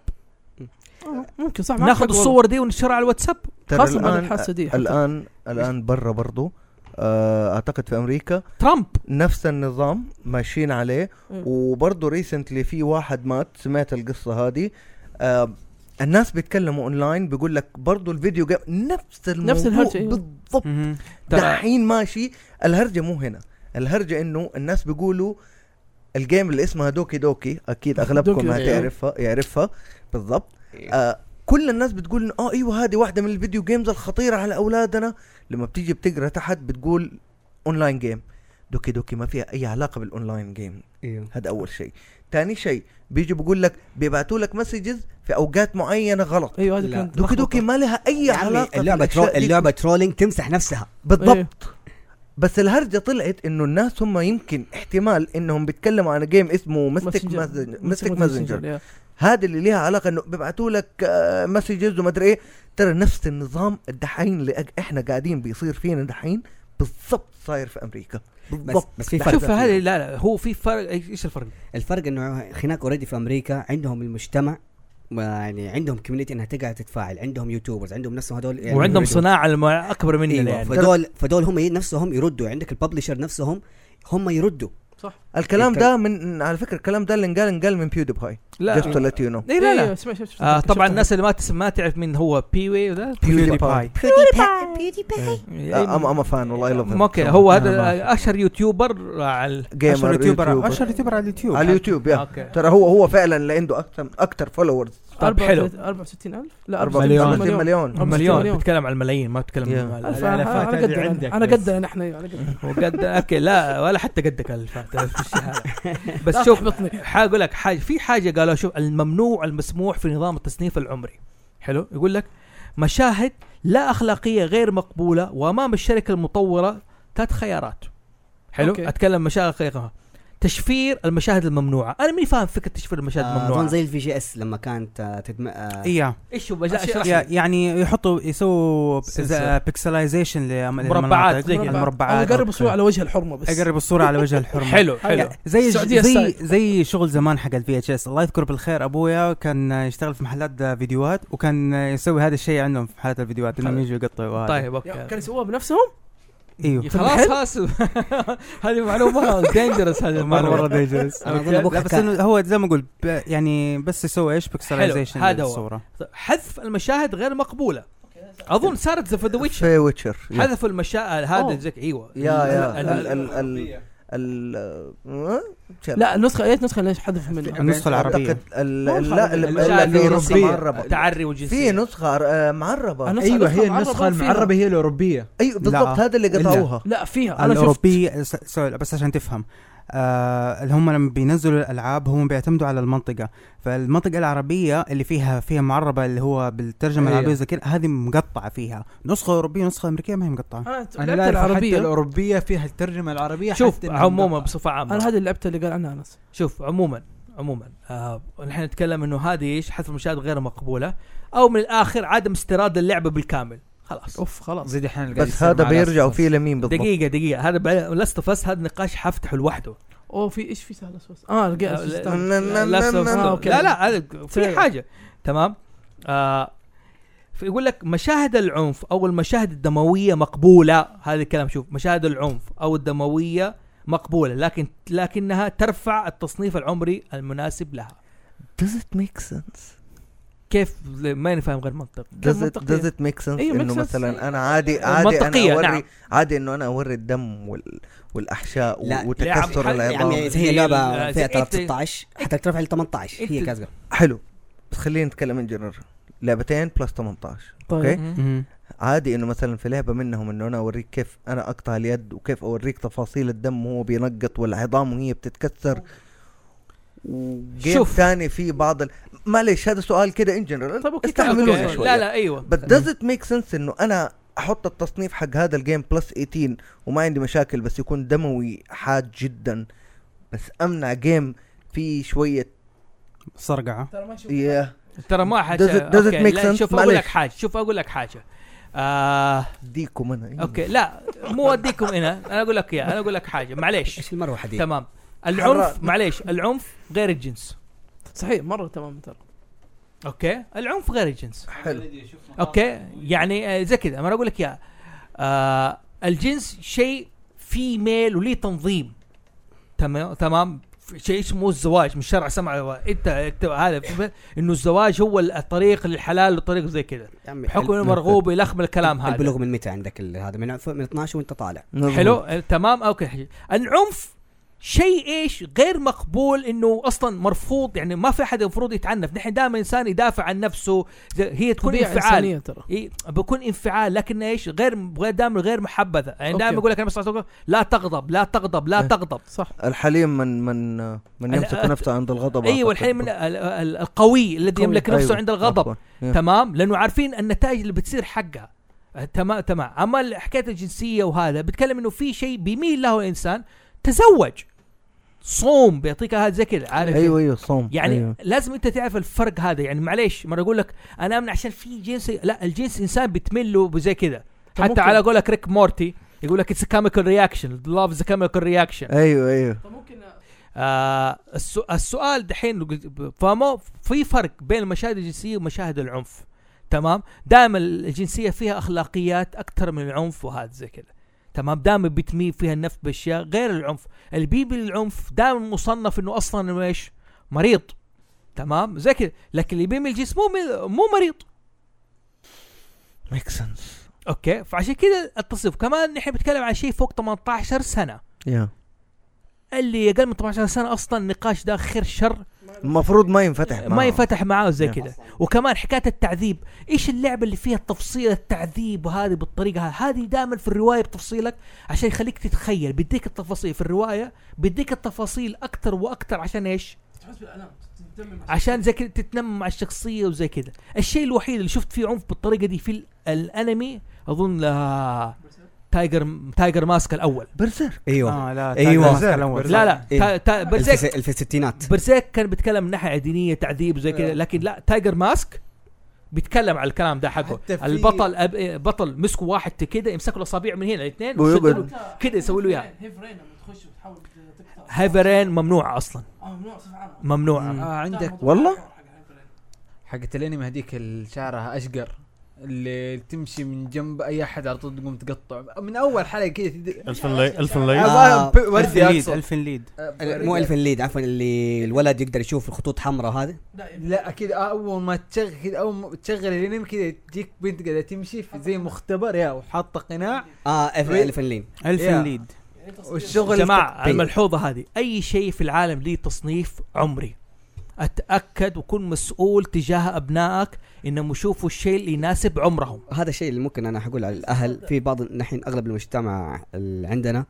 S2: آه، ممكن صح معك
S1: ناخذ
S2: حق والله.
S1: الصور دي وننشرها على الواتساب
S4: ترى
S2: خاصة بعد
S4: الآن-
S2: الحاسة دي حتى.
S4: الان الان برا برضو آه، اعتقد في امريكا
S1: ترامب
S4: نفس النظام ماشيين عليه
S2: مم.
S4: وبرضه ريسنتلي في واحد مات سمعت القصه هذه آه، الناس بيتكلموا اونلاين بيقول لك برضه الفيديو جيم نفس الموضوع نفس
S2: الهرجة،
S4: الهرجة
S2: أيوة.
S4: بالضبط
S3: مهم.
S1: ترى
S4: دحين ماشي الهرجه مو هنا الهرجه انه الناس بيقولوا الجيم اللي اسمها دوكي دوكي اكيد
S2: دوكي
S4: اغلبكم
S2: دوكي.
S4: هتعرفها يعرفها بالضبط
S6: إيه.
S4: آه كل الناس بتقول إنه، اه ايوه هذه واحده من الفيديو جيمز الخطيره على اولادنا لما بتيجي بتقرا تحت بتقول اونلاين جيم دوكي دوكي ما فيها اي علاقه بالاونلاين جيم
S2: أيوه.
S6: ايوه
S4: هذا اول شيء ثاني شيء بيجي بقول لك بيبعتوا لك مسجز في اوقات معينه غلط
S2: ايوه هذه
S6: لا.
S2: كانت
S4: دوكي دوكي ما لها اي
S6: يا عمي
S4: علاقه
S6: اللعبه ترو...
S4: بالأشياء دي
S6: اللعبه ترولينج تمسح نفسها
S4: بالضبط
S2: أيوه.
S4: بس الهرجه طلعت انه الناس هم يمكن احتمال انهم بيتكلموا عن جيم اسمه ميستيك ميستيك ماسنجر
S2: يا.
S4: هذا اللي ليها علاقه انه بيبعتوا لك مسجز وما ادري ايه ترى نفس النظام الدحين اللي أج- احنا قاعدين بيصير فينا دحين بالضبط صاير في امريكا
S6: بس,
S4: بالضبط
S6: بس في فرق
S1: شوف هذا لا لا هو في فرق أي- ايش الفرق؟
S6: الفرق انه هناك اوريدي في امريكا عندهم المجتمع ما يعني عندهم كوميونتي انها تقعد تتفاعل عندهم يوتيوبرز عندهم نفسهم هذول يعني
S1: وعندهم
S6: يردوا.
S1: صناعه الم- اكبر مننا
S6: ايوه
S1: يعني
S6: فدول فدول هم نفسهم يردوا عندك الببلشر نفسهم هم يردوا
S4: الكلام
S6: الك-
S4: ده من على فكره الكلام ده اللي انقال انقال من بيودي بهاي
S1: لا
S4: جست تو ليت يو نو
S1: إيه لا لا
S2: أيوه، سمعت- شفت- شفت-
S1: آه طبعا
S2: شفت-
S1: الناس اللي ما تس... ما تعرف مين هو بي واي وذا
S4: بيودي باي
S6: آه،
S4: ام ام فان والله اي
S1: م-
S4: لاف
S1: اوكي هو
S3: أنا ما
S1: هذا اشهر يوتيوبر على
S3: اشهر
S4: جيمر
S3: يوتيوبر
S4: يوتيوبر
S3: اشهر يوتيوبر على اليوتيوب
S4: على اليوتيوب يا
S1: اوكي
S4: ترى هو هو فعلا اللي عنده اكثر اكثر فولورز
S1: طب
S2: 34
S1: حلو
S2: 64000 لا
S4: 34
S1: مليون.
S2: 64
S4: مليون, مليون.
S1: مليون
S2: مليون.
S1: بتكلم عن الملايين ما بتكلم
S4: يا.
S1: عن
S2: ألف،
S1: ال-
S2: أنا-
S9: الألفات
S2: أنا
S9: هذه
S2: قدنا،
S9: عندك
S2: أنا
S9: بس.
S2: قدنا نحن أيوه، أنا قدنا
S1: وقد اوكي لا ولا حتى قدك الفات بس شوف حاقول لك حاجه في حاجه قالوا شوف الممنوع المسموح في نظام التصنيف العمري حلو يقول لك مشاهد لا اخلاقيه غير مقبوله وامام الشركه المطوره ثلاث خيارات حلو
S2: أوكي.
S1: أوكي. اتكلم مشاهد غير تشفير المشاهد الممنوعه انا ماني فاهم فكره تشفير المشاهد
S6: آه،
S1: الممنوعه
S6: اظن زي الفي جي اس لما كانت آه، تدم آه،
S1: إيه،
S3: ايوه
S1: ايش هو بجاء اشرح لي.
S3: يا- يعني يحطوا يسووا آه،
S1: سنسور.
S3: بيكسلايزيشن
S1: مربعات زي كده.
S3: المربعات
S2: اقرب الصوره على وجه الحرمه بس
S3: اقرب الصوره على وجه الحرمه
S1: حلو حلو
S3: يعني زي
S2: السعودية
S3: زي
S2: السايد.
S3: زي شغل زمان حق الفي اتش اس الله يذكره بالخير ابويا كان يشتغل في محلات آه، فيديوهات وكان يسوي هذا الشيء عندهم في محلات الفيديوهات انهم
S1: حلو.
S3: يجوا يقطعوا هذا.
S1: طيب اوكي
S2: يا، كانوا يسووها بنفسهم
S3: ايوه
S1: خلاص خلاص هذه معلومه دينجرس هذه
S3: مره
S1: المعلومة.
S3: مره ديجرس
S6: انا اظن ابوك
S3: لا بس
S6: حكى
S3: انه هو زي ما اقول ب- يعني بس يسوي ايش بيكسلايزيشن
S1: هذا هو.
S3: للصوره
S1: طيب، حذف المشاهد غير مقبوله اظن صارت في ذا ويتشر
S4: في ويتشر يا
S1: حذفوا المشاهد
S2: أوه.
S1: هذا زي ايوه
S4: يا
S1: ال-
S4: ال-
S1: ال-
S4: ال- ال- ال- آه، شل.
S2: لا النسخه ايش نسخه ليش حذف منها
S3: النسخه العربيه
S4: أعتقد ال-
S2: مو
S4: ال-
S2: العربية.
S4: لا ال- ال-
S1: المشاهد
S4: اللي نسخة
S1: الأوروبية.
S4: معربة
S1: تعري
S4: في
S1: وجنسية
S4: نسخة آه، معربة
S2: النسخة
S9: ايوه هي
S2: المعربة
S9: النسخه
S2: فيها.
S9: المعربه هي الاوروبيه
S4: ايوه بالضبط
S3: لا.
S4: هذا اللي
S3: إلا.
S4: قطعوها
S2: لا فيها انا شفت
S3: الاوروبيه س- سوري بس عشان تفهم آه اللي هم لما بينزلوا الالعاب هم بيعتمدوا على المنطقه فالمنطقه العربيه اللي فيها فيها معربه اللي هو بالترجمه
S9: أيوة.
S3: العربيه زي كده هذه مقطعه فيها نسخه اوروبيه ونسخه امريكيه ما هي مقطعه
S2: انا
S9: انا
S2: لعبت
S9: لا أعرف حتى
S2: العربيه
S9: الاوروبيه فيها الترجمه العربيه
S1: شوف
S9: حتى إنها
S1: عموما
S9: مقطعة.
S1: بصفة
S2: انا
S1: عامة
S2: هذه اللعبتها اللي قال عنها انس
S1: شوف عموما عموما آه، نحن نتكلم انه هذه ايش حذف المشاهد غير مقبولة او من الاخر عدم استيراد اللعبة بالكامل خلاص
S2: اوف خلاص
S9: زي دحين اللي قاعد
S4: بس
S9: يصير
S4: هذا
S9: مع
S4: بيرجعوا
S9: Last of Us.
S4: فيه لمين بالضبط
S1: دقيقة دقيقة هذا لاست اوف اس هذا نقاش حفتحه لوحده
S2: اوه في ايش في سهل اسوس اه
S1: لا-
S2: لقيت
S4: لا- لا-
S1: Last of Us.
S2: آه، أوكي.
S1: لا لا هذا في
S4: طيب.
S2: سيرة.
S1: حاجه تمام آه يقول لك مشاهد العنف او المشاهد الدمويه مقبوله هذا الكلام شوف مشاهد العنف او الدمويه مقبوله لكن لكنها ترفع التصنيف العمري المناسب لها
S4: Does it make sense?
S1: كيف ما نفهم غير منطق
S4: Does it,
S2: منطقية.
S4: does it make sense
S2: أيوة،
S4: انه
S2: make sense.
S4: مثلا انا عادي عادي انا
S1: منطقية،
S4: اوري
S1: نعم.
S4: عادي انه انا اوري الدم وال والاحشاء
S6: لا، يعني
S4: و-
S1: لعب-
S4: وتكسر
S6: يا عمي
S4: العظام
S6: هي لعبه
S1: يعني ال-
S6: فيها
S1: إنت-
S6: 13 حتى ترفع ل 18 هي
S1: إنت-
S6: كذا
S4: حلو بس خلينا نتكلم ان جنرال لعبتين بلس 18
S2: طيب
S3: مهم.
S4: عادي انه مثلا في لعبه منهم انه انا اوريك كيف انا اقطع اليد وكيف اوريك تفاصيل الدم وهو بينقط والعظام وهي بتتكسر وجيم
S1: شوف.
S4: ثاني في بعض ال... معليش هذا سؤال كده ان جنرال
S1: طيب،
S2: طب أوكي،
S4: استحملوني
S2: أوكي.
S4: شويه
S1: لا لا ايوه
S4: بس does it make sense انه انا احط التصنيف حق هذا الجيم بلس 18 وما عندي مشاكل بس يكون دموي حاد جدا بس امنع جيم فيه شويه
S3: سرقعه
S2: ترى ما شفت
S4: yeah.
S1: ترى ما حاجه
S4: Does it- does it
S1: أوكي،
S4: make
S1: لا،
S4: sense؟
S1: شوف اقول
S4: معليش.
S1: لك حاجه شوف اقول لك حاجه آه
S4: ديكم انا
S1: اوكي لا مو اوديكم هنا انا اقول لك اياها انا اقول لك حاجه معليش
S6: ايش المروحه دي؟
S1: تمام
S4: إيه. حرام.
S1: العنف معليش العنف غير الجنس
S2: صحيح مره تمام ترى
S1: اوكي العنف غير الجنس
S4: حلو
S1: اوكي يعني آه، زي كذا ما انا اقول لك يا آه الجنس شيء في ميل وليه تنظيم تمام تمام في شيء اسمه الزواج مش شرع سمع و- انت أنت هذا في- انه الزواج هو الطريق للحلال والطريق زي كذا
S6: يا عمي،
S1: بحكم انه
S6: الب-
S1: مرغوب يلخبط الكلام هذا
S6: البلوغ من متى عندك ال- هذا من عف- من 12 وانت طالع
S1: حلو آه، تمام اوكي حي- العنف شيء ايش غير مقبول انه اصلا مرفوض يعني ما في احد المفروض يتعنف نحن دائما انسان يدافع عن نفسه زي- هي تكون
S2: طبيعه
S1: انفعال
S2: انسانيه ترى
S1: إيه بكون انفعال لكن ايش غير غير- دائما غير محبذه يعني دائما
S2: أوكي.
S1: يقول لك انا بس لا تغضب لا تغضب لا
S4: إيه.
S1: تغضب
S2: صح
S4: الحليم من من من
S1: ال-
S4: يمسك نفسه عند الغضب
S1: ايوه
S4: أعتقد.
S1: الحين من ال- ال- القوي الذي
S2: قوي.
S1: يملك نفسه
S4: أيوة،
S1: عند الغضب
S4: عفواً. إيه.
S1: تمام لانه عارفين النتائج اللي بتصير حقها آه، تمام تمام اما حكايه الجنسيه وهذا بتكلم انه في شيء بيميل له الانسان تزوج صوم بيعطيك هذا زي كذا عارف
S4: ايوه ايوه صوم
S1: يعني
S4: أيوة.
S1: أيوه. لازم انت تعرف الفرق هذا يعني معليش مره اقول لك انا امنع عشان في جنس لا الجنس انسان بتميل له زي كذا
S2: طب
S1: حتى
S2: ممكن-
S1: على قولك ريك مورتي يقول لك اتس كيميكال رياكشن لاف از كيميكال رياكشن
S4: ايوه ايوه
S1: آه السو- السؤال دحين لو قلت- فاهموا في فرق بين المشاهد الجنسيه ومشاهد العنف تمام دائما الجنسيه فيها اخلاقيات اكثر من العنف وهذا زي كذا تمام دائما بتميل فيها النفس باشياء غير العنف اللي بيبي للعنف دائما مصنف انه اصلا إنه ايش مريض تمام زي كذا لكن اللي بيميل الجنس مو مو مريض
S4: ميك سنس
S1: اوكي فعشان كذا التصنيف كمان نحن بنتكلم عن شيء فوق 18 سنه
S4: يا
S1: اللي اقل من 18 سنه اصلا النقاش ده خير شر
S4: المفروض ما ينفتح معه.
S1: ما ينفتح معاه زي
S4: نعم.
S1: كذا وكمان حكايه التعذيب ايش اللعبه اللي فيها التفصيل التعذيب وهذه بالطريقه هذه هذه دائما في الروايه بتفصيلك عشان يخليك تتخيل بيديك التفاصيل في الروايه بيديك التفاصيل اكثر واكثر عشان ايش عشان زي كذا تتنمم على الشخصيه وزي كذا الشيء الوحيد اللي شفت فيه عنف بالطريقه دي في ال- الانمي اظن آه، تايجر تايجر ماسك الاول
S4: برزيرك
S6: ايوه
S3: آه لا
S6: أيوة.
S3: تاكل الأول.
S1: لا لا
S6: إيه.
S1: تا- تا-
S6: الف-
S1: برزيرك
S6: الف الستينات
S1: برسيك كان بيتكلم من ناحيه دينيه تعذيب وزي
S9: آه.
S1: كذا لكن لا تايجر ماسك بيتكلم على الكلام ده حقه
S9: حتى في-
S1: البطل أب... إيه، بطل مسكوا واحد كده يمسكوا الاصابع من هنا الاثنين
S4: ويقعد.
S1: ويشدوا له كده يسوي له اياها
S2: هيفرين لما تخش وتحاول تقطع
S1: هيفرين ممنوعه اصلا
S2: اه ممنوع بصفه عامه
S1: ممنوعه
S5: آه عندك
S4: والله؟
S5: حقت الانمي هذيك اللي شعرها اشقر اللي تمشي من جنب اي احد على طول تقوم تقطع من اول حلقه كذا تد...
S7: الفن لي الفن لي
S6: آه،
S5: أبغى
S3: الفن
S5: وردي
S3: ليد
S5: اقصد
S3: الفن ليد
S5: أبغى
S6: مو
S5: وردي.
S6: الفن ليد عفوا اللي الولد يقدر يشوف الخطوط حمراء هذا
S2: يعني
S5: لا اكيد اول ما تشغل كذا اول ما تشغل الانمي كذا تجيك بنت قاعده تمشي في زي مختبر يا وحاطه قناع
S6: اه أف-
S1: طيب.
S5: إيه.
S6: الفن ليد
S3: الفن
S5: يا.
S3: ليد
S1: يا
S2: يعني
S5: والشغل
S1: جماعه
S6: التقطيع.
S1: الملحوظه هذه اي شيء في العالم ليه تصنيف عمري اتاكد وكن مسؤول تجاه ابنائك انهم يشوفوا الشيء اللي يناسب عمرهم
S6: هذا الشيء اللي ممكن انا حقول على الاهل في بعض الحين اغلب المجتمع اللي عندنا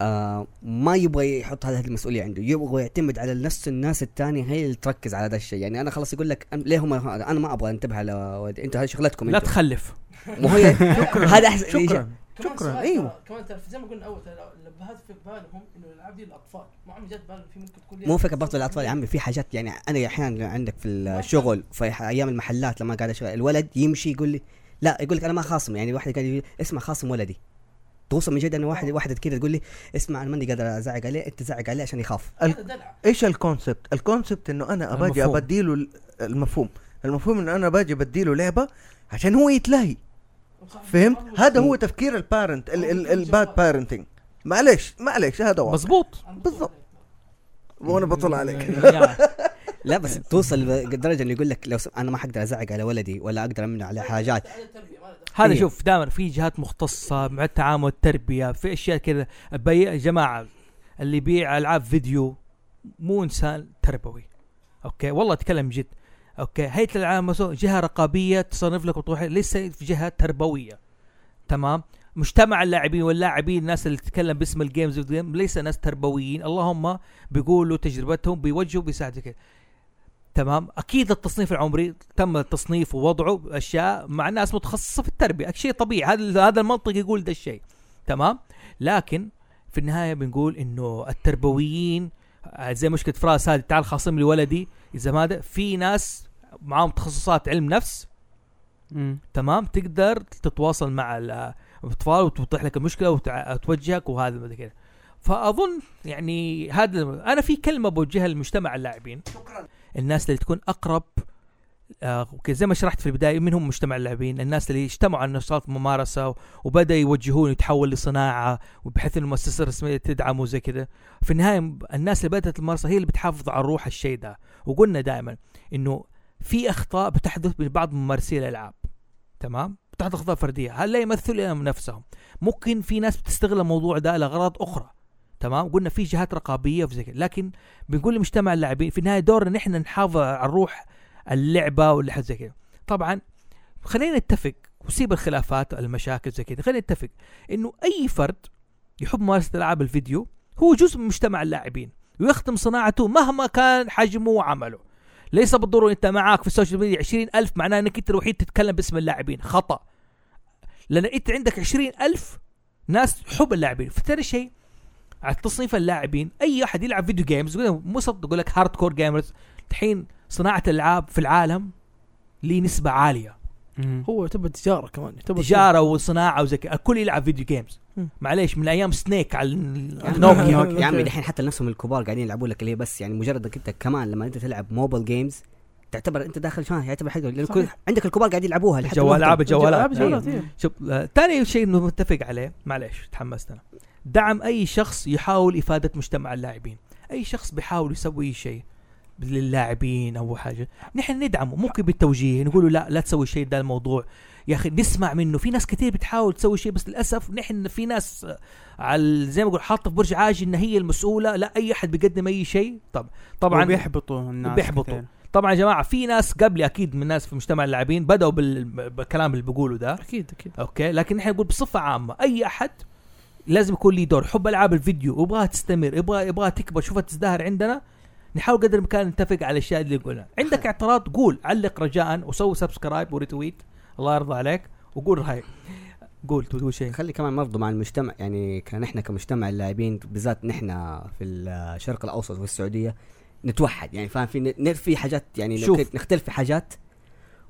S6: آه ما يبغى يحط هذه المسؤوليه عنده يبغى يعتمد على نفس الناس الثانيه هي اللي تركز على هذا الشيء يعني انا خلاص يقول لك أم- ليه هم انا ما ابغى انتبه على ولدي انتوا هذه شغلتكم
S1: لا
S6: انتوا
S1: تخلف
S6: مو هي هذا احسن شكرا
S4: شكراً، أيوه.
S2: كمان ترى زي ما قلنا اول ترى الابهات في بالهم انه الالعاب دي للاطفال ما عمري جات بالهم في ممكن تكون ليها-
S6: مو فكره برضه الاطفال يا عمي في حاجات يعني انا احيانا عندك في الشغل في ح- ايام المحلات لما قاعد اشتغل الولد يمشي يقول لي لا يقول لك انا ما خاصم يعني واحد قال لي اسمع خاصم ولدي توصل من جد انا واحد واحده كذا تقول لي اسمع انا ماني قادر ازعق عليه انت زعق عليه عشان يخاف
S2: هذا دلع
S4: ايش الكونسبت؟ الكونسبت انه انا باجي
S1: المفهوم.
S4: ابديله ال- المفهوم، المفهوم انه انا باجي بديله لعبه عشان هو يتلهي فهمت؟ هذا هو تفكير البارنت الباد بارنتنج معليش معليش هذا واضح
S1: مظبوط
S4: بالضبط وانا بطل عليك
S1: يعني
S6: لا بس توصل لدرجه انه يقول لك لو سم... انا ما حقدر ازعق على ولدي ولا اقدر امنع عليه حاجات
S1: هذا
S6: إيه.
S1: شوف دائما في جهات مختصه مع التعامل التربيه في اشياء كذا بي... جماعه اللي يبيع العاب فيديو مو انسان تربوي اوكي والله اتكلم جد اوكي هيئه الالعاب مثلا جهه رقابيه تصنف لك وتروح ليس في جهه تربويه تمام مجتمع اللاعبين واللاعبين الناس اللي تتكلم باسم الجيمز والجيم ليس ناس تربويين اللهم بيقولوا تجربتهم بيوجهوا بيساعدوا كده تمام اكيد التصنيف العمري تم التصنيف ووضعه اشياء مع ناس متخصصه في التربيه شيء طبيعي هذا هذا المنطق يقول ده الشيء تمام لكن في النهايه بنقول انه التربويين آه، زي مشكله فراس هذه تعال خاصم لي ولدي اذا ما هذا في ناس معاهم تخصصات علم نفس
S3: مم.
S1: تمام تقدر تتواصل مع ال- الاطفال وتوضح لك المشكله وتع- وتوجهك وهذا ما أدري كذا فاظن يعني هذا انا في كلمه بوجهها لمجتمع اللاعبين شكرا الناس اللي تكون اقرب آه، أوكي، زي ما شرحت في البدايه من هم مجتمع اللاعبين الناس اللي اجتمعوا على نشاط ممارسه و- وبدا يوجهون يتحول لصناعه وبحيث إن المؤسسه الرسميه تدعمه وزي كذا في النهايه م- الناس اللي بدات الممارسه هي اللي بتحافظ على روح الشيء ده وقلنا دائما انه في اخطاء بتحدث من بعض ممارسي الالعاب تمام بتحدث اخطاء فرديه هل لا يمثلوا لهم نفسهم ممكن في ناس بتستغل الموضوع ده لاغراض اخرى تمام قلنا في جهات رقابيه وفي زي كده لكن بنقول لمجتمع اللاعبين في النهايه دورنا نحن نحافظ على الروح اللعبه واللي زي كده طبعا خلينا نتفق وسيب الخلافات المشاكل زي كده خلينا نتفق انه اي فرد يحب ممارسه العاب الفيديو هو جزء من مجتمع اللاعبين ويخدم صناعته مهما كان حجمه وعمله ليس بالضرورة انت معاك في السوشيال ميديا 20 ألف معناه انك انت الوحيد تتكلم باسم اللاعبين خطأ لان انت عندك 20 ألف ناس حب اللاعبين فترى شيء على تصنيف اللاعبين اي احد يلعب فيديو جيمز يقول لهم- مو صدق يقول لك هارد كور جيمرز الحين صناعه الالعاب في العالم ليه نسبه عاليه
S2: هو يعتبر تجاره كمان يعتبر
S1: تجاره وصناعه وزي كذا الكل يلعب فيديو جيمز
S2: مم.
S1: معليش من ايام سنيك على
S2: نوكيا.
S1: نوكيا
S6: يا عمي دحين حتى نفسهم الكبار قاعدين يلعبوا لك اللي هي بس يعني مجرد انك انت كمان لما انت تلعب موبايل جيمز تعتبر انت داخل شان يعتبر حاجه لان يعني كل
S2: صحيح.
S6: عندك الكبار قاعدين يلعبوها اللي حتى
S1: الجوال
S6: الوقت-
S1: العاب الجوالات
S2: ألعاب جوالات إيه.
S1: شوف آه، ثاني شيء انه متفق عليه معليش تحمست انا دعم اي شخص يحاول افاده مجتمع اللاعبين اي شخص بيحاول يسوي شيء للاعبين او حاجه نحن ندعمه ممكن بالتوجيه نقول له لا لا تسوي شيء ده الموضوع يا اخي نسمع منه في ناس كثير بتحاول تسوي شيء بس للاسف نحن في ناس آه، على زي ما اقول حاطه في برج عاجي ان هي المسؤوله لا اي احد بيقدم اي شيء طب طبعا
S3: بيحبطوا الناس
S1: وبيحبطوا.
S3: كتير.
S1: طبعا يا جماعه في ناس قبلي اكيد من الناس في مجتمع اللاعبين بداوا بال- بالكلام اللي بقوله ده
S2: اكيد اكيد
S1: اوكي لكن احنا نقول بصفه عامه اي احد لازم يكون ليه دور حب العاب الفيديو ويبغاها تستمر يبغى يبغاها تكبر شوفها تزدهر عندنا نحاول قدر الامكان نتفق على الاشياء اللي نقولها عندك اعتراض قول علق رجاء وسوي سبسكرايب وريتويت الله يرضى عليك وقول رايك قول تقول شيء
S6: خلي كمان برضه مع المجتمع يعني كان احنا كمجتمع اللاعبين بالذات نحن في الشرق الاوسط والسعوديه نتوحد يعني فاهم في ن- في حاجات يعني
S1: شوف.
S6: نخت- نختلف في حاجات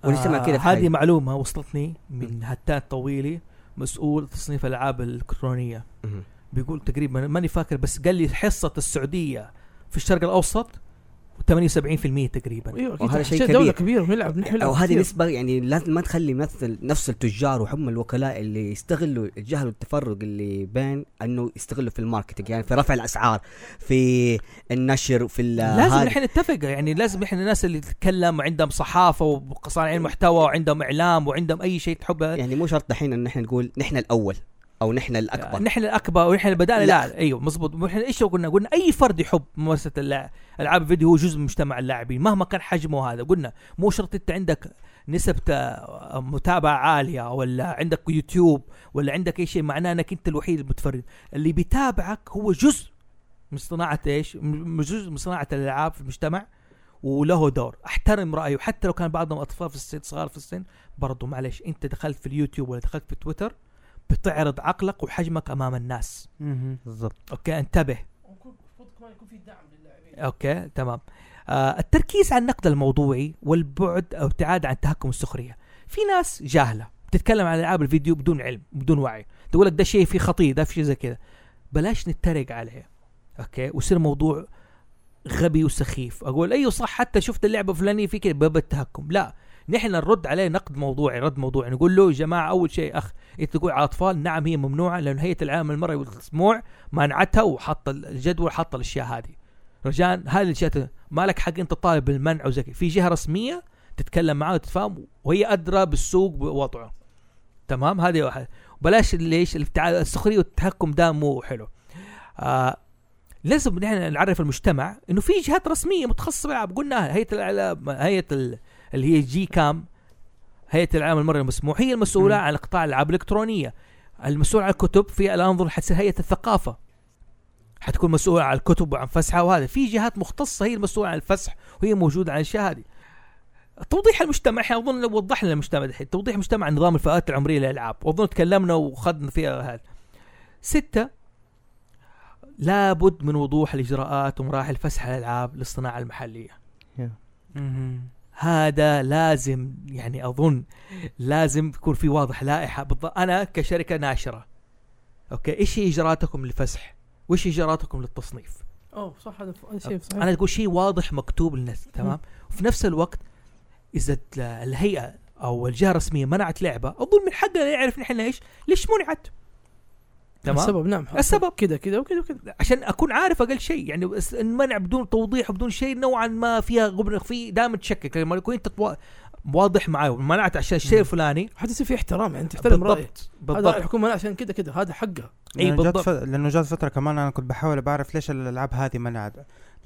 S6: ونجتمع
S1: آه،
S6: كده في
S1: هذه
S6: حاجة.
S1: معلومه وصلتني من هتات طويلي مسؤول تصنيف الالعاب الالكترونيه
S6: مهم.
S1: بيقول تقريبا ماني فاكر بس قال لي حصه السعوديه في الشرق الاوسط 78% تقريبا
S2: ايوه
S6: وهذا
S2: اكيد
S6: شيء
S2: شيء
S6: كبير.
S2: دوله كبيره ونلعب نحن نلعب
S6: او هذه
S2: كثير.
S6: نسبه يعني لازم ما تخلي مثل نفس التجار وهم الوكلاء اللي يستغلوا الجهل والتفرق اللي بين انه يستغلوا في الماركتنج يعني في رفع الاسعار في النشر في ال-
S1: لازم
S6: هذا.
S1: نحن نتفق يعني لازم احنا الناس اللي تتكلم عندهم صحافه وصانعين محتوى وعندهم اعلام وعندهم اي شيء تحبه
S6: يعني مو شرط دحين ان نحن نقول نحن الاول او نحن الاكبر
S1: نحن الاكبر ونحن اللي بدانا
S6: لا.
S1: لا. لا ايوه مزبوط ونحن ايش قلنا؟ قلنا اي فرد يحب ممارسه اللا- العاب الفيديو هو جزء من مجتمع اللاعبين مهما كان حجمه هذا قلنا مو شرط انت عندك نسبة آه، متابعة عالية ولا عندك يوتيوب ولا عندك اي شيء معناه انك انت الوحيد المتفرد اللي بيتابعك هو جزء من صناعة ايش؟ م- جزء من صناعة الالعاب في المجتمع وله دور احترم رايه حتى لو كان بعضهم اطفال في السن صغار في السن برضو معلش انت دخلت في اليوتيوب ولا دخلت في تويتر بتعرض عقلك وحجمك امام الناس
S3: مهم.
S1: اوكي انتبه اوكي تمام آه التركيز على النقد الموضوعي والبعد او ابتعاد عن تهكم السخريه في ناس جاهله بتتكلم عن العاب الفيديو بدون علم بدون وعي تقول لك ده شيء فيه خطير ده في شيء زي كذا بلاش نتريق عليه اوكي ويصير موضوع غبي وسخيف اقول ايوه صح حتى شفت اللعبه فلانيه في كذا باب التهكم لا نحن نرد عليه نقد موضوعي رد موضوعي نقول له يا جماعه اول شيء اخ انت تقول على اطفال نعم هي ممنوعه لان هيئه العالم المرئي والمسموع منعتها وحط الجدول حط الاشياء هذه رجاء هذه الاشياء ما لك حق انت تطالب بالمنع وزي كذا. في جهه رسميه تتكلم معاه وتتفاهم وهي ادرى بالسوق بوضعه تمام هذه واحد بلاش ليش الابتعاد السخريه والتهكم ده مو حلو آه لازم نحن نعرف المجتمع انه في جهات رسميه متخصصه بالالعاب قلنا هيئه الالعاب هيئه ال- اللي هي جي كام هيئه العالم المرئي المسموح هي المسؤوله عن قطاع الالعاب الالكترونيه المسؤول عن الكتب في الان اظن حتصير هيئه الثقافه حتكون مسؤولة عن الكتب وعن فسحها وهذا في جهات مختصة هي المسؤولة عن الفسح وهي موجودة عن الأشياء هذه توضيح المجتمع احنا اظن لو وضحنا المجتمع دحين توضيح المجتمع عن نظام الفئات العمريه للالعاب واظن تكلمنا وخدنا فيها هذا ستة لابد من وضوح الاجراءات ومراحل فسح الالعاب للصناعه المحليه
S3: مهم.
S1: هذا لازم يعني اظن لازم يكون في واضح لائحه بالضبط انا كشركه ناشره اوكي ايش هي اجراءاتكم للفسح؟ وايش اجراءاتكم للتصنيف؟
S2: اوه صح هذا ف- هذا شيء صحيح
S1: انا اقول شيء واضح مكتوب للناس تمام وفي نفس الوقت اذا ال- الهيئه او الجهه الرسميه منعت لعبه اظن من حقنا يعرف نحن ايش ليش منعت تمام
S2: السبب نعم
S1: السبب.
S2: كذا كذا وكذا وكذا
S1: عشان اكون عارف اقل شيء يعني بس المنع بدون توضيح وبدون شيء نوعا ما فيها غبن في دائما تشكك لما يكون انت توا- واضح معاه منعت عشان الشيء الفلاني
S2: حتى يصير في احترام يعني تحترم رايه
S1: بالضبط
S2: هذا
S1: بالضبط
S2: الحكومه لا عشان كذا كذا هذا حقها
S1: اي
S3: لأنه جات
S1: إيه، بالضبط.
S3: ف- لانه جات فتره كمان انا كنت بحاول بعرف ليش الالعاب هذه منعت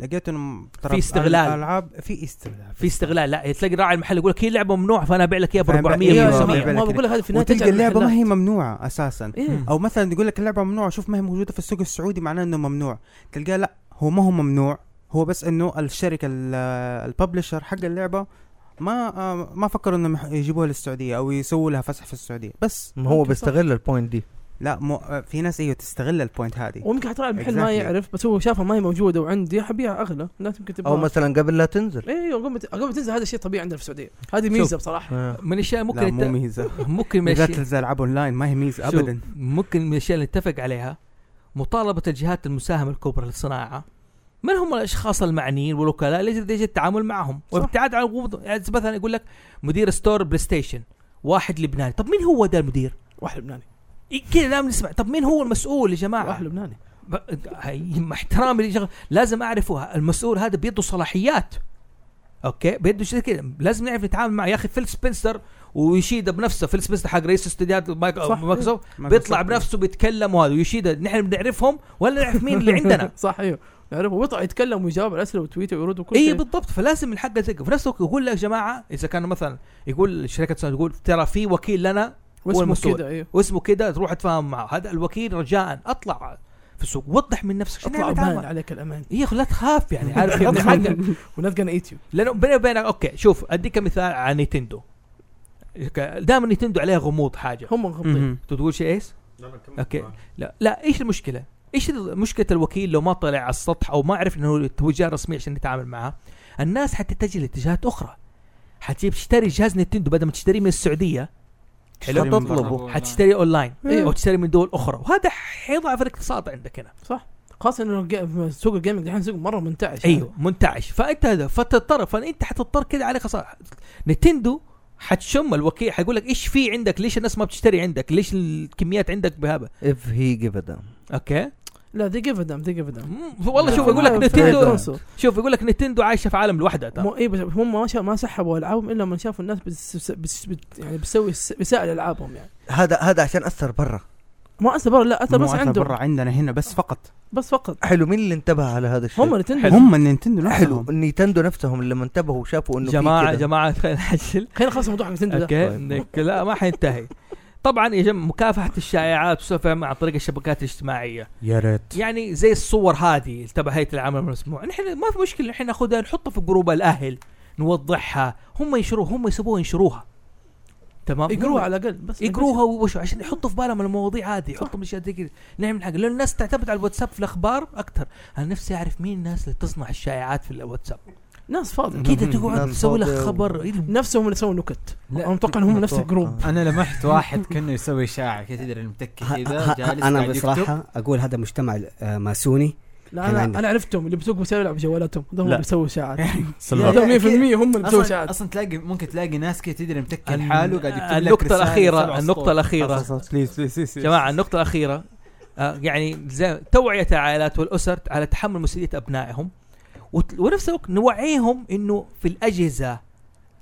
S3: لقيت انه م- ترى
S1: في استغلال.
S3: الالعاب في استغلال
S1: في استغلال لا تلاقي راعي المحل يقول لك هي لعبه ممنوع فانا ابيع لك اياها ب
S3: فأنا بقى-
S1: 400
S3: إيه،
S2: إيه،
S3: بالضبط.
S2: ما-
S1: 500
S2: ما بقول لك هذه في النهايه
S3: وتلقى
S2: تجعل
S3: اللعبه ما
S2: المحلات.
S3: هي ممنوعه اساسا
S2: إيه.
S3: او مثلا تقول لك اللعبه ممنوعه شوف ما هي موجوده في السوق السعودي معناه انه ممنوع تلقاه لا هو ما هو ممنوع هو بس انه الشركه الببلشر حق اللعبه ما آه، ما فكروا انهم يح- يجيبوها للسعوديه او يسووا لها فتح في السعوديه بس
S4: ما هو بيستغل البوينت دي
S3: لا مو آه، في ناس ايوه تستغل البوينت هذه
S2: ويمكن حتى راعي المحل ما
S3: Exactly.
S2: يعرف بس هو شافها ما هي موجوده وعندي حبيها اغلى الناس يمكن تبغى
S4: او مثلا قبل لا تنزل
S2: ايوه قبل قبل تنزل هذا الشيء طبيعي عندنا في السعوديه هذه ميزه بصراحه
S4: آه.
S1: من الاشياء ممكن
S3: لا مو
S1: يت-
S3: ميزه
S1: ممكن من
S3: بالذات
S1: الاشياء
S3: اذا العاب اونلاين ما هي ميزه
S1: شوف،
S3: ابدا
S1: ممكن من الاشياء اللي نتفق عليها مطالبه الجهات المساهمه الكبرى للصناعه من هم الاشخاص المعنيين والوكلاء ليش ليش التعامل معهم وابتعاد عن غموض يعني مثلا يقول لك مدير ستور بلاي ستيشن واحد لبناني طب مين هو ده المدير
S2: واحد لبناني
S1: إيه كذا دائما نسمع طب مين هو المسؤول يا جماعه
S2: واحد لبناني
S1: ب... هي- مع احترامي لشغل لازم اعرفه المسؤول هذا بيده صلاحيات اوكي بيده شيء كذا لازم نعرف نتعامل معه يا اخي فيل سبنسر ويشيدا بنفسه فيل سبنسر حق رئيس استديوهات مايك-
S2: صح.
S1: مايكروسوفت
S3: ما
S1: بيطلع
S3: في-
S1: بنفسه بيتكلم وهذا ويشيدا نحن بنعرفهم ولا نعرف مين اللي عندنا
S2: صح ايوه يعرفه ويطلع يتكلم ويجاوب على الاسئله وتويته ويرد وكل
S1: اي
S2: شيء.
S1: إيه، بالضبط فلازم الحق زي في نفس الوقت يقول لك يا جماعه اذا كانوا مثلا يقول شركه سوني تقول ترى في وكيل لنا هو
S2: واسمه
S1: المسؤول.
S2: كذا ايوه
S1: واسمه كذا تروح تتفاهم معه هذا الوكيل رجاء اطلع في السوق وضح من نفسك عشان
S2: اطلع
S1: نعرف
S2: وبان
S1: نتعامل.
S2: عليك الامان
S1: إيه، يا اخي لا تخاف يعني عارف يعني حقك.
S2: وناس gonna ايت يو
S1: لانه بيني وبينك اوكي شوف اديك مثال على نينتندو دائما نينتندو عليها غموض حاجه
S2: هم مغمضين
S3: مهم.
S1: أنت تقول شيء ايش؟ أوكي.
S8: آه.
S1: لا لا ايش المشكله؟ ايش ال- مشكله الوكيل لو ما طلع على السطح او ما عرف انه توجه رسميه عشان نتعامل معها؟ الناس حتتجه لاتجاهات اخرى حتجيب تشتري جهاز نينتندو بدل ما تشتريه من السعوديه
S3: تشتري من برا.
S4: تطلبه.
S1: حتشتري اونلاين
S2: إيوه.
S1: او تشتري أيوة، من دول اخرى وهذا حيضعف الاقتصاد عندك هنا
S2: خاصه انه الج- سوق الجيمنج دحين سوق مره منتعش
S1: ايوه منتعش فانت هذا فتضطر فانت حتضطر كده عليه خساره نتندو حتشم الوكيل حيقول لك ايش في عندك ليش الناس ما بتشتري عندك ليش الكميات عندك بهبه
S4: if he give a damn
S1: اوكي
S2: لا ذي جيف دام ذي جيف دام
S1: مم، والله شوف يقول لك نتندو شوف يقول لك نتندو عايشه في عالم لوحدها ترى.
S2: آه، مو اي بس هم ما شا- ما سحبوا العابهم الا لما شافوا الناس بس بس بت يعني بتسوي س- بيسأل العابهم يعني
S4: هذا هذا عشان اثر برا
S2: ما اثر برا لا اثر
S3: مو
S2: بس
S3: أثر برا
S2: عندهم
S3: عندنا هنا بس فقط
S2: بس فقط
S4: حلو مين اللي انتبه على هذا الشيء
S2: هم نتندو
S3: هم نينتندو
S4: حلو
S3: نفسهم
S4: نينتندو نفسهم لما انتبهوا شافوا انه
S1: جماعه
S4: في كده.
S1: جماعه خلينا نحشل
S2: خلينا نخلص موضوع نتندو ده
S1: اوكي
S4: طيب.
S1: نك- لا ما حينتهي طبعا يا جماعه مكافحه الشائعات والسفع عن طريق الشبكات الاجتماعيه
S7: يا ريت
S1: يعني زي الصور هذه تبع هيئه العمل المسموع نحن ما في مشكله نحن ناخذها نحطها في جروب الاهل نوضحها هم ينشروها هم يسووها ينشروها تمام
S2: يقروها
S1: هم-
S2: على الاقل بس
S1: يقروها وشو عشان يحطوا في بالهم المواضيع هذه يحطوا اشياء زي كذا نعمل حاجه لان الناس تعتمد على الواتساب في الاخبار اكثر انا نفسي اعرف مين الناس اللي تصنع الشائعات في الواتساب
S2: ناس فاضيه
S1: كذا تقعد
S4: ناس
S1: تسوي لك
S4: فاضية و-
S1: خبر
S2: نفسهم اللي سووا نكت
S5: لا.
S2: انا متوقع انهم نفس الجروب
S5: انا لمحت واحد كانه يسوي اشاعه كذا تدري المتكي كذا يعني جالس
S6: انا
S5: قاعد يكتب.
S6: بصراحه اقول هذا مجتمع آه، ماسوني
S2: لا
S6: كان
S2: انا
S6: عندي.
S2: انا عرفتهم اللي بيسوقوا بيسووا بجوالاتهم ده هم
S7: لا.
S2: اللي بيسووا اشاعات
S7: سلام
S2: ده 100% هم اللي بيسووا
S5: اصلا
S2: اشاعات
S5: اصلا تلاقي ممكن تلاقي ناس كذا تدري متكي لحاله قاعد يكتب
S1: النقطه
S5: لك رسالة
S1: الاخيره
S5: سبع
S1: النقطه
S5: سطور.
S1: الاخيره
S3: بليز بليز
S1: جماعه النقطه الاخيره آه، يعني زي توعيه العائلات والاسر على تحمل مسؤوليه ابنائهم وت- ونفس الوقت نوعيهم انه في الاجهزه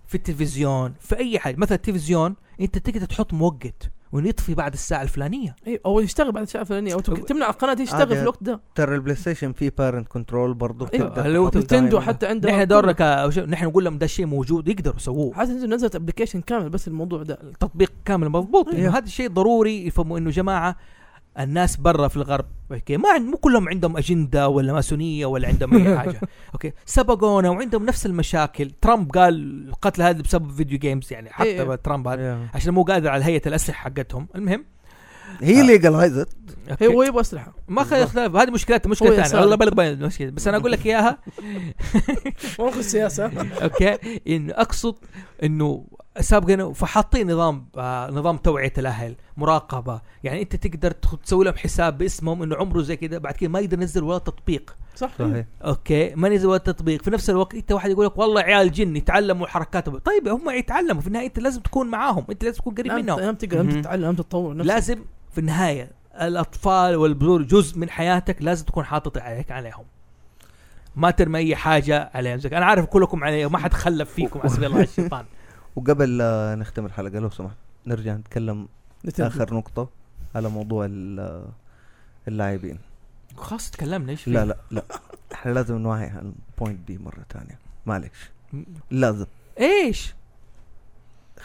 S1: في التلفزيون في اي حاجه مثلا التلفزيون انت تقدر تحط موقت وانه يطفي بعد الساعه الفلانيه
S2: اي او إيه، يشتغل بعد الاشاعه الفلانيه او تك- تمنع القناه دي تشتغل
S4: عادي.
S2: في الوقت ده
S4: ترى البلاي ستيشن فيه بارنت كنترول برضه
S2: أيوة.
S4: تقدر
S1: اللي هو
S4: تحط
S2: نتندو
S4: timer.
S2: حتى عندها
S1: نحن دورنا ك- شو- نحن نقول لهم ده الشيء موجود يقدروا يسووه
S2: حتى نزل- نزلت ابلكيشن كامل بس الموضوع ده
S1: تطبيق كامل مضبوط
S2: أيوه.
S1: إنه هذا الشيء ضروري يفهموا انه جماعه الناس برا في الغرب اوكي ما عند مو كلهم عندهم اجنده ولا ماسونيه ولا عندهم اي حاجه اوكي سبقونا وعندهم نفس المشاكل ترامب قال القتل هذا بسبب فيديو جيمز يعني حتى
S2: أيوه.
S1: ترامب هذا
S4: Yeah.
S1: عشان مو قادر على هيئه الاسلحه حقتهم المهم
S4: هي ليجلايزت
S1: أوكي.
S2: هي هو يبغى اسلحه
S1: ما خلي اختلاف هذه مشكلتها مشكله
S2: هو
S1: ثانيه
S2: يسار.
S1: والله بلغ بين المشكلة. بس انا اقول لك اياها
S2: موقف السياسه
S1: اوكي ان اقصد انه سابقا فحاطين نظام آه نظام توعيه الاهل مراقبه يعني انت تقدر تخ- تسوي لهم حساب باسمهم انه عمره زي كذا بعد كذا ما يقدر ينزل ولا تطبيق
S2: صح
S4: صحيح
S1: اوكي ما نزل ولا تطبيق في نفس الوقت انت واحد يقول لك والله عيال جن يتعلموا حركاتهم طيب هم يتعلموا في النهايه انت لازم تكون معاهم انت لازم تكون قريب
S2: لا، أنت-
S1: منهم
S2: أنت تقدر أنت
S3: مهم.
S2: تتعلم أنت تطور نفسك
S1: لازم في النهايه الاطفال والبذور جزء من حياتك لازم تكون حاطط عليك عليهم ما ترمي اي حاجه عليهم زي انا عارف كلكم علي ما حد خلف فيكم حسبي الله على الشيطان
S4: وقبل لا نختم الحلقه لو سمحت نرجع نتكلم
S2: نتندو.
S4: اخر نقطه على موضوع ال- اللاعبين
S1: خلاص تكلمنا ايش في؟
S4: لا لا لا احنا لازم نوعي على البوينت دي مره ثانيه معلش
S1: م-
S4: لازم
S1: ايش؟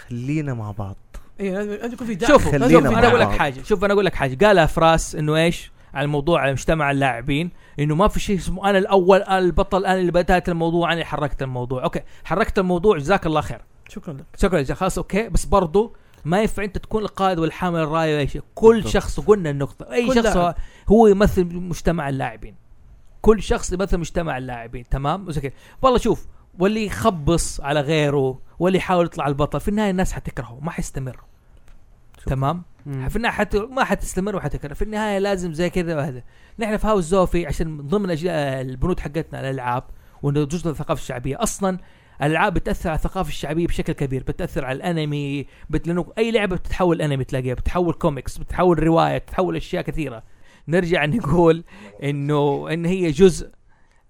S4: خلينا مع بعض
S2: إيه، لازم لازم يكون في دعم
S1: شوفوا
S4: خلينا
S1: شوف انا
S4: مع
S1: اقول لك
S4: بعض.
S1: حاجه شوف انا اقول لك حاجه قالها فراس انه ايش؟ على الموضوع على مجتمع اللاعبين انه ما في شيء اسمه انا الاول انا البطل انا اللي بدات الموضوع انا اللي حركت الموضوع اوكي حركت الموضوع جزاك الله خير
S2: شكرا لك
S1: شكرا جزاك خلاص اوكي بس برضو ما ينفع انت تكون القائد والحامل الرايه واي شيء كل
S4: بالضبط.
S1: شخص قلنا النقطه اي
S2: كل
S1: شخص
S2: لاعب.
S1: هو يمثل مجتمع اللاعبين كل شخص يمثل مجتمع اللاعبين تمام زي كده والله شوف واللي يخبص على غيره واللي يحاول يطلع البطل في النهايه الناس حتكرهه ما حيستمر تمام في النهايه حت... ما حتستمر وحتكرر في النهايه لازم زي كذا وهذا نحن في هاوس زوفي عشان من ضمن أجل... البنود حقتنا الالعاب وانه جزء من الثقافه الشعبيه اصلا الالعاب بتاثر على الثقافه الشعبيه بشكل كبير بتاثر على الانمي بت... لانه اي لعبه بتتحول انمي تلاقيها بتتحول كوميكس بتتحول روايه بتتحول اشياء كثيره نرجع نقول انه ان هي جزء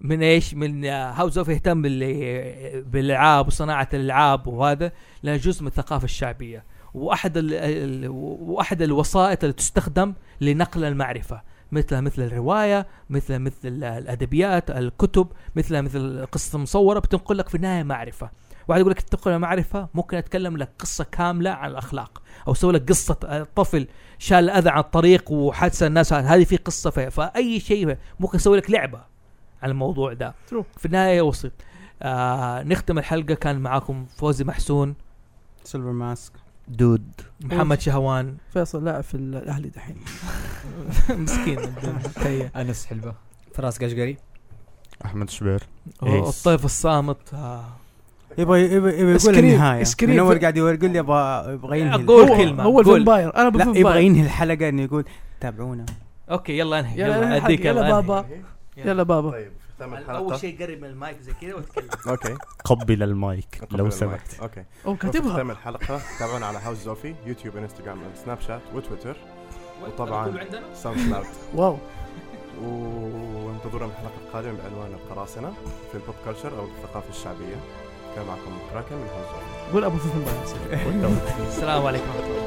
S1: من ايش من هاوس اوف يهتم بال- بالالعاب وصناعه الالعاب وهذا لانه جزء من الثقافه الشعبيه واحد ال... ال... واحد الوسائط اللي تستخدم لنقل المعرفه مثل مثل الروايه مثل مثل الادبيات الكتب مثل مثل القصص المصوره بتنقل لك في النهايه معرفه واحد يقول لك تنقل معرفه ممكن اتكلم لك قصه كامله عن الاخلاق او اسوي لك قصه آه، طفل شال اذى عن الطريق وحادثه الناس هذه في قصه فيها فاي شيء ممكن اسوي لك لعبه على الموضوع ده
S2: True.
S1: في النهايه وسط آه نختم الحلقه كان معاكم فوزي محسون
S3: سيلفر ماسك
S4: دود
S1: محمد شهوان
S2: فيصل لاعب في الاهلي دحين
S1: مسكين تهيأ.
S5: انس حلبه
S6: فراس قشقري
S7: احمد شبير إيه.
S1: الطيف الصامت آه.
S3: يبغى يبغى يبغى يقول
S2: سكريم-
S3: النهايه
S2: سكريم
S3: من اول
S2: في-
S3: قاعد يقول لي ابغى يبغى ينهي
S1: أقول.
S3: الحلقة.
S1: كلمة،
S2: هو
S1: قول.
S2: الفامباير انا
S3: لا
S2: بفامباير
S3: يبغى ينهي الحلقه انه يقول تابعونا
S1: اوكي يلا انهي
S2: يلا
S1: يلا
S2: انهي
S1: اديك
S2: الحلقة، يلا
S1: يلا
S2: بابا.
S1: انهي.
S8: إيه.
S2: يلا بابا
S8: طيب في ختام الحلقه
S1: اول شيء قرب من المايك زي كذا وتكلم
S8: اوكي
S7: قبل المايك
S8: أقبل
S7: لو
S8: المايك.
S7: سمحت
S8: اوكي
S2: او
S8: في
S2: كاتبها
S8: ختام الحلقه تابعونا على هاوس زوفي يوتيوب انستغرام سناب شات وتويتر وطبعاً.
S1: كله عندنا؟
S8: ساوند كلاود
S2: واو
S8: وانتظرونا في الحلقه القادمه بعنوان القراصنه في البوب كلتشر او الثقافه الشعبيه كان معكم كراكن من هاوس زوفي
S2: قول ابو فامباير
S1: السلام عليكم ورحمه الله